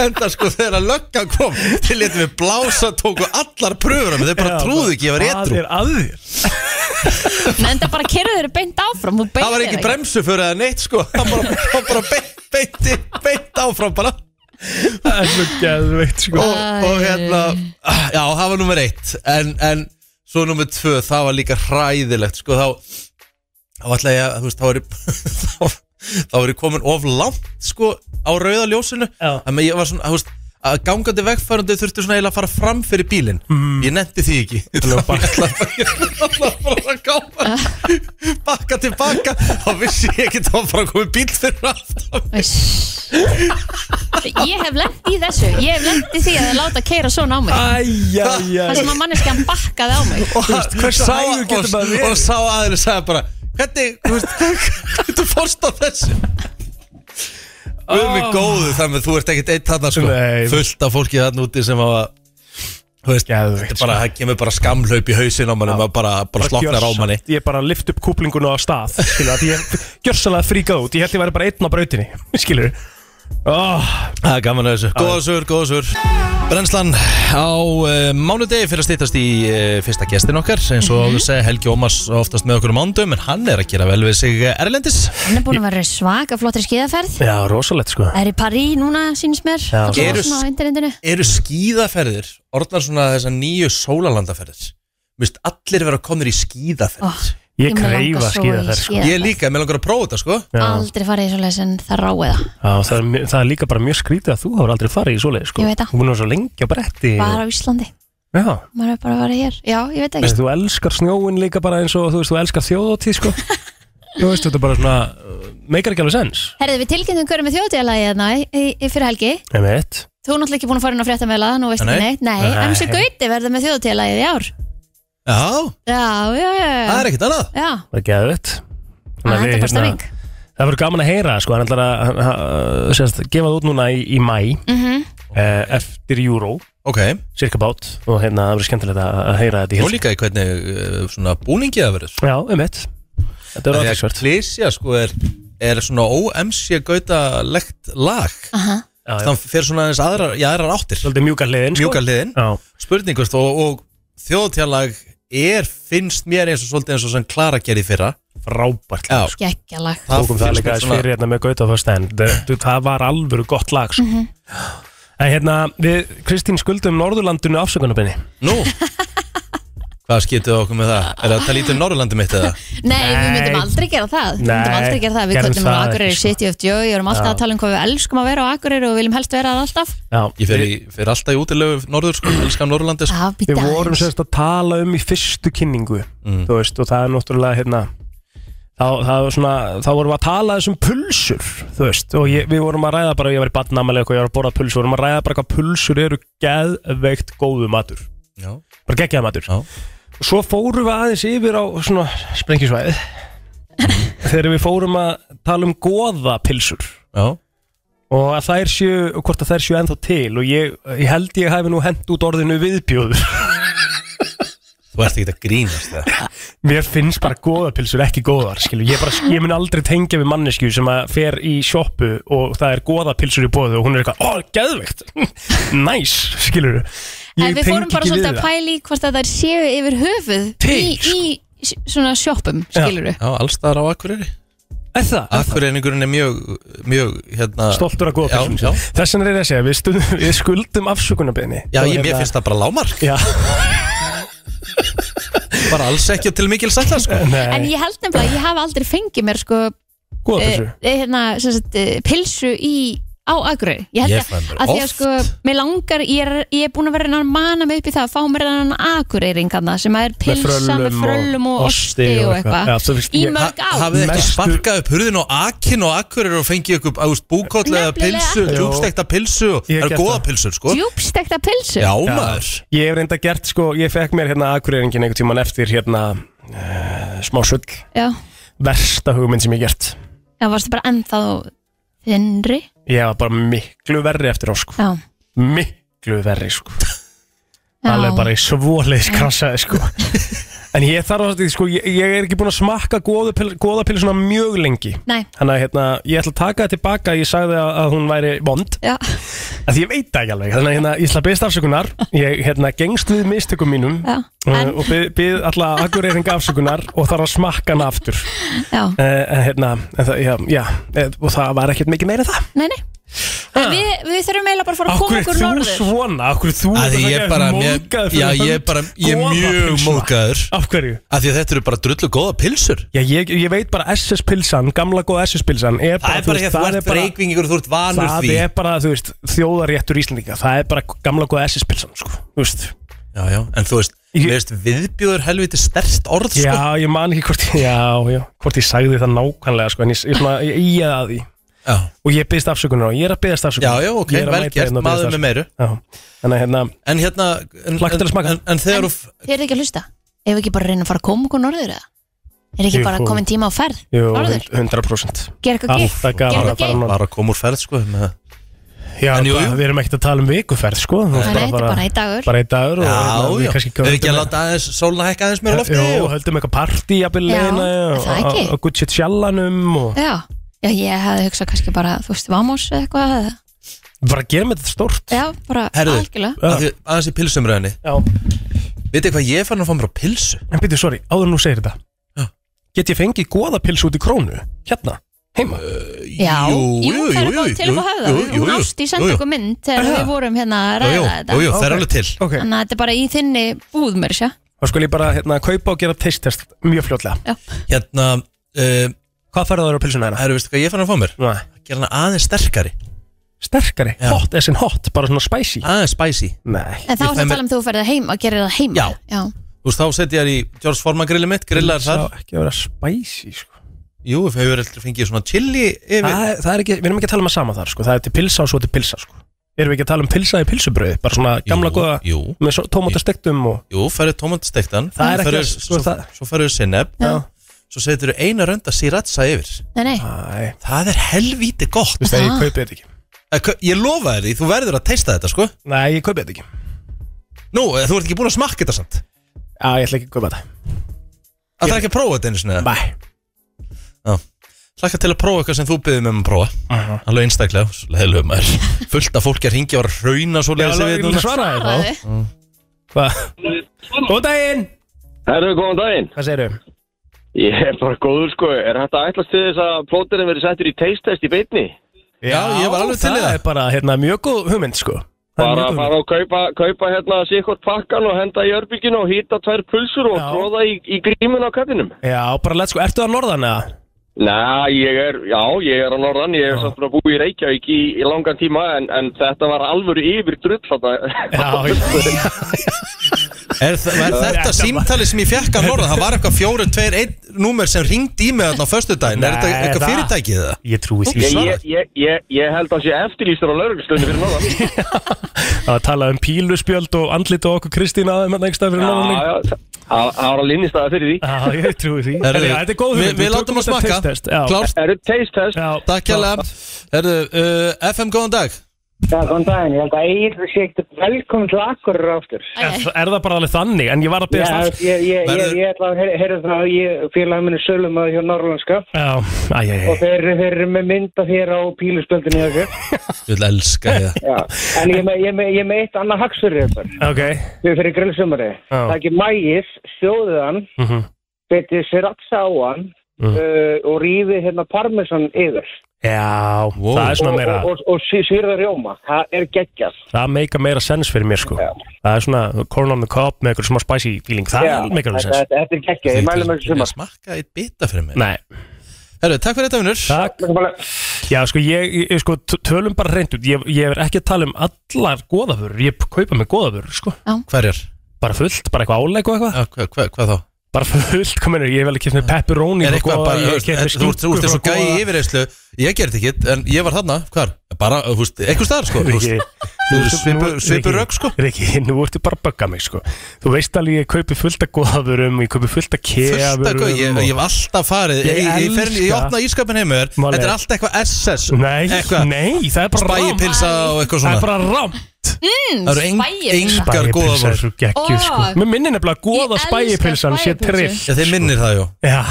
S1: enda sko þegar löggan kom til letum við blása tóku allar pröfur en þeir bara trúðu ekki, ég var réttrú
S3: það er að þér
S2: en það bara kerðu þeirra beint áfram þú
S1: Það var
S2: beinir
S1: ekki
S2: ekki.
S1: bremsu fyrir það neitt sko Það bara, það bara beint, beint, beint áfram bara
S3: það er svo geðveikt sko
S1: og, og hérna Já, það var nummer eitt En, en svo nummer tvö, það var líka hræðilegt Sko þá Þá ætla ég að, þú veist, þá var ég [LAUGHS] Þá, þá var ég komin of langt sko Á rauða ljósinu
S3: Já.
S1: Þannig að ég var svona, þú veist að gangandi vegfærandi þurftu svona eiginlega að fara fram fyrir bílinn Ég nefndi því ekki Það var bara bara að gápa Bakka tilbaka Þá vissi ég ekki að það var bara að koma bíl fyrir aftan
S2: Ég hef lent í þessu Ég hef lent í því að það láta keira svona á mig Það
S3: Æjæjæj
S2: sem að manneskjan bakkaði á mig
S1: Og hann-
S3: hver
S1: sá-
S3: sægur getur
S1: og-
S3: maður verið?
S1: Og sá aðeins sagði bara Hvernig, þú veist, hvernig þú fórst á þessu Guð mig góðu þannig að þú ert ekkert eitt þarna sko
S3: Ah. Nei.
S1: Fullt af fólki þarna úti sem hafa Þú veist,
S3: Geðveikt,
S1: þetta er bara,
S3: sko.
S1: það kemur bara skamhlaup í hausin á manni maður bara, bara sloknar á manni
S3: Ég bara lift upp kúplinguna á stað Skilur að ég gjörsalega fríkað út Ég held ég væri bara einn á brautinni Skilur oh,
S1: Það er gaman að þessu Góða sögur, góða sögur Brennslan á uh, mánudegi fyrir að stýttast í uh, fyrsta gestin okkar eins
S3: Mhm.
S1: og mm segi Helgi Ómars oftast með okkur á mánudum en hann er að gera vel við sig eh, erlendis
S2: Hann er búin að vera svaka flottri skíðaferð
S3: Já, rosalegt sko
S2: Það er í París núna, sínist mér
S3: Já.
S2: Allavega
S1: Gerus.
S2: svona á internetinu
S1: Eru skíðaferðir orðnar svona þessar nýju sólalandaferðir Vist, allir vera komnir í skíðaferð
S2: oh,
S3: Ég
S2: mig langar
S3: kreifa
S2: svo í
S3: skíða þær sko
S2: skíðaferð.
S1: Ég líka, mér langar að prófa þetta sko
S3: Já.
S2: Aldrei farið í svo leiðis en það ráið það
S3: Já, það, er, mjö- það er líka bara mjög skrítið að þú hefur aldrei farið í svoleið sko
S2: Ég veit það.
S3: Þú búin að vera svo lengi á bretti
S2: Bara á Íslandi,
S3: Já
S2: maður er bara að vera hér Já, ég veit ekki
S3: Veistu, þú elskar snjóin líka bara eins og þú veist, þú elskar þjóðóttíð [LAUGHS] sko Þú veist, þetta er bara svona, uh, meikar ekki alveg sens
S2: Herðu, við tilkynntum hverju með þjóðdélagi þarna í, í, í fyrir helgi
S3: Nei, mitt
S2: Þú er náttúrulega ekki búin að fara inn á fréttameila, nú veist
S1: Nei.
S2: ekki neitt Nei,
S3: Nei.
S2: en þessu gauti verða með þjóðdélagið í ár
S1: Já,
S2: Já, já, já, já.
S1: það er ekkert annað
S2: Já,
S3: Það er geðvitt
S2: það er bara stemming
S3: hérna, Það verður gaman að heyra, sko, hann ætlar að hann- hann- sérst, gefa það út núna í, í mæ
S2: Mhm,
S3: eh, eftir Euro,
S1: Ok,
S3: cirka bát og hérna, það verður skemmtilegt að að heyra þetta í
S1: nú
S3: hilsu
S1: líka í hvernig uh, svona búningi það verður
S3: Já, um mitt Þetta er
S1: Þegar
S3: aðeinsvert
S1: klísja sko er, er svona óemsja gautalegt lag Þannig að fer svona aðeins aðrar, í aðrar áttir
S3: Svolítið mjúka hliðin, sko
S1: Mjúka hliðin
S3: Já,
S1: Spurningust og, og þjóðtjálag er finnst mér eins og svolítið eins og sem Klara gerði í fyrra
S3: frábært
S1: Já,
S3: lag, sko.
S2: Gekkjalag
S3: Tókum það
S1: finnst
S3: líka
S1: mér
S3: aðeins
S1: svona-
S3: fyrir hérna með Gauta Föstein Það var alvöru gott lag, sko En hérna, við, Kristín skuldum Norðurlandinu afsökunarbeinni
S1: Nú Hvað skiptið okkur með það? Er það að tala lítið um Norrlandi mitt eða?
S2: Nei, við myndum
S3: Nei.
S2: aldrei gera það Við
S3: Nei,
S2: myndum aldrei gera það Við
S3: gerðum
S2: köllum á
S3: það
S2: Akureyri
S3: ekki, sko.
S2: City of Joy Við erum alltaf
S3: Já.
S2: að tala um hvað við elskum að vera á Akureyri og viljum helst vera það alltaf
S3: Já,
S1: Ég fer, í, fer alltaf í útilegu norður sko, elskar Norrlandi sko.
S2: Já, býta
S3: Við vorum
S2: aðeins.
S3: sérst að tala um í fyrstu kynningu Þú veist, og það er náttúrulega hérna Þá, það var svona, þá vorum við að tala þessum pulsur, þú veist, og ég, við vorum að ræða bara, ég var í badnamæli eitthvað, ég var að borða pulsur, vorum að ræða bara hvað pulsur eru geðveikt góðu matur,
S1: Já,
S3: bara geggjaða matur.
S1: Já.
S3: Og Svo fórum við aðeins yfir á svona sprengisvæðið,
S2: Mhm.
S3: þegar við fórum að tala um goðapilsur
S1: já,
S3: og að þær séu, og hvort að þær séu ennþá til og ég, ég held ég hafi nú hent út orðinu viðbjóður. [LAUGHS]
S1: þú ert ekki að grínast það
S3: Mér finnst bara góðapilsur ekki góðar skilu. ég, bara, ég mun aldrei tengja við mannesku sem að fer í sjoppu og það er góðapilsur í bóðu og hún er eitthvað ó, geðveikt, [LAUGHS] næs skilur
S2: En við fórum bara svolítið að pæli hvort að þær séu yfir höfuð í,
S3: Til,
S2: í s- svona sjoppum, skilur við
S1: Já, allstaðar á Akureyri
S3: pæla
S1: Akureyringurinn er mjög, mjög hérna
S3: stoltur af góðapilsum
S1: Já, já.
S3: þess vegna er ég að segja, við, stund, við skuldum afsökunarbeðni
S1: Já, ég, mér finnst það bara lámark [LAUGHS]
S3: Já,
S1: Bara alls ekki til mikil sætla sko
S2: En
S3: nei,
S2: ég held nefnilega, að ég haf aldrei fengið mér sko
S3: góðapilsu
S2: eh, eh, hérna, sem sagt, eh, pilsu í á Akureyri Ég held
S1: Ég
S2: ég
S1: fæ mér
S2: að því að
S1: oft.
S2: sko, mér langar ég er, ég er búin að vera að reyna að mana mig upp í það að fá mér enn Akureyring hann sem að er pilsa með fröllum og, osti og eitthvað í
S3: eitthvað
S2: mörg
S1: Ha-
S2: á
S1: Hafið þið ekki
S3: Mestu-
S1: sparkað upp hurðin og akin og Akureyri og fengið ykkur ást búkotla eða
S2: Nefnilega.
S1: pilsu,
S3: Jú.
S1: djúbstekta pilsu og-
S3: Ég
S1: Það
S3: get
S1: eru góða
S3: það.
S1: pilsur sko
S2: djúbstekta pilsu
S1: Já, maður
S3: Ég hef reynda gert sko, ég fekk mér hérna akureyringin einhvern tíman eftir hérna uh, smá sull,
S2: Já.
S3: versta hugmynd sem ég hef gert
S2: það varstu bara ennþá þinnri
S3: Ég var bara miklu verri eftir á sko
S2: Já,
S3: miklu verri sko
S2: já.
S3: alveg bara í svóleis krassaði sko en ég þarf að sko, ég, ég er ekki búin að smakka góðapil, góðapil svona mjög lengi
S2: Nei,
S3: þannig að hérna, ég ætla að taka það tilbaka ég sagði að, að hún væri vond
S2: já,
S3: að ég veit það ekki alveg, þannig að hérna, ég ætla að beðst afsökunar ég hérna, gengst við mistökum mínum
S2: já,
S3: uh,
S2: en,
S3: og beð, beð alla akureyringa afsökunar og þarf að smakka hana aftur uh,
S2: já,
S3: en hérna, en það, já, já, eh, og það var ekkert mikið meira en það
S2: nei, nei
S3: Ah.
S2: En Við, við þurfum eiginlega bara að fara að
S3: Akkur
S2: koma
S3: er
S2: okkur
S3: þú
S2: norður
S3: svona? Akkur er þú
S1: Að ég bara, mér,
S3: móðgæður
S1: já, ég bara, ég er mjög móðgæður
S3: Á Af hverju?
S1: Af því að þetta eru bara drullu góða pilsur
S3: Já, ég, ég veit bara SS-pilsan, gamla góða SS-pilsan er
S1: Það
S3: bara,
S1: er bara hér, þú ert breykvingur og þú ert vanur
S3: það
S1: því
S3: er bara, þú veist, þjóðarréttur Íslandinga Það er bara gamla góða SS-pilsan, sko Þú veist
S1: Já, já, en þú veist,
S3: Ég-
S1: ég... veist viðbjóður helviti stærst orð sko.
S3: Já, ég man ekki hvort, já, já, hvort ég sagði það nákvæmlega, sko En ég, ég, svona, ég, ég að því
S1: já,
S3: Og ég byrðist afsökunar á, ég er að hérna byrðast
S1: já,
S3: afsökunar
S1: já, ok, vel gert, maður með meiru
S3: Já, þannig að hérna,
S1: En hérna, en,
S3: Hlakka til að
S1: en,
S3: smakka.
S1: en, en þegar
S2: En
S1: þú f-
S2: þið eru ekki að hlusta Ef við ekki bara að reyna að fara að koma okkur norður eða Er ekki
S3: Jú.
S2: bara komin tíma á ferð
S3: jú,
S2: norður?
S3: 100%
S2: Gera eitthvað gig?
S3: Alltaf
S2: Gera
S3: gaman
S2: eitthvað
S3: að fara
S2: gig?
S3: norður
S1: bara kom úr ferð, sko með...
S3: Já,
S1: En jú,
S3: bara-
S1: jú.
S3: við erum ekkert að tala um vikuferð, sko Þú veist,
S2: Nei, þetta er bara einn dagur.
S3: Bara einn dagur
S1: Já,
S3: og hérna, við
S1: já,
S3: kannski
S1: hefur ekki
S3: höldum-
S1: að láta aðeins sólna hækka aðeins meira á lofti
S3: Jú,
S1: og-
S3: höldum eitthvað partí jafnvel
S2: Já,
S3: leiðina,
S2: er það
S3: og-
S2: ekki?
S3: og- Og Gucci Tjallanum og
S2: Já, já, ég hefði hugsað kannski bara, þú veist, Vamos eða eitthvað eða-
S3: bara gerum þetta stórt
S2: Já, bara
S1: Herðu,
S2: algjörlega
S1: af því- aðeins í pilsumröðinni
S3: Já.
S1: Vitið hvað ég fann að fá mér á pilsu?
S3: En byrju, sorry, áður en þú segir þetta Get ég fengið goðapils út í krónu? Hérna, heima
S2: Já,
S1: Jú,
S2: jú,
S1: jú,
S2: það
S1: jú,
S2: er góð
S1: jú,
S2: til
S1: jú,
S2: og að hafa
S1: jú,
S2: það
S1: jú,
S2: Hún
S1: jú,
S2: ásti
S1: jú,
S2: senda
S1: jú.
S2: okkur mynd þegar
S3: Aha.
S2: við vorum hérna að
S1: Jú, jú,
S2: ræða
S1: jú, jú,
S2: þetta
S1: það er
S3: Ok.
S1: alveg til
S3: Ok,
S2: Þannig að þetta er bara í þinni búð mér sjá
S3: þá skulle ég bara hérna, kaupa og gera taste-test mjög fljótlega
S1: Hérna, uh,
S3: Hvað færðu það á pilsuna hérna?
S1: herru, veistu hvað ég fann að fá mér?
S3: Nei.
S1: Gera hana aðeins sterkari,
S3: Sterkari,
S1: Já.
S3: hot, as in hot, bara svona spicy
S1: aðeins spicy
S3: Nei,
S2: En þá
S1: Ég fæ
S2: er það að
S1: mér-
S2: tala um þú ferðið heim og gerir það heima
S1: Já. Þú veist, þá setja ég þær í George Foreman grillið mitt, grillar
S3: það
S1: þar
S3: á ekki að vera spicy sko.
S1: Jú, við hefur alltaf fengið svona chili yfir
S3: það, er- það er ekki, við erum ekki að tala um að sama þar sko. Það er til pilsa og svo til pilsa sko. Erum við ekki að tala um pilsa í pilsubröði Bara svona gamla
S1: Jú,
S3: góða
S1: Jú,
S3: með svo- tómata stektum og
S1: jú, færðu tómatastektan
S3: Það er
S1: svo
S3: ekki-
S1: færðu-
S3: sko,
S1: Svo,
S3: það-
S1: svo færðu sinneb
S3: Já.
S1: Svo setur þú eina rönda sriracha yfir
S2: Nei, nei,
S3: Æ,
S1: Það er helvíti gott
S3: þú veist að ég
S2: Ah.
S3: kaupi þetta ekki
S1: Eh, hva- Ég lofa þér því, þú verður að teista þetta, sko
S3: Nei, ég kaupi þetta ekki
S1: Nú, eh, þú ert ekki búin að smakka þetta samt
S3: Já, ég ætla ekki að kaupa þetta
S1: Það er ekki að prófa þetta einu sinni
S3: Bæ
S1: Hlakka til að prófa eitthvað sem þú byggðum um að prófa Alveg einstaklega, leðlum maður
S3: [LAUGHS]
S1: Fullt af fólki að ringja og var að rauna svo leiðis
S3: alveg, ég svaraði
S2: svaraði
S3: Hvað? Góð daginn!
S5: Herru, góðan daginn.
S3: Hvað segirðu?
S5: Ég er bara góður sko. Er þetta ætlast til þess að plóterinn verið settur í taste test í beinni?
S1: Já, ég var alveg til í
S3: það
S1: það.
S3: er bara hérna, mjög góð hugmynd sko Það er
S5: Bara
S3: mjög
S5: að
S3: góð
S5: fara og kaupa, kaupa hérna sikkort pakkan og henda í örbygginu og hýta tvær pulsur og
S3: Já.
S5: tróða í, í grímun á kattinum.
S3: hugmynd. Já, bara let's go, ertu að norðan eða?
S5: Næ, ég er, já, ég er á norðan, ég er samt búin að búi í Reykjavík í, í langan tíma en, en þetta var alvöru yfir drull þarna.
S3: Já, ég-
S1: Er, þa- er þetta símtalið sem ég fekk að norða? Það var eitthvað 421 númer sem ringdi í mig þarna á föstudaginn Er þetta
S3: Nei,
S1: eitthvað
S3: það-
S1: fyrirtækið það?
S3: [LAUGHS] ég trúi því
S5: Ég,
S3: svo
S5: ég, ég, ég, ég held að sé eftirlýstur á lauruglustunni fyrir norðan.
S3: [LAUGHS] að tala um píluspjöld og andlit og okkur Kristín aðeim hérna einhverstað fyrir norðan
S5: Já,
S3: líka.
S5: já, það það var á linnistæða fyrir því.
S3: Já, ég trúi því
S1: Herru,
S3: Herri, já, Þetta er góð
S1: við-
S3: hugmynd,
S1: Við látum
S3: tökum
S1: að
S3: þetta
S1: smakka
S3: taste test. Já.
S1: Klárt,
S5: Er þetta taste test?
S3: Já,
S1: takk hérlega Herðu, uh, FM góðan dag
S7: Já, góðan daginn, ég held að Egil sé ekkert velkomin til Akurur aftur.
S3: Er, er það bara alveg þannig, en ég var að
S7: Já,
S3: byrja stafs
S7: ég, ég, ég,
S1: Verður-
S7: ég ætla að heyra- heyra það að ég félagi minni sölum að hjá Norrlandska
S3: Já, æj, æj,
S7: og þeir, þeir eru með mynda þér á píluspöldinu hjá þér.
S1: Ég vil elska þið
S7: Já, en ég er með, ég er með, ég er með eitt annað hagsverið þetta,
S3: æj Ok,
S7: við fyrir grillsumari.
S3: Já.
S7: Það ekki mægis, sjóðið hann,
S3: mhm
S7: betið siratsa á hann
S3: Mm.
S7: uh, og rífið hérna parmesan yfir
S3: Já,
S1: Wow.
S3: það er svona
S7: og,
S3: meira
S7: og, og, og sí- sýrða rjóma. Það er geggjast.
S3: Það meika meira sens fyrir mér sko
S7: Já.
S3: Það er svona corn on the cob með eitthvað smá spicy feeling Það
S7: Já,
S3: meikar meika alveg
S7: þetta
S3: sens
S7: þetta- þetta er geggjast, ég mælum ekki
S1: Ég
S7: sumar.
S1: Smakka eitt bita fyrir mig
S3: Nei,
S1: Herðu, takk fyrir þetta vinnur
S3: takk Já, sko, ég, ég sko, t- tölum bara reynd út ég, ég er ekki að tala um allar goðafurur Ég kaupa mig goðafurur, sko
S1: Hverjar?
S3: Bara fullt, bara eitthvað áleik og eitthvað
S1: Ja, hva, hva, hvað þá?
S3: Bara fullt, hvað mennur, ég hef alveg keft með pepperoni
S1: Er
S3: frá
S1: eitthvað
S3: goða,
S1: bara, þú
S3: ég hef
S1: veist,
S3: keypt með
S1: þú ert- þú ert
S3: skinku
S1: eins og
S3: frá
S1: gæi
S3: goða.
S1: í yfirreyslu Ég gerði ekkit, en ég var þarna, hvar? Bara, þú veist, eitthvað staðar sko þú veist.
S3: Riki,
S1: Þú
S3: nú-
S1: veist, svipur-
S3: nú-
S1: svipur
S3: Riki,
S1: rögg, sko.
S3: Riki, nú ertu bara að bögga mig sko Þú veist alveg, ég kaupi fullt af goðafurum Ég kaupi fullt af keafurum
S1: Fullt af gauð, ég, ég hef alltaf farið
S3: Ég
S1: Ég, ég, ég, fer- ég
S3: elska-
S1: opna ískapin heimur
S3: Máli.
S1: Þetta er alltaf eitthvað SS
S3: Nei,
S1: eitthvað
S3: nei, það er bara rámt
S1: Spæjipilsa og eitthvað
S3: Það
S1: svona
S3: er bara rámt
S1: Það eru eng-
S2: spæjipilsa.
S1: engar
S3: Spæjipilsa er
S1: góðavor
S3: svo geggjur sko
S2: Og-
S3: Mér minnir nefnilega að
S2: Ég
S3: góða
S2: elska
S3: spæjipilsan sé
S2: spæjipylsu.
S3: trill
S1: Já, þeir minnir það, jú
S3: Já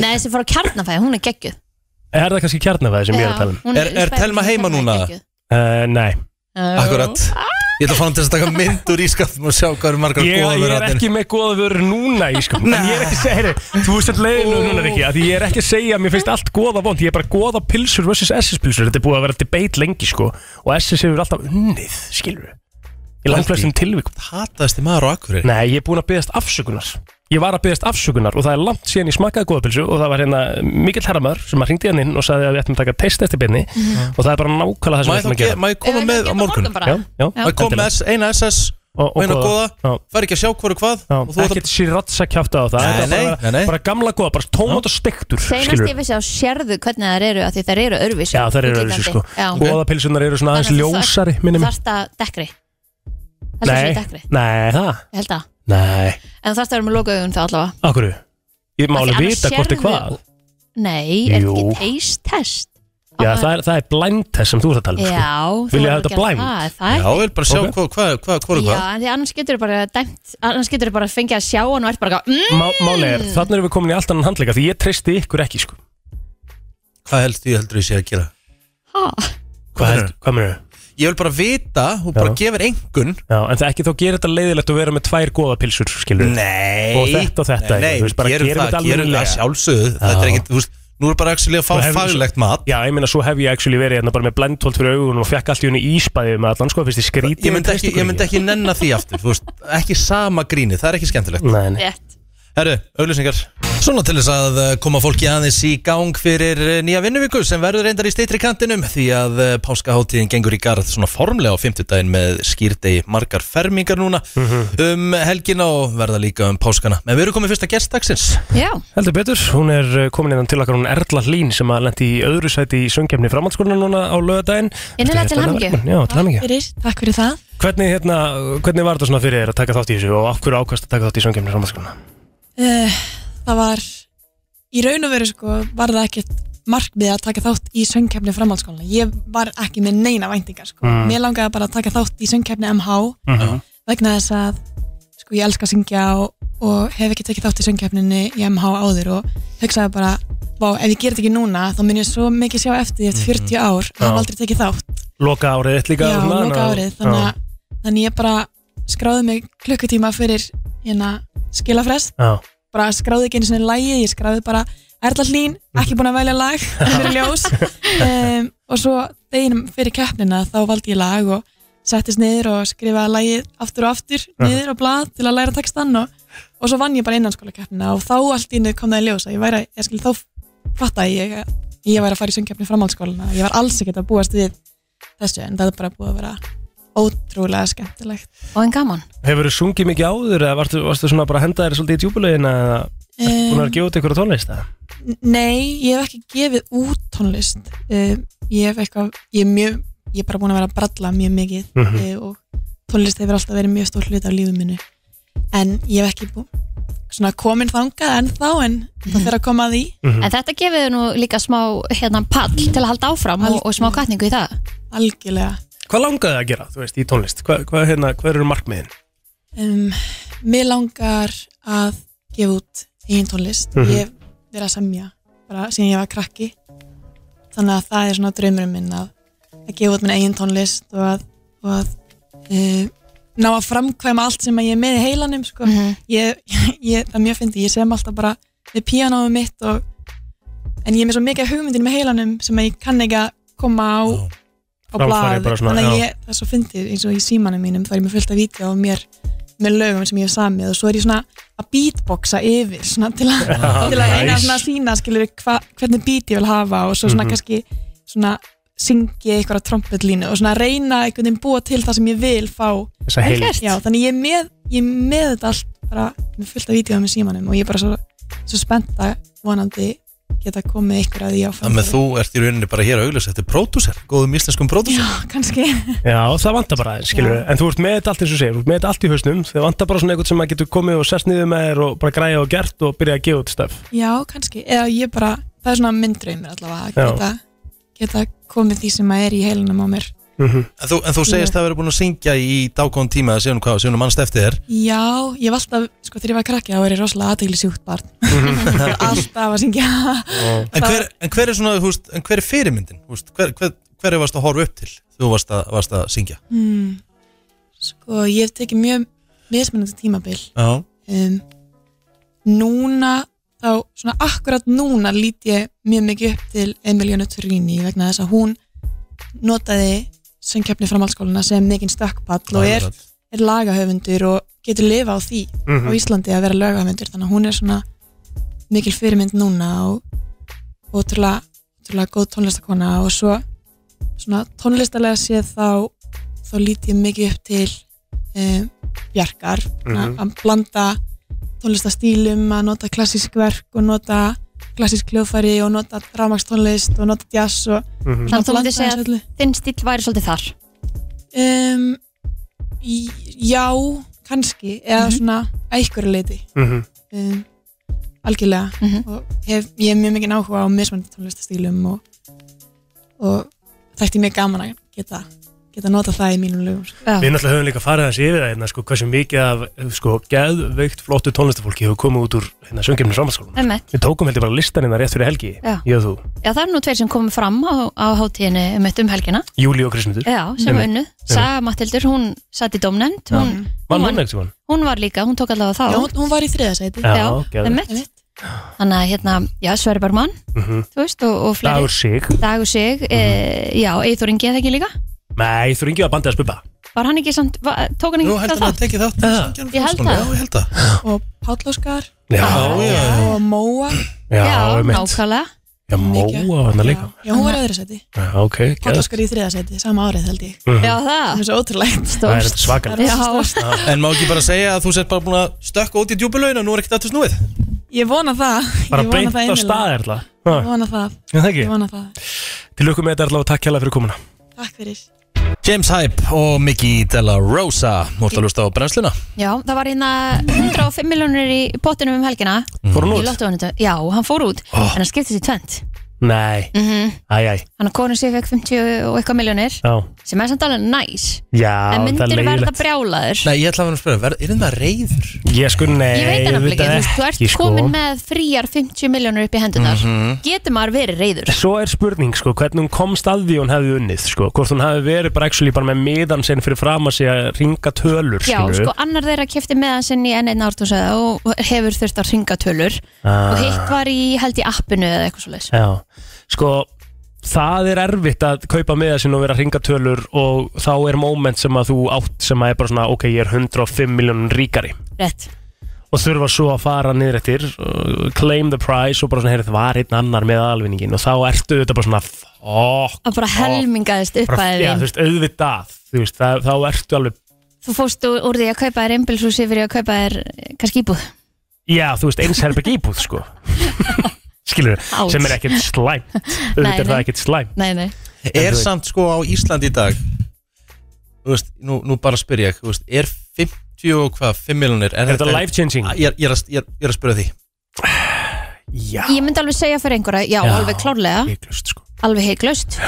S2: Nei, þessi fór á kjarnafæði, hún er geggjuð
S3: Er það kannski kjarnafæði sem ég er að tala um?
S2: hún
S1: Er- er
S2: spæjipilsa
S1: Telma heima
S2: Telma er
S1: núna?
S2: geggjuð.
S3: Uh, nei
S1: Akkurat Ég ætla að fá hann til að taka mynd úr ískapnum og sjá hvað eru margar
S3: ég,
S1: góða
S3: ég er
S1: verðarnir
S3: ekki með góðavörur núna í sko En ég er ekki að segja, heyri, þú veist að leiðinu núna Riki af Því ég er ekki að segja að mér finnst allt góða vond Ég er bara góða pilsur versus SS pilsur Þetta er búið að vera debate lengi sko Og SS hefur alltaf unnið, skilur við Í langflestum tilvíkum
S1: Hataðasti maður á Akureyri
S3: Nei, ég er búin að beðast afsökunar Ég var að byggast afsökunar og það er langt síðan ég smakkaði góðapilsu og það var hérna mikill herramar sem að hringdi hann inn og sagði að við ættum að taka test eftir byrni
S2: Mhm.
S3: og það er bara nákvæmlega það
S1: Má
S3: sem við
S1: ég þá
S3: ætlum að
S1: ge-
S3: gera
S1: má ég koma
S2: Ef við
S1: með á
S2: getum
S1: morgun?
S2: bara.
S3: Já, já,
S1: Má ég koma
S3: endilega.
S1: með S- eina SS
S3: Og- og
S1: og eina
S3: góða. Já.
S1: góða Fær ekki að sjá hverju hvað
S3: Já,
S1: og þú ert að-
S3: ekkert sýratsa kjáta á það
S1: Nei,
S3: Þetta er bara,
S1: nei, nei, nei.
S3: bara gamla góða, bara tómat og stektur
S2: Seinast ég vissi á sérðu hvernig þær eru af Því þær eru öðruvísi
S3: Já, það eru öðruvísi sko Góðapilsunar eru svona aðeins ljósari minnum
S2: Þarf það dekkri Það er
S3: Nei,
S2: svo dekkri,
S3: nei, það
S2: ég held að
S3: Nei,
S2: En það þarf að vera með lokaaugun þá allavega
S3: af hverju? Ég má
S2: Af því
S3: alveg
S2: annars
S3: vita hvort er
S2: sérðu-
S3: hvað
S2: Nei, er þetta
S3: Jú.
S2: ekki taste test
S3: Já, það er, það er blind test sem þú ert að tala um sko.
S2: Já, þú
S3: Vilja
S2: verður
S3: þetta
S2: að gera
S3: blind?
S2: það, er Það
S1: Já,
S2: er
S1: ég vil bara sjá
S3: Ok.
S1: hvað, hvað, hvað, hvað,
S2: Já,
S1: hvað
S2: en því annars getur bara dæmt Annars getur bara að fengja að sjá hann og ert bara að mm,
S3: Má, Máli er, þannig erum við komin í allt annan handleika Því ég treysti ykkur ekki sko.
S1: Hvað heldur ég heldur ég sé að gera?
S2: ha.
S3: Hvað,
S1: meinarðu?
S3: held, hvað mennur þau?
S1: Ég vil bara vita, hún bara gefur engun
S3: Já, en það ekki þá gerir þetta leiðilegt að vera með tvær góða pilsur skilur
S1: Nei
S3: Og þetta og þetta,
S1: Nei,
S3: þú veist, bara
S1: gerum
S3: gerum
S1: það,
S3: þetta
S1: gerum það
S3: almennilega.
S1: sjálfsögðu Þetta er ekkert, þú veist, nú er bara actually að fá
S3: Þú hefur-
S1: faglegt mat
S3: Já, ég meina svo hef ég actually verið hérna bara með blendholt fyrir augunum og fekk allt í henni íspæðið með allan sko, finnst ég skrítið
S1: Ég myndi ekki, ég myndi ekki nenna því aftur, þú veist Ekki sama gríni, það er ekki skemmtilegt
S3: Nei, nei,
S2: Rétt
S1: Herru, auðlýsingar Svona til þess að eh, koma fólki aðeins í gang fyrir eh, nýja vinnuvíku sem verður reyndar í steitri kantinum því að eh, páskaháttíðin gengur í garð svona formlega á fimmtudaginn með skýrdegi margar fermingar núna
S3: Mhm.
S1: um helgina og verða líka um páskana En við erum komið fyrsta gestdagsins
S2: Já,
S3: heldur betur, hún er uh, komin innan til okkar hún Erla Hlín sem að lendi í öðru sæti í söngkefni framhaldsskólan núna á lögadaginn
S2: Innilega til hamingju.
S3: Já, til hamingju
S8: Fyrir, takk fyrir það
S3: Hvernig, hérna, hvernig var þetta svona fyrir þér að taka þátt í þessu og af hverju ákvæmst að taka þátt í söngkefni framhaldsskólan?
S8: uh, Það var í raun og veru sko, var það ekkert markmið að taka þátt í söngkefni framhaldsskólana ég var ekki með neina væntingar sko.
S3: Mm.
S8: mér langaði bara að taka þátt í söngkefni MH
S1: Mhm.
S8: vegna þess að sko, ég elska að syngja og, og hef ekki tekið þátt í söngkefninni í MH áður og hugsaði bara, vá, ef ég ger þetta ekki núna þá mun ég svo mikið sjá eftir því eftir 40 ár að
S3: Mhm.
S8: hafa
S3: Já.
S8: aldrei tekið þátt
S3: Loka árið þitt líka
S8: Já,
S3: svona,
S8: loka
S3: ná-
S8: árið þannig, að- þannig ég bara skráði mig klukkutíma fyrir hérna, skilafrest
S3: Já, já.
S8: bara skráði ekki einu sinni lægi ég skráði bara Erla Hlín, ekki búin að velja lag [LAUGHS] fyrir ljós um, og svo deginum fyrir keppnina þá valdi ég lag og settist niður og skrifaði lagið aftur og aftur niður á blað til að læra textann og, og svo vann ég bara innanskóla keppnina og þá allt í einu kom það í ljós að ég væri, að- ég skil þá fattaði ég að ég væri að fara í söngkeppni framhaldsskólana ég var alls ekkert að búast við þessu en það er bara búið að vera ótrúlega skemmtilegt
S2: og en gaman
S3: Hefur þú sungið mikið áður eða varstu, varstu svona bara að henda þér svolítið í djúbulegin eða búin
S8: Um.
S3: að gefa út einhverja tónlist eða?
S8: N- Nei, ég hef ekki gefið út tónlist uh, ég hef eitthvað ég er mjög, ég er bara búin að vera að bralla mjög mikið mm
S3: Mhm.
S8: og tónlist hefur alltaf verið mjög stór hlut af lífið minu en ég hef ekki búin svona komin þangað ennþá en það fer að koma að því
S2: En þetta gefið þau nú líka smá hérna, pall til að halda áfram og, og smá katningu í það
S8: algjörlega
S3: Hvað langaði þig að gera, þú veist, í tónlist? Hvað, hvað, hérna, hvað eru markmiðin?
S8: um, Mér langar að gefa út eigin tónlist
S3: Mhm.
S8: ég hef verið að semja bara síðan ég var krakki þannig að það er svona draumurum minn að, að gefa út minn eigin tónlist og að, og að uh, ná að framkvæma allt sem að ég er með í heilanum sko. ég, [LAUGHS] ég, það er mjög fyndi, ég sem alltaf bara með píanóið mitt og, en ég er með svo mikið af hugmyndinum í heilanum sem að ég kann ekki að koma á á
S3: Framfæri
S8: blað
S3: bara svona,
S8: þannig að
S3: já.
S8: ég, það er svo fyndið eins og í símanum mínum þá er ég með fullt af vídeo og mér með lögum sem ég hef samið og svo er ég svona að beatboxa yfir svona til að, [LAUGHS] til að eina
S3: nice. Mhm.
S8: svona sína skilur hva, hvernig beat ég vil hafa og svo svona kannski svona syngi eitthvað á trompetlínu og svona reyna einhvern veginn búa til það sem ég vil fá
S3: Þessa heil
S8: Já, þannig ég er með, ég er með þetta allt bara með fullt af vídeoum með símanum og ég er bara svo, svo spennt að vonandi geta komið ykkur að því á
S1: Þannig að
S8: framfæri.
S1: þú ert í rauninni bara hér að auglýsa Þetta er pródúser, góðum íslenskum pródúser
S8: Já, [LAUGHS] kannski
S3: Já, það vantar bara aðeins, skilur En þú ert með þetta allt eins og segir, þú ert með þetta allt í hausnum Það vantar bara svona eitthvað sem maður getur komið og sest niður með þér og bara græja og gert og byrja að gefa út stöf
S8: Já, kannski, eða ég bara það er svona minn draumur allavega að
S3: Já.
S8: geta, geta komið því sem að er í heilinum á mér
S1: En þú, en þú segist að það verið búin að syngja í dágóðan tíma síðan hvað, síðan mannst eftir þér
S8: Já, ég var alltaf, sko þegar ég var krakki þá var ég rosalega aðteglisjúkt barn alltaf að syngja
S1: En hver, en hver er svona, húst, en hver er fyrirmyndin? Húst, hver, hver, hver varst að horfa upp til þegar þú varst að, varst að syngja?
S8: Sko, ég hef tekið mjög mismunandi tímabil
S1: Já,
S8: um, Núna þá, svona akkurat núna lít ég mjög mikið upp til Emilionu Turini vegna þess að hún notaði söngkeppni framhaldsskóluna sem mikinn stökkpall og er er lagahöfundur og getur lifa á því á Íslandi að vera lagahöfundur þannig að hún er svona mikil fyrirmynd núna og ótrúlega, ótrúlega góð tónlistakona og svo svona tónlistalega séð þá þá lít ég mikið upp til um, bjarkar mm að blanda tónlistastílum að nota klassísk verk og nota klassísk hljóðfæri og nota dramakstónlist og nota jazz og
S3: Mhm.
S8: svona
S2: Þannig að þú
S8: blanda
S2: myndir segja
S8: þessu
S2: að
S8: öllu.
S2: þinn stíl væri svolítið þar
S8: Um, í- já, kannski eða svona að einhverju leiti
S3: Mhm.
S8: um, algjörlega
S2: Mhm.
S8: og hef, ég hef mjög mikið áhuga á mismandi tónlistastílum og, og þætti mér gaman að geta geta nota það í mínum lögum sko.
S2: Já.
S3: Við náttúrulega höfum líka farið þessi yfir það hérna, sko, hversu mikið af sko, geðveikt flottu tónlistafólki hefur komið út úr hérna, söngjumni framhaldsskólan.
S2: Einmitt.
S3: Við tókum heldur bara listan hérna rétt fyrir helgi,
S2: Já.
S3: ég og þú,
S2: Já, það er nú tveir sem komið fram á, á hátíðinni um eitt um helgina
S3: Júli og Krismundur.
S2: Já, sem
S3: Einmitt.
S2: unnu Saga Mattildur, hún satt í domnend
S3: Já.
S2: hún,
S3: Mann
S2: hún,
S3: hún
S2: var,
S3: ekkert tíma?
S2: hún var líka, hún tók allavega þá
S8: já, hún, hún var í þriðasæti
S3: Já,
S2: Já,
S3: geðveikt.
S2: einmitt. Þannig að hérna, já, Sverri Bergmann Þú veist, og, og fleiri
S3: Dagur sig.
S2: Dagur Sig, e, já, Eithor Ingi eða ekki líka
S3: Nei, þú ringið að bandið að spubba.
S2: Var hann ekki samt, va, tók hann
S1: Nú
S2: ekki
S1: heldur hann að tekið þátt
S3: Aha.
S1: Söngjum
S2: Ég held
S1: Framhaldsskóla. Já, ég
S2: það.
S1: held það
S8: og Páll Óskar
S3: Já, já,
S8: og Móa
S3: já,
S2: Já,
S3: einmitt.
S2: nákvæmlega
S3: já móa var hann
S8: já,
S3: líka.
S8: já, hún var í öðru sæti
S3: Já, ok,
S8: Páll
S3: geðveikt.
S8: Óskar í þriðasæti, sama árið held
S3: Mm.
S8: ég
S2: Já, það
S8: það er svo ótrúlegt [LAUGHS]
S3: Það er
S2: Stórst
S3: svakalegt.
S2: Já,
S1: En má ekki bara segja að þú sett bara búin að stökka út í djúbulauðinu og nú er ekkert aftur snúið
S8: ég vona það Ég
S3: Bara
S8: vona
S3: beint
S8: það
S3: á
S8: innilega.
S3: stað erla.
S8: ég vona það,
S3: Já, það ekki.
S8: ég vona það
S3: Til lukku með þetta erla og takk hérlega fyrir komuna.
S8: takk fyrir
S1: James Hype og Mickey Della Rosa Þú ert að lusta á brennsluna
S2: já, það var hérna 105 miljónir í pottinum um helgina
S3: Fór hún
S2: Í
S3: út?
S2: lottóinu, já, hann fór út
S3: Oh.
S2: En hann skiptist í tvent
S3: Nei,
S2: mm -hmm.
S3: æj, æj,
S2: Hann að konur sér fekk 50 og eitthvað miljónir
S3: já.
S2: Sem er samt alveg næs
S3: Já,
S2: En
S3: það
S2: myndir
S3: er
S2: verða
S3: leiðilegt.
S2: brjálaður
S1: Nei, ég ætla að vera að spyrja, verð- er það reyður?
S3: Ég sko, nei,
S2: Ég veit það nefnilega ekki, þú veist, þú
S3: auðvitað sko.
S2: ert komin með fríar 50 miljónur upp í hendunar
S3: Mhm.
S2: Getur maður verið reyður?
S3: Svo er spurning sko, hvernig hún komst að því hún hefði unnið sko, hvort hún hefði verið bara actually bara með miðan sinn fyrir fram að sig að ringa tölur
S2: Já,
S3: skilurðu.
S2: sko, annar þeirra kefti meðan sinn í N1 ártúsæða og hefur þurft að ringa tölur
S3: Ah.
S2: og hitt var í, held í appinu eða eitthvað svo
S3: Já, sko það er erfitt að kaupa miðan sinn og vera að ringa tölur og þá er moment sem að þú átt sem að er bara svona ok, ég er 105 miljónum ríkari
S2: Rétt,
S3: og þurfa svo að fara niður eftir uh, claim the price og bara svona, heyrðu, það var einn annar með alvinningin og þá ertu þetta bara svona fuck,
S2: að bara helmingaðist
S3: bara,
S2: upphæðið
S3: já,
S2: þín.
S3: þú veist, auðvitað þú veist, það, þá ertu alveg
S2: Þú fórst úr, úr því að kaupa þér einbilshús yfir í að kaupa þér eh, kannski íbúð
S3: Já, þú veist, eins herbergi íbúð,
S2: [LAUGHS]
S3: sko Skilur,
S2: Áts.
S3: sem er ekkert slæmt Auðvitað er
S2: nei.
S3: það ekkert slæmt
S2: Nei, nei,
S1: Er
S3: þú-
S1: samt sko á Íslandi í dag Þú veist, nú, nú bara spyr ég þú veist, Er 50 og hvað, 5 miljonir
S3: Er þetta life changing?
S1: Ah, Ég, er- ég, er að- ég, er- ég er að spyrja því
S3: Já,
S2: ég myndi alveg segja fyrir einhverja Já,
S3: Já.
S2: alveg klárlega,
S3: hygglust, sko
S2: alveg heiklaust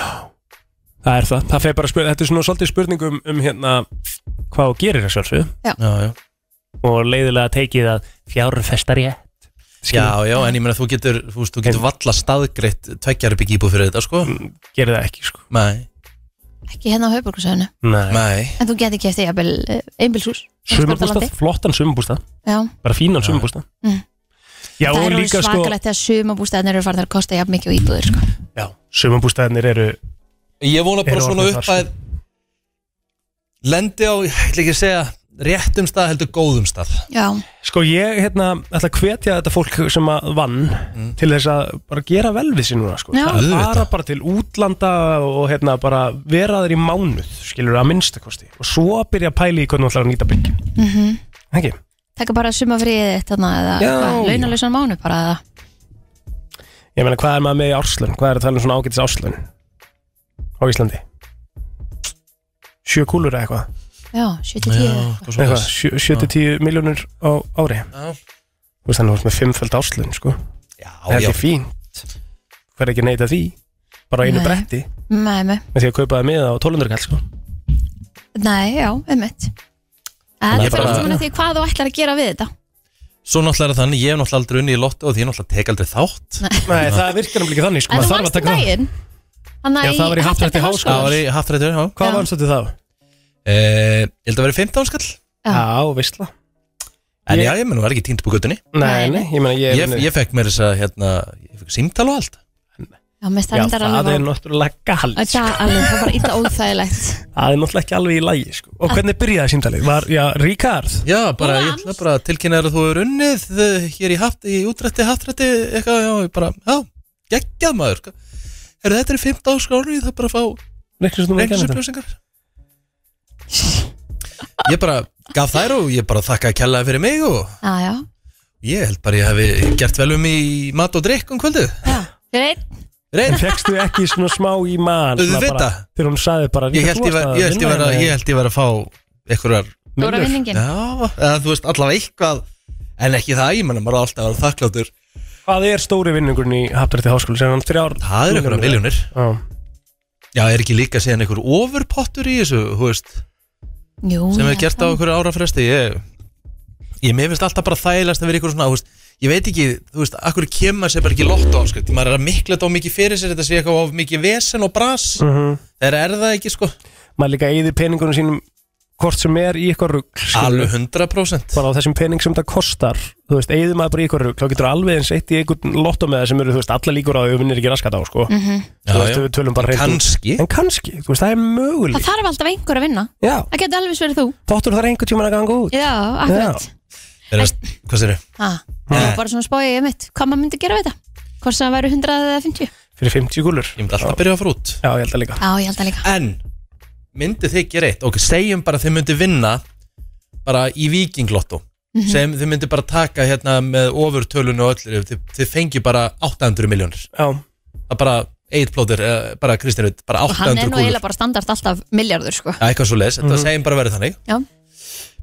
S3: Það er það, það fer bara að spurning Þetta er svona svolítið spurning um, um hérna Hvað þú gerir þessu alveg
S1: Já, já,
S3: Og leiðilega tekið að fjárfestar ég
S1: já, já en ég meina þú getur Þú, veist, þú getur valla staðgreitt Tveggjar bygg íbúð fyrir þetta sko
S3: Mm. Gerir það ekki, sko
S1: Nei,
S2: Ekki hérna á höfbúrkursöðinu
S3: Nei
S1: nei
S2: En þú getur kefti eh, einbilshús
S3: Sumarbústað, flottan sumarbústað
S2: Já
S3: Bara fínan sumarbústað
S2: Mm.
S3: Já,
S2: það
S3: og
S2: er
S3: líka,
S2: líka
S3: sko
S2: svakalegt þegar sumabústæðinir eru farin að kosta jafn mikið og íbúður sko.
S3: Já, sumarbústaðinir eru
S1: Ég vona bara
S3: Eru
S1: svona
S3: orðnir
S1: upp
S3: þar,
S1: að Lendi á, ég ætla ekki að segja Réttum stað heldur góðum stað
S2: Já,
S3: Sko ég hérna ætla að hvetja þetta fólk sem að vann til þess að bara gera vel við sér núna sko.
S2: Já.
S3: Það
S1: Auðvitað.
S3: fara bara til útlanda og hérna bara vera þeir í mánuð skilur að minnstakosti og svo byrja að pæli í hvernig þú ætlar að nýta byggja mm -hmm. Ekki?
S2: taka bara sumafriðið eitt þarna
S3: Já.
S2: eða launalösan mánu bara eða.
S3: Ég meina hvað er maður með í árslun? Hvað er að tala um svona ágætis árslun á Íslandi? Sjö kúlur eða eitthvað?
S2: Já, 70
S1: eitthvað
S3: Eitthvað,
S1: svoleiðis.
S3: sjö- sjö til tíu miljónur á ári
S1: Já.
S3: Þú veist þannig að þú ert með fimmföld árslun sko
S1: Já,
S3: Það
S1: já,
S3: er fínt Hver ekki neita því Bara á einu
S2: Nei.
S3: bretti
S2: Nei, nei,
S3: með því að kaupa það miða á 1200 kall sko.
S2: nei, já, einmitt En
S1: Ég
S2: það fyrir
S1: bara-
S2: allt saman að því hvað þú ætlar að gera við þetta
S1: Svo náttúrulega er það þannig, ég hef náttúrulega aldrei unni í lottu og því ég náttúrulega tek aldrei þátt
S3: Nei, það virkar náttúrulega ekki þannig sko.
S2: En
S3: maður
S2: þú
S3: þarf að
S2: vannst
S3: taka það.
S2: daginn Þannig
S3: Já,
S2: að
S3: það var í Happdrætti Háskóla.
S1: Það var í haftrættur, já
S3: Hvað
S2: Já.
S3: vannst þetta þá?
S1: Eh, Ég held að vera 15 skall
S2: Já.
S3: Já, veistla
S1: En
S3: Ég-
S1: já, ég menn, hún var ekki týnd upp á göttunni
S3: Nei, nei, ég meina ég,
S1: Ég, ég fekk mér þess að, hérna, ég fekk símtal og allt
S2: Já, mér
S3: Já,
S2: stærndar
S3: það er
S2: alveg á
S3: náttúrulega galið sko.
S2: Það er alveg, það er bara illa óþægilegt
S3: Það er náttúrulega ekki alveg í lagi sko.
S2: Ah.
S3: Og hvernig byrjaði símtalið? Var, já, Ríkard
S1: Já, bara, ég
S2: Hans.
S1: ætla bara að tilkynna þér að þú er unnið eh, hér í, haft, í útrætti, hattrætti, eitthvað, já, ég bara, já, geggjað maður. Er þetta er 15 skrónu, ég þarf bara að fá
S3: Reykjum sem þú maður gæmur
S1: reynsuppljósingar. Ég bara gaf þær og ég bara þakkaði kjallaði fyrir mig og
S2: Já, já,
S1: ég held bara ég hef gert vel um í mat og drikk um kvöldið.
S2: já Fyrir einn,
S1: Reynd,
S3: Fekstu ekki svona smá í mann
S1: Auðvitað.
S3: Þegar hún saði bara
S1: ég held ég var- ég held ég
S3: hérna
S1: var að- hérna ég held ég var að fá einhverjar
S2: Dóra vinningin
S1: Já, eða, þú veist allavega eitthvað En ekki það, ég menna maður á alltaf að vera þakkláttur
S3: Hvað er stóri vinningurinn í Hafnarætti háskóli? Sér hann þrjár
S1: Það er einhverja miljónir
S3: Já.
S1: Já, er ekki líka síðan einhver overpottur í þessu, þú veist
S2: Jú,
S1: Sem
S2: ég
S1: er
S2: held
S1: gert á
S2: það.
S1: einhverju árafresti Ég, ég mér finnst alltaf bara þægilegast að vera einhver svona, þú veist Ég veit ekki, þú veist, akkur kemur sér bara ekki lotto áskrift Maður er að mikla þetta á mikið fyrir sér Þetta sé eitthvað of mikið vesen og bras mm
S3: Mhm.
S1: Þeir er það ekki, sko
S3: Maður líka eyðir peningunum sínum Hvort sem er í eitthvað rugg
S1: Alveg 100%
S3: Bara á þessum pening sem það kostar Þú veist, eyðir maður bara í eitthvað rugg Þá getur alveg eins eitt í eitthvað lottomeða sem eru Þú veist, alla líkur á að við vinnir ekki raskat á sko.
S2: Mhm.
S3: Þú veist, við tölum bara hreint út.
S1: Kanski
S3: En kannski, þú veist, það er möguleg
S2: Það þarf alltaf einhver að vinna
S3: Já,
S2: Það getur alveg verið þú
S3: þóttur þarf einhvern tímann að ganga út
S2: Já, akkurat
S1: Þeir eru- Hvað sér þau?
S2: Já, það var bara svona spáið ég mitt Hvað maður myndi gera við þetta? Hvort sem það væri 100 eða 50
S3: Fyrir 50 gúlur
S1: Ég myndi alltaf að byrja að fara út
S3: Já, ég held að líka
S2: Já, ég held það líka
S1: En myndu þið gera eitt Ok, segjum bara að þið myndu vinna bara í vikinglottó mm
S2: Mhm.
S1: segjum þið myndu bara taka hérna með ofurtölun og öllu þið, þið fengi bara 800 miljónir
S3: Já,
S1: það er bara eitt plóður, eh, bara Kristján Rutt bara
S2: Og hann
S1: 800
S2: er nú
S1: kúlur
S2: eiginlega bara standart alltaf miljardur sko
S1: ja, eitthvað svo leis,
S3: Mhm.
S1: þetta segjum bara að vera þannig
S2: Já.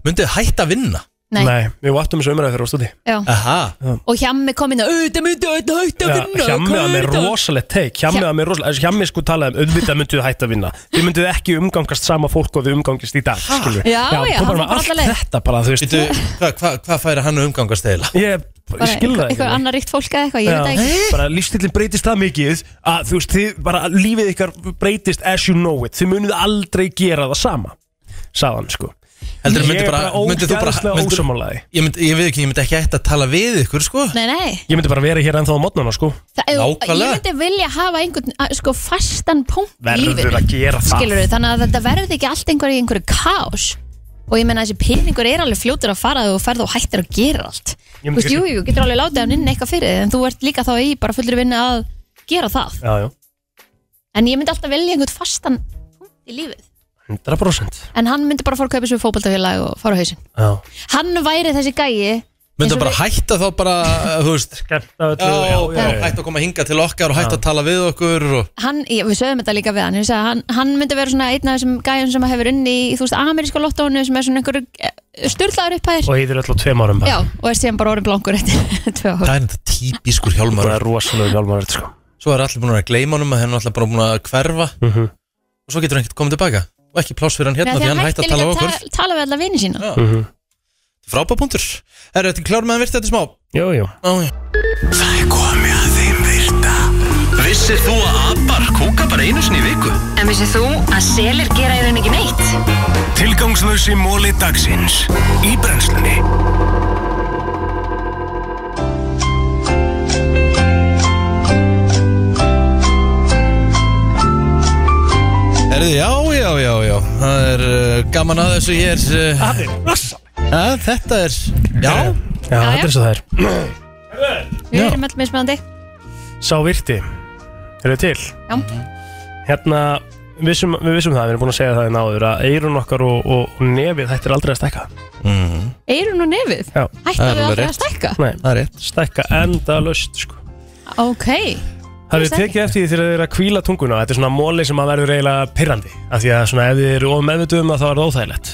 S1: myndu þið hætta að vinna
S2: Nei.
S3: við vatnum þessu umræðu þegar á stúdi
S2: Já.
S1: aha,
S2: Og hjammi kom inn og auðvitað myndi öll hægt að vinna
S3: Hjammi að
S2: hvað
S3: mér
S2: er þetta?"
S3: rosalegt teik Hjammi
S2: Hja-
S3: að mér rosalegt Hjammi sko talaði um auðvitað mynduð þið hætt að vinna Þið mynduð ekki umgangast sama fólk og þið umgangist í dag skilur við.
S2: Já, já,
S3: kom
S2: hann fór
S3: bara með
S2: alla
S3: allt
S2: leið.
S3: þetta bara þú veist
S1: Veitu, hvað hva, hva færi hann að umgangast eða
S3: Ég, ég
S2: Bara
S3: skilða
S2: Eitthvað
S3: það sko.
S2: annar ríkt fólk eða eitthvað, ég veit það
S3: Já,
S2: ekki
S3: bara lífstillin breytist það mikið að þú veist, þið, bara lífið ykkar breytist as you know it, þið munið aldrei gera það sama, sagðan sko
S1: heldur
S3: Ég
S1: myndi
S3: er
S1: bara, myndi þú bara
S3: ógeðslega
S1: myndir-
S3: ósammála því.
S1: ég, myndi, ég veit ekki, ég myndi ekki hætta að tala við ykkur sko
S2: Nei, nei
S3: Ég myndi bara vera hér ennþá á mótnana sko
S2: Það, ef- ég
S1: Nákvæmlega.
S2: myndi vilja hafa einhvern að, sko, fastan punkt í
S3: Verður
S2: lífinu
S3: að gera það
S2: skilur við, þannig að þetta verður ekki allt einhverju einhverju kás og ég menna þessi peningur er alveg fljótur að fara þegar þú ferð og hættir að gera allt
S3: Ég
S2: þú
S3: myndi
S2: veist, jú, jú, getur alveg látið hann inn eitthvað fyrir þig en þú ert líka þá í bara fullur vinni að gera það
S3: Já, já,
S2: en ég myndi alltaf velja einhvern fastan punkt í lífið
S3: 100%
S2: en hann myndi bara fara að kaupa svo fótballtafélag og fara á hausinn
S3: Já,
S2: hann væri þessi gæi
S1: myndu
S2: Eins og
S1: bara hætta þá bara, eh, þú veist
S3: skemmta öllu
S1: já, já,
S3: já,
S1: hættu að koma hinga til okkar og hættu að tala við okkur og...
S2: hann, ég, við sögum þetta líka við hann, ég sagði, hann hann myndi vera svona einn af þessum gæjum sem hefur unni í þú veist ameríska lottónu sem er svona einhverju eh, styrlaður upphæðir
S3: Og heitir öll á tveim árum
S2: já
S3: bara
S2: og er síðan bara orðin blankur eftir [LAUGHS] tvö ár
S1: það er þetta típiskur
S3: Það
S1: hjálmar
S3: er rosalega hjálmaröld sko
S1: svo er allir búin að gleyma honum að henn er allir bara búin að hverfa
S3: Mhm.
S1: og svo getur hann ekkert komið tilbaka og ekki pláss fyrir hann
S2: Nei,
S1: hérna því hann hætti
S2: hætti
S1: að tala
S2: líka
S1: við
S2: að
S1: okkur
S2: ta- tala við alla vini sína
S1: Já. frábæpuntur, er þetta klár með að virta þetta smá?
S3: Jú, jú
S1: Ó, já.
S4: Það er komið að þeim virta Vissir þú að abar kúka bara einu sinni í viku?
S9: En vissið þú að selir gera í rauninni ekki neitt?
S4: Tilgangslösi móli dagsins Í brennslunni
S1: Herðu, já, já, já, já það er uh, gaman að þessu hér uh,
S3: Það er rosalega
S1: að, þetta er, já
S3: Já, þetta er svo það er
S2: við erum öll mismöðandi
S3: Sá virti Eru til?
S2: Já.
S3: Hérna, vissum, við vissum það, við erum búin að segja það í náður að eyrun okkar og, og, og nefið hættir aldrei að stækka
S2: eirun og nefið,
S3: Já.
S1: Það er
S2: hætti við
S1: alveg
S2: aldrei
S1: rétt.
S2: að stækka
S3: Nei,
S1: það er rétt
S3: stækka enda löst sko
S2: ok,
S3: Það
S2: Þú
S3: er
S2: veist
S3: tekið eftir því þegar þið eru að kvíla tunguna Þetta er svona móli sem að verður eiginlega pirrandi Af því að svona ef þið eru of meðvituð um það þá er það óþægilegt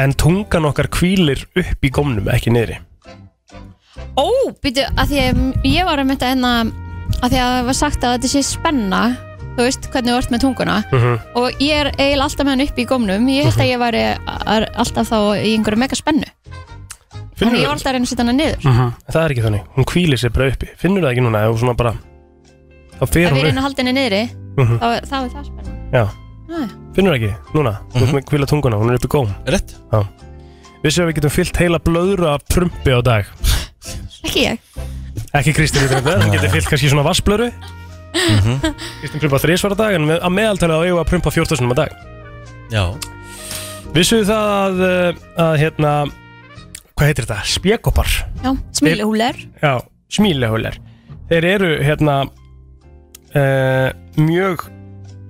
S3: En tungan okkar kvílir upp í gómnum, ekki niðri
S2: ó, býtu að því að ég var að mynda enna að því að það var sagt að þetta sé spenna þú veist hvernig þú ert með tunguna
S3: Mhm.
S2: og ég er eiginlega alltaf með hann upp í gómnum ég held að ég væri að- alltaf þá í einhverju mega spennu
S3: Finnur
S2: Þannig ég var alltaf að reyna að setja hana niður
S3: Hm, Það er ekki þannig, hún kvílir sér bara uppi Finnur það ekki núna, ef þú svona bara Þá fer
S2: Ef við
S3: hún
S2: reynum
S3: upp
S2: að halda henni niðri
S3: Mhm.
S2: þá, þá er það spennan
S3: Já,
S2: Já, já.
S3: finnur það ekki núna Þú ert með kvíla tunguna, hún er uppi góm
S1: rétt,
S3: Vissum að við getum fyllt heila blöðru af prumpi á dag
S2: Ekki ég [LAUGHS]
S3: Ekki Kristinn í þetta, hún getur fyllt kannski svona vassblöðru Kristín prumpa þrísvar á dag en með- að meðaltalið á eigum við að prumpa 14 á dag
S1: Já
S3: Vissuðu það að, uh, að hérna, hvað heitir þetta? Spjekopar
S2: Já, smílihúler
S3: Já, smílehullar Þeir eru hérna uh, mjög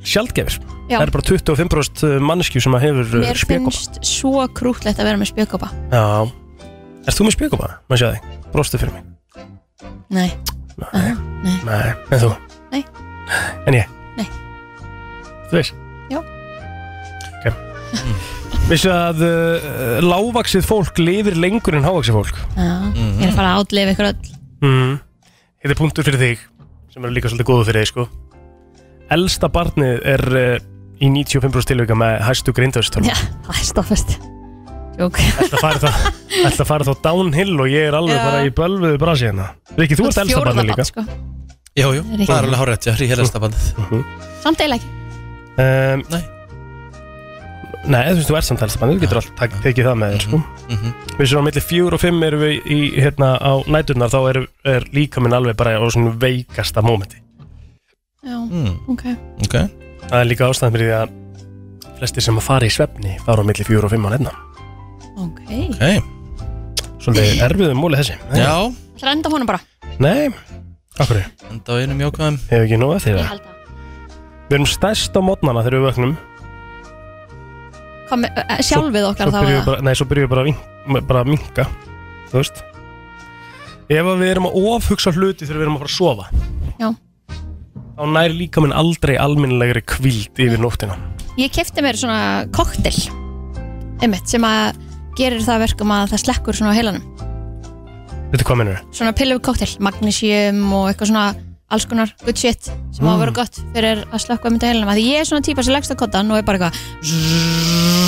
S3: sjaldgefir
S2: Já.
S3: Það eru bara 25% mannskju eh, sem að hefur
S2: Mér
S3: spjekopa
S2: finnst svo krútlegt að vera með spjökopa
S3: Já Erst þú með spjekopa? Maður sé það Brostu fyrir mig
S2: Nei,
S3: Nei,
S2: Nei.
S3: Nei. En þú?
S2: Nei.
S3: En ég?
S2: Nei.
S3: Þú veist?
S2: Já.
S3: Ok [LAUGHS] Vissu að uh, lágvaksið fólk lifir lengur en hávaksið fólk
S2: Já, ég
S3: Mhm.
S2: er að fara að átlefa ykkur öll
S3: mm. Þetta er punktur fyrir þig sem eru líka svolítið góðu fyrir þig sko Elsta barnið er uh, í 95% tilvika með hæstu grindvöðstölum
S2: Já, það er stoffast Jók,
S3: Þetta farið það Þetta farið þá downhill og ég er alveg
S8: Já.
S3: bara í bölvuðu brasi hérna Riki, þú ert elsta barnið líka
S2: sko
S1: Jú, jú,
S2: Rétt.
S1: það er alveg hárætt, já, ríðhelasta bandið
S2: Samt eila ekki
S3: um,
S1: Nei.
S3: Nei, þú veist, þú ert samt elsta barnið, þú getur allt tak- tekið það með þér sko
S1: Mhm.
S3: Við séum á milli 4 og 5 erum við í, hérna, á næturnar þá er, er líka minn alveg bara á svona veikasta mómenti
S8: Já,
S1: mm,
S8: ok
S1: Ok
S3: Það er líka ástæðan fyrir því að flestir sem að fara í svefni fara á milli 4 og 5 á nefna.
S2: Ok,
S1: Hey.
S3: Svolítið erfiðum múli þessi. Nei.
S1: Já,
S2: það er enda honum bara
S3: Nei, okkur,
S1: enda á einum jákvæðum
S3: hefur ekki nóg eftir
S2: Ég
S3: það.
S2: held að
S3: Við erum stærst á mótnana þegar við vöknum.
S2: Hvað með- eh, Sjálfið okkar
S3: Svo
S2: þá var
S3: byrjum við bara, nei, svo byrjum við bara, að vink- bara að minka. Þú veist. Ef að við erum að ofhugsa hluti þegar við erum að fara að sofa.
S2: Já.
S3: Þá næri líka minn aldrei alminlegri kvíld yfir nóttina.
S2: það Ég kefti mér svona koktel Einmitt, sem að gerir það að verkum að það slekkur svona á heilanum
S3: Þetta hvað minnur?
S2: Svona pillu koktel, magnesium og eitthvað svona alls konar good shit sem
S3: Mm.
S2: á að vera gott fyrir að slökka um þetta heilanum að því ég er svona típa sem leggst á koddan og er bara eitthvað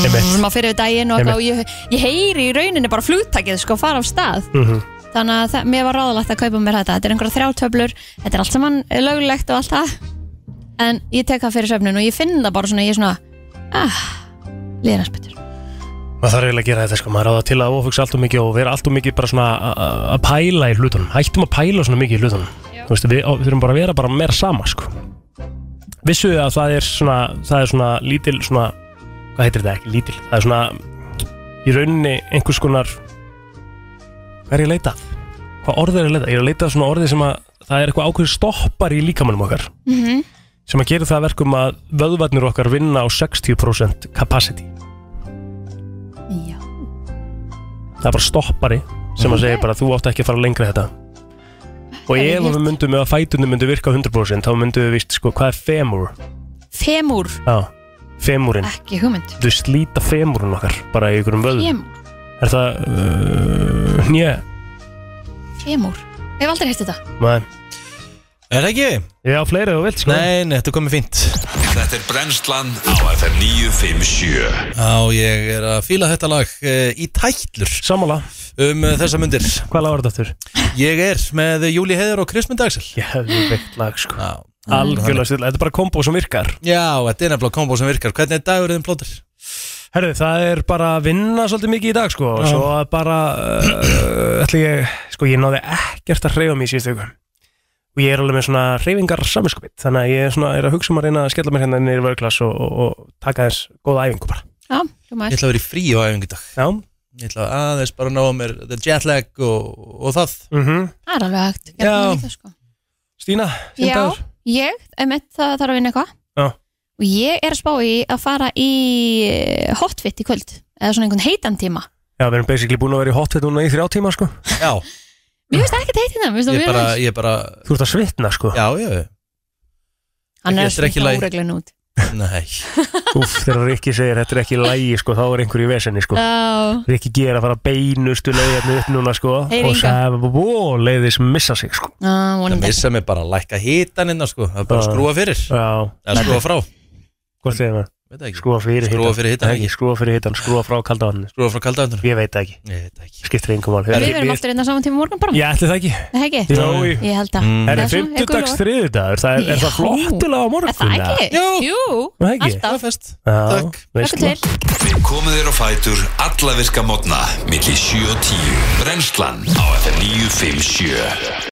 S3: Einmitt.
S2: sem að fyrir við daginn og, eitthvað og ég, ég heyri í rauninni bara flugtakið sko fara af stað
S3: Mm
S2: þannig að það, mér var ráðalegt að kaupa mér þetta þetta er einhverja þrjátöflur, þetta er allt saman löglegt og allt það en ég tek það fyrir söfnun og ég finn það bara svona ég er svona ah, liðnars betur
S3: Maður þarf eiginlega að gera þetta sko, maður á það til að ofugsa allt og mikið og vera allt og mikið bara svona a- a- að pæla í hlutunum, hættum að pæla svona mikið í hlutunum Þú veist, við, á- við þurfum bara að vera bara meira sama sko Vissuðu að það er svona, það er svona lítil svona, hvað heitir þetta ekki, lítil Það er svona í rauninni einhvers konar, hvað er ég að leita? að? Hvað orð er ég að leita? að? Ég er að leita að svona orði sem að það er eitthvað ákveður stoppar í líkamannum okkar
S2: Mhm.
S3: sem að gera það að verkum að vöðvarnir okkar vinna á 60% capacity
S2: já,
S3: það er bara stoppari sem að segja bara þú átt ekki að fara lengra í þetta og
S2: Það Mhm. er
S3: ef
S2: rétt.
S3: við myndum ef að fætunni myndu virka á 100% þá myndum við vist sko hvað er femur
S2: femur,
S3: já, femurinn
S2: ekki hugmynd
S3: þau slíta femurinn okkar bara í einhverjum vöðum
S2: femur,
S3: er það uh, njö,
S2: femur ég hef aldrei heitt þetta
S3: maður
S1: Er það ekki?
S3: ég á fleiri ef þú vilt sko
S1: Nei, nei, þetta er komið fínt
S4: Þetta er brennslan á FM 957
S1: Já, ég er að fíla þetta lag uh, í tætlur
S3: sammála,
S1: um uh, þessa mundir
S3: hvað lagar þetta aftur?
S1: Ég er með Júli Heiður og Kristmund Axel
S3: ég hefði veikt lag sko
S1: Já,
S3: algjörlega stilla, þetta er bara kombo sem virkar
S1: Já, þetta er nefnilega kombo sem virkar Hvernig er dagurðin plótur?
S3: herru, það er bara að vinna svolítið mikið í dag sko og
S1: Já.
S3: svo að bara uh, ætli ég, sko ég náði ekkert að hreyfa mig í síðustu ykkur og ég er alveg með svona hreyfingar saminskupið þannig að ég er, svona, er að hugsa um að reyna að skella mér hérna niður í vörglas og, og, og taka þess góða æfingu bara
S2: já,
S1: Ég
S2: hljómaður
S1: ætla að vera í frí á æfingu í dag
S3: já,
S1: Ég ætla aðeins bara að ná að mér the jet lag og, og það
S3: mm
S2: það er alveg hægt Gerðu
S3: Já.
S2: það líka, sko.
S3: Stína,
S2: Já.
S3: fyndaður
S2: ég, einmitt, það þarf að vinna eitthvað
S3: Já.
S2: og ég er að spá í að fara í eh, hotfit í kvöld eða svona einhvern heitan tíma
S3: já, við erum basically búin að vera í hotfett núna í þrjá tíma sko
S1: Já,
S2: mér finnst ekkert heitin það, mér finnst
S1: ég
S2: það
S1: bara,
S2: mjög næs.
S1: ég bara
S3: þú ert að svitna sko
S1: Já, já,
S2: hann er að
S1: Þetta er ekki
S2: smita
S1: lagi.
S2: úreglun út
S1: nei
S3: Úff, þegar Rikki segir þetta er ekki lægi sko þá er einhver í vesenni sko
S2: Já,
S3: Rikki gera að fara beinustu leiðinu upp núna sko
S2: Heyr
S3: og
S2: Inga.
S3: sæfa bú, leiðis missa sig sko
S2: ah,
S1: Það
S2: vonandi
S1: missa mig bara að lækka hitanina sko Það er bara að
S3: Já.
S1: skrúa fyrir
S3: já,
S1: Eða skrúa frá
S3: Hvort segir maður?
S1: Veit það ekki.
S3: Skrúa fyrir hitan
S1: Skrúa fyrir hitann,
S3: Nei,
S1: ekki.
S3: Skrúa fyrir hitan, skrúa frá kalda vatninu
S1: Skrúa frá kaldaðunum
S3: Ég veit það ekki,
S1: Ég veit það ekki
S3: skiptir engum mál
S2: Við verðum aftur einna saman tíma morgun bara
S3: Ég ætli það ekki
S2: Það ekki?
S3: Jói
S2: Ég held að
S1: Mm.
S2: Það
S3: Er
S2: er
S3: það
S2: svona
S3: fimmtudags
S2: einhver
S3: þriðudagur? Það er, er það
S2: Já.
S3: flottulega á
S2: Er
S3: morgun
S2: það ekki?
S1: Jú.
S2: Jú,
S3: Það ekki?
S2: alltaf
S1: fest
S3: Já,
S1: Takk.
S2: Takk
S3: veistla.
S2: til
S4: Við komum þér á fætur alla virka mótna milli 7 og 10 Brennslan á FM 957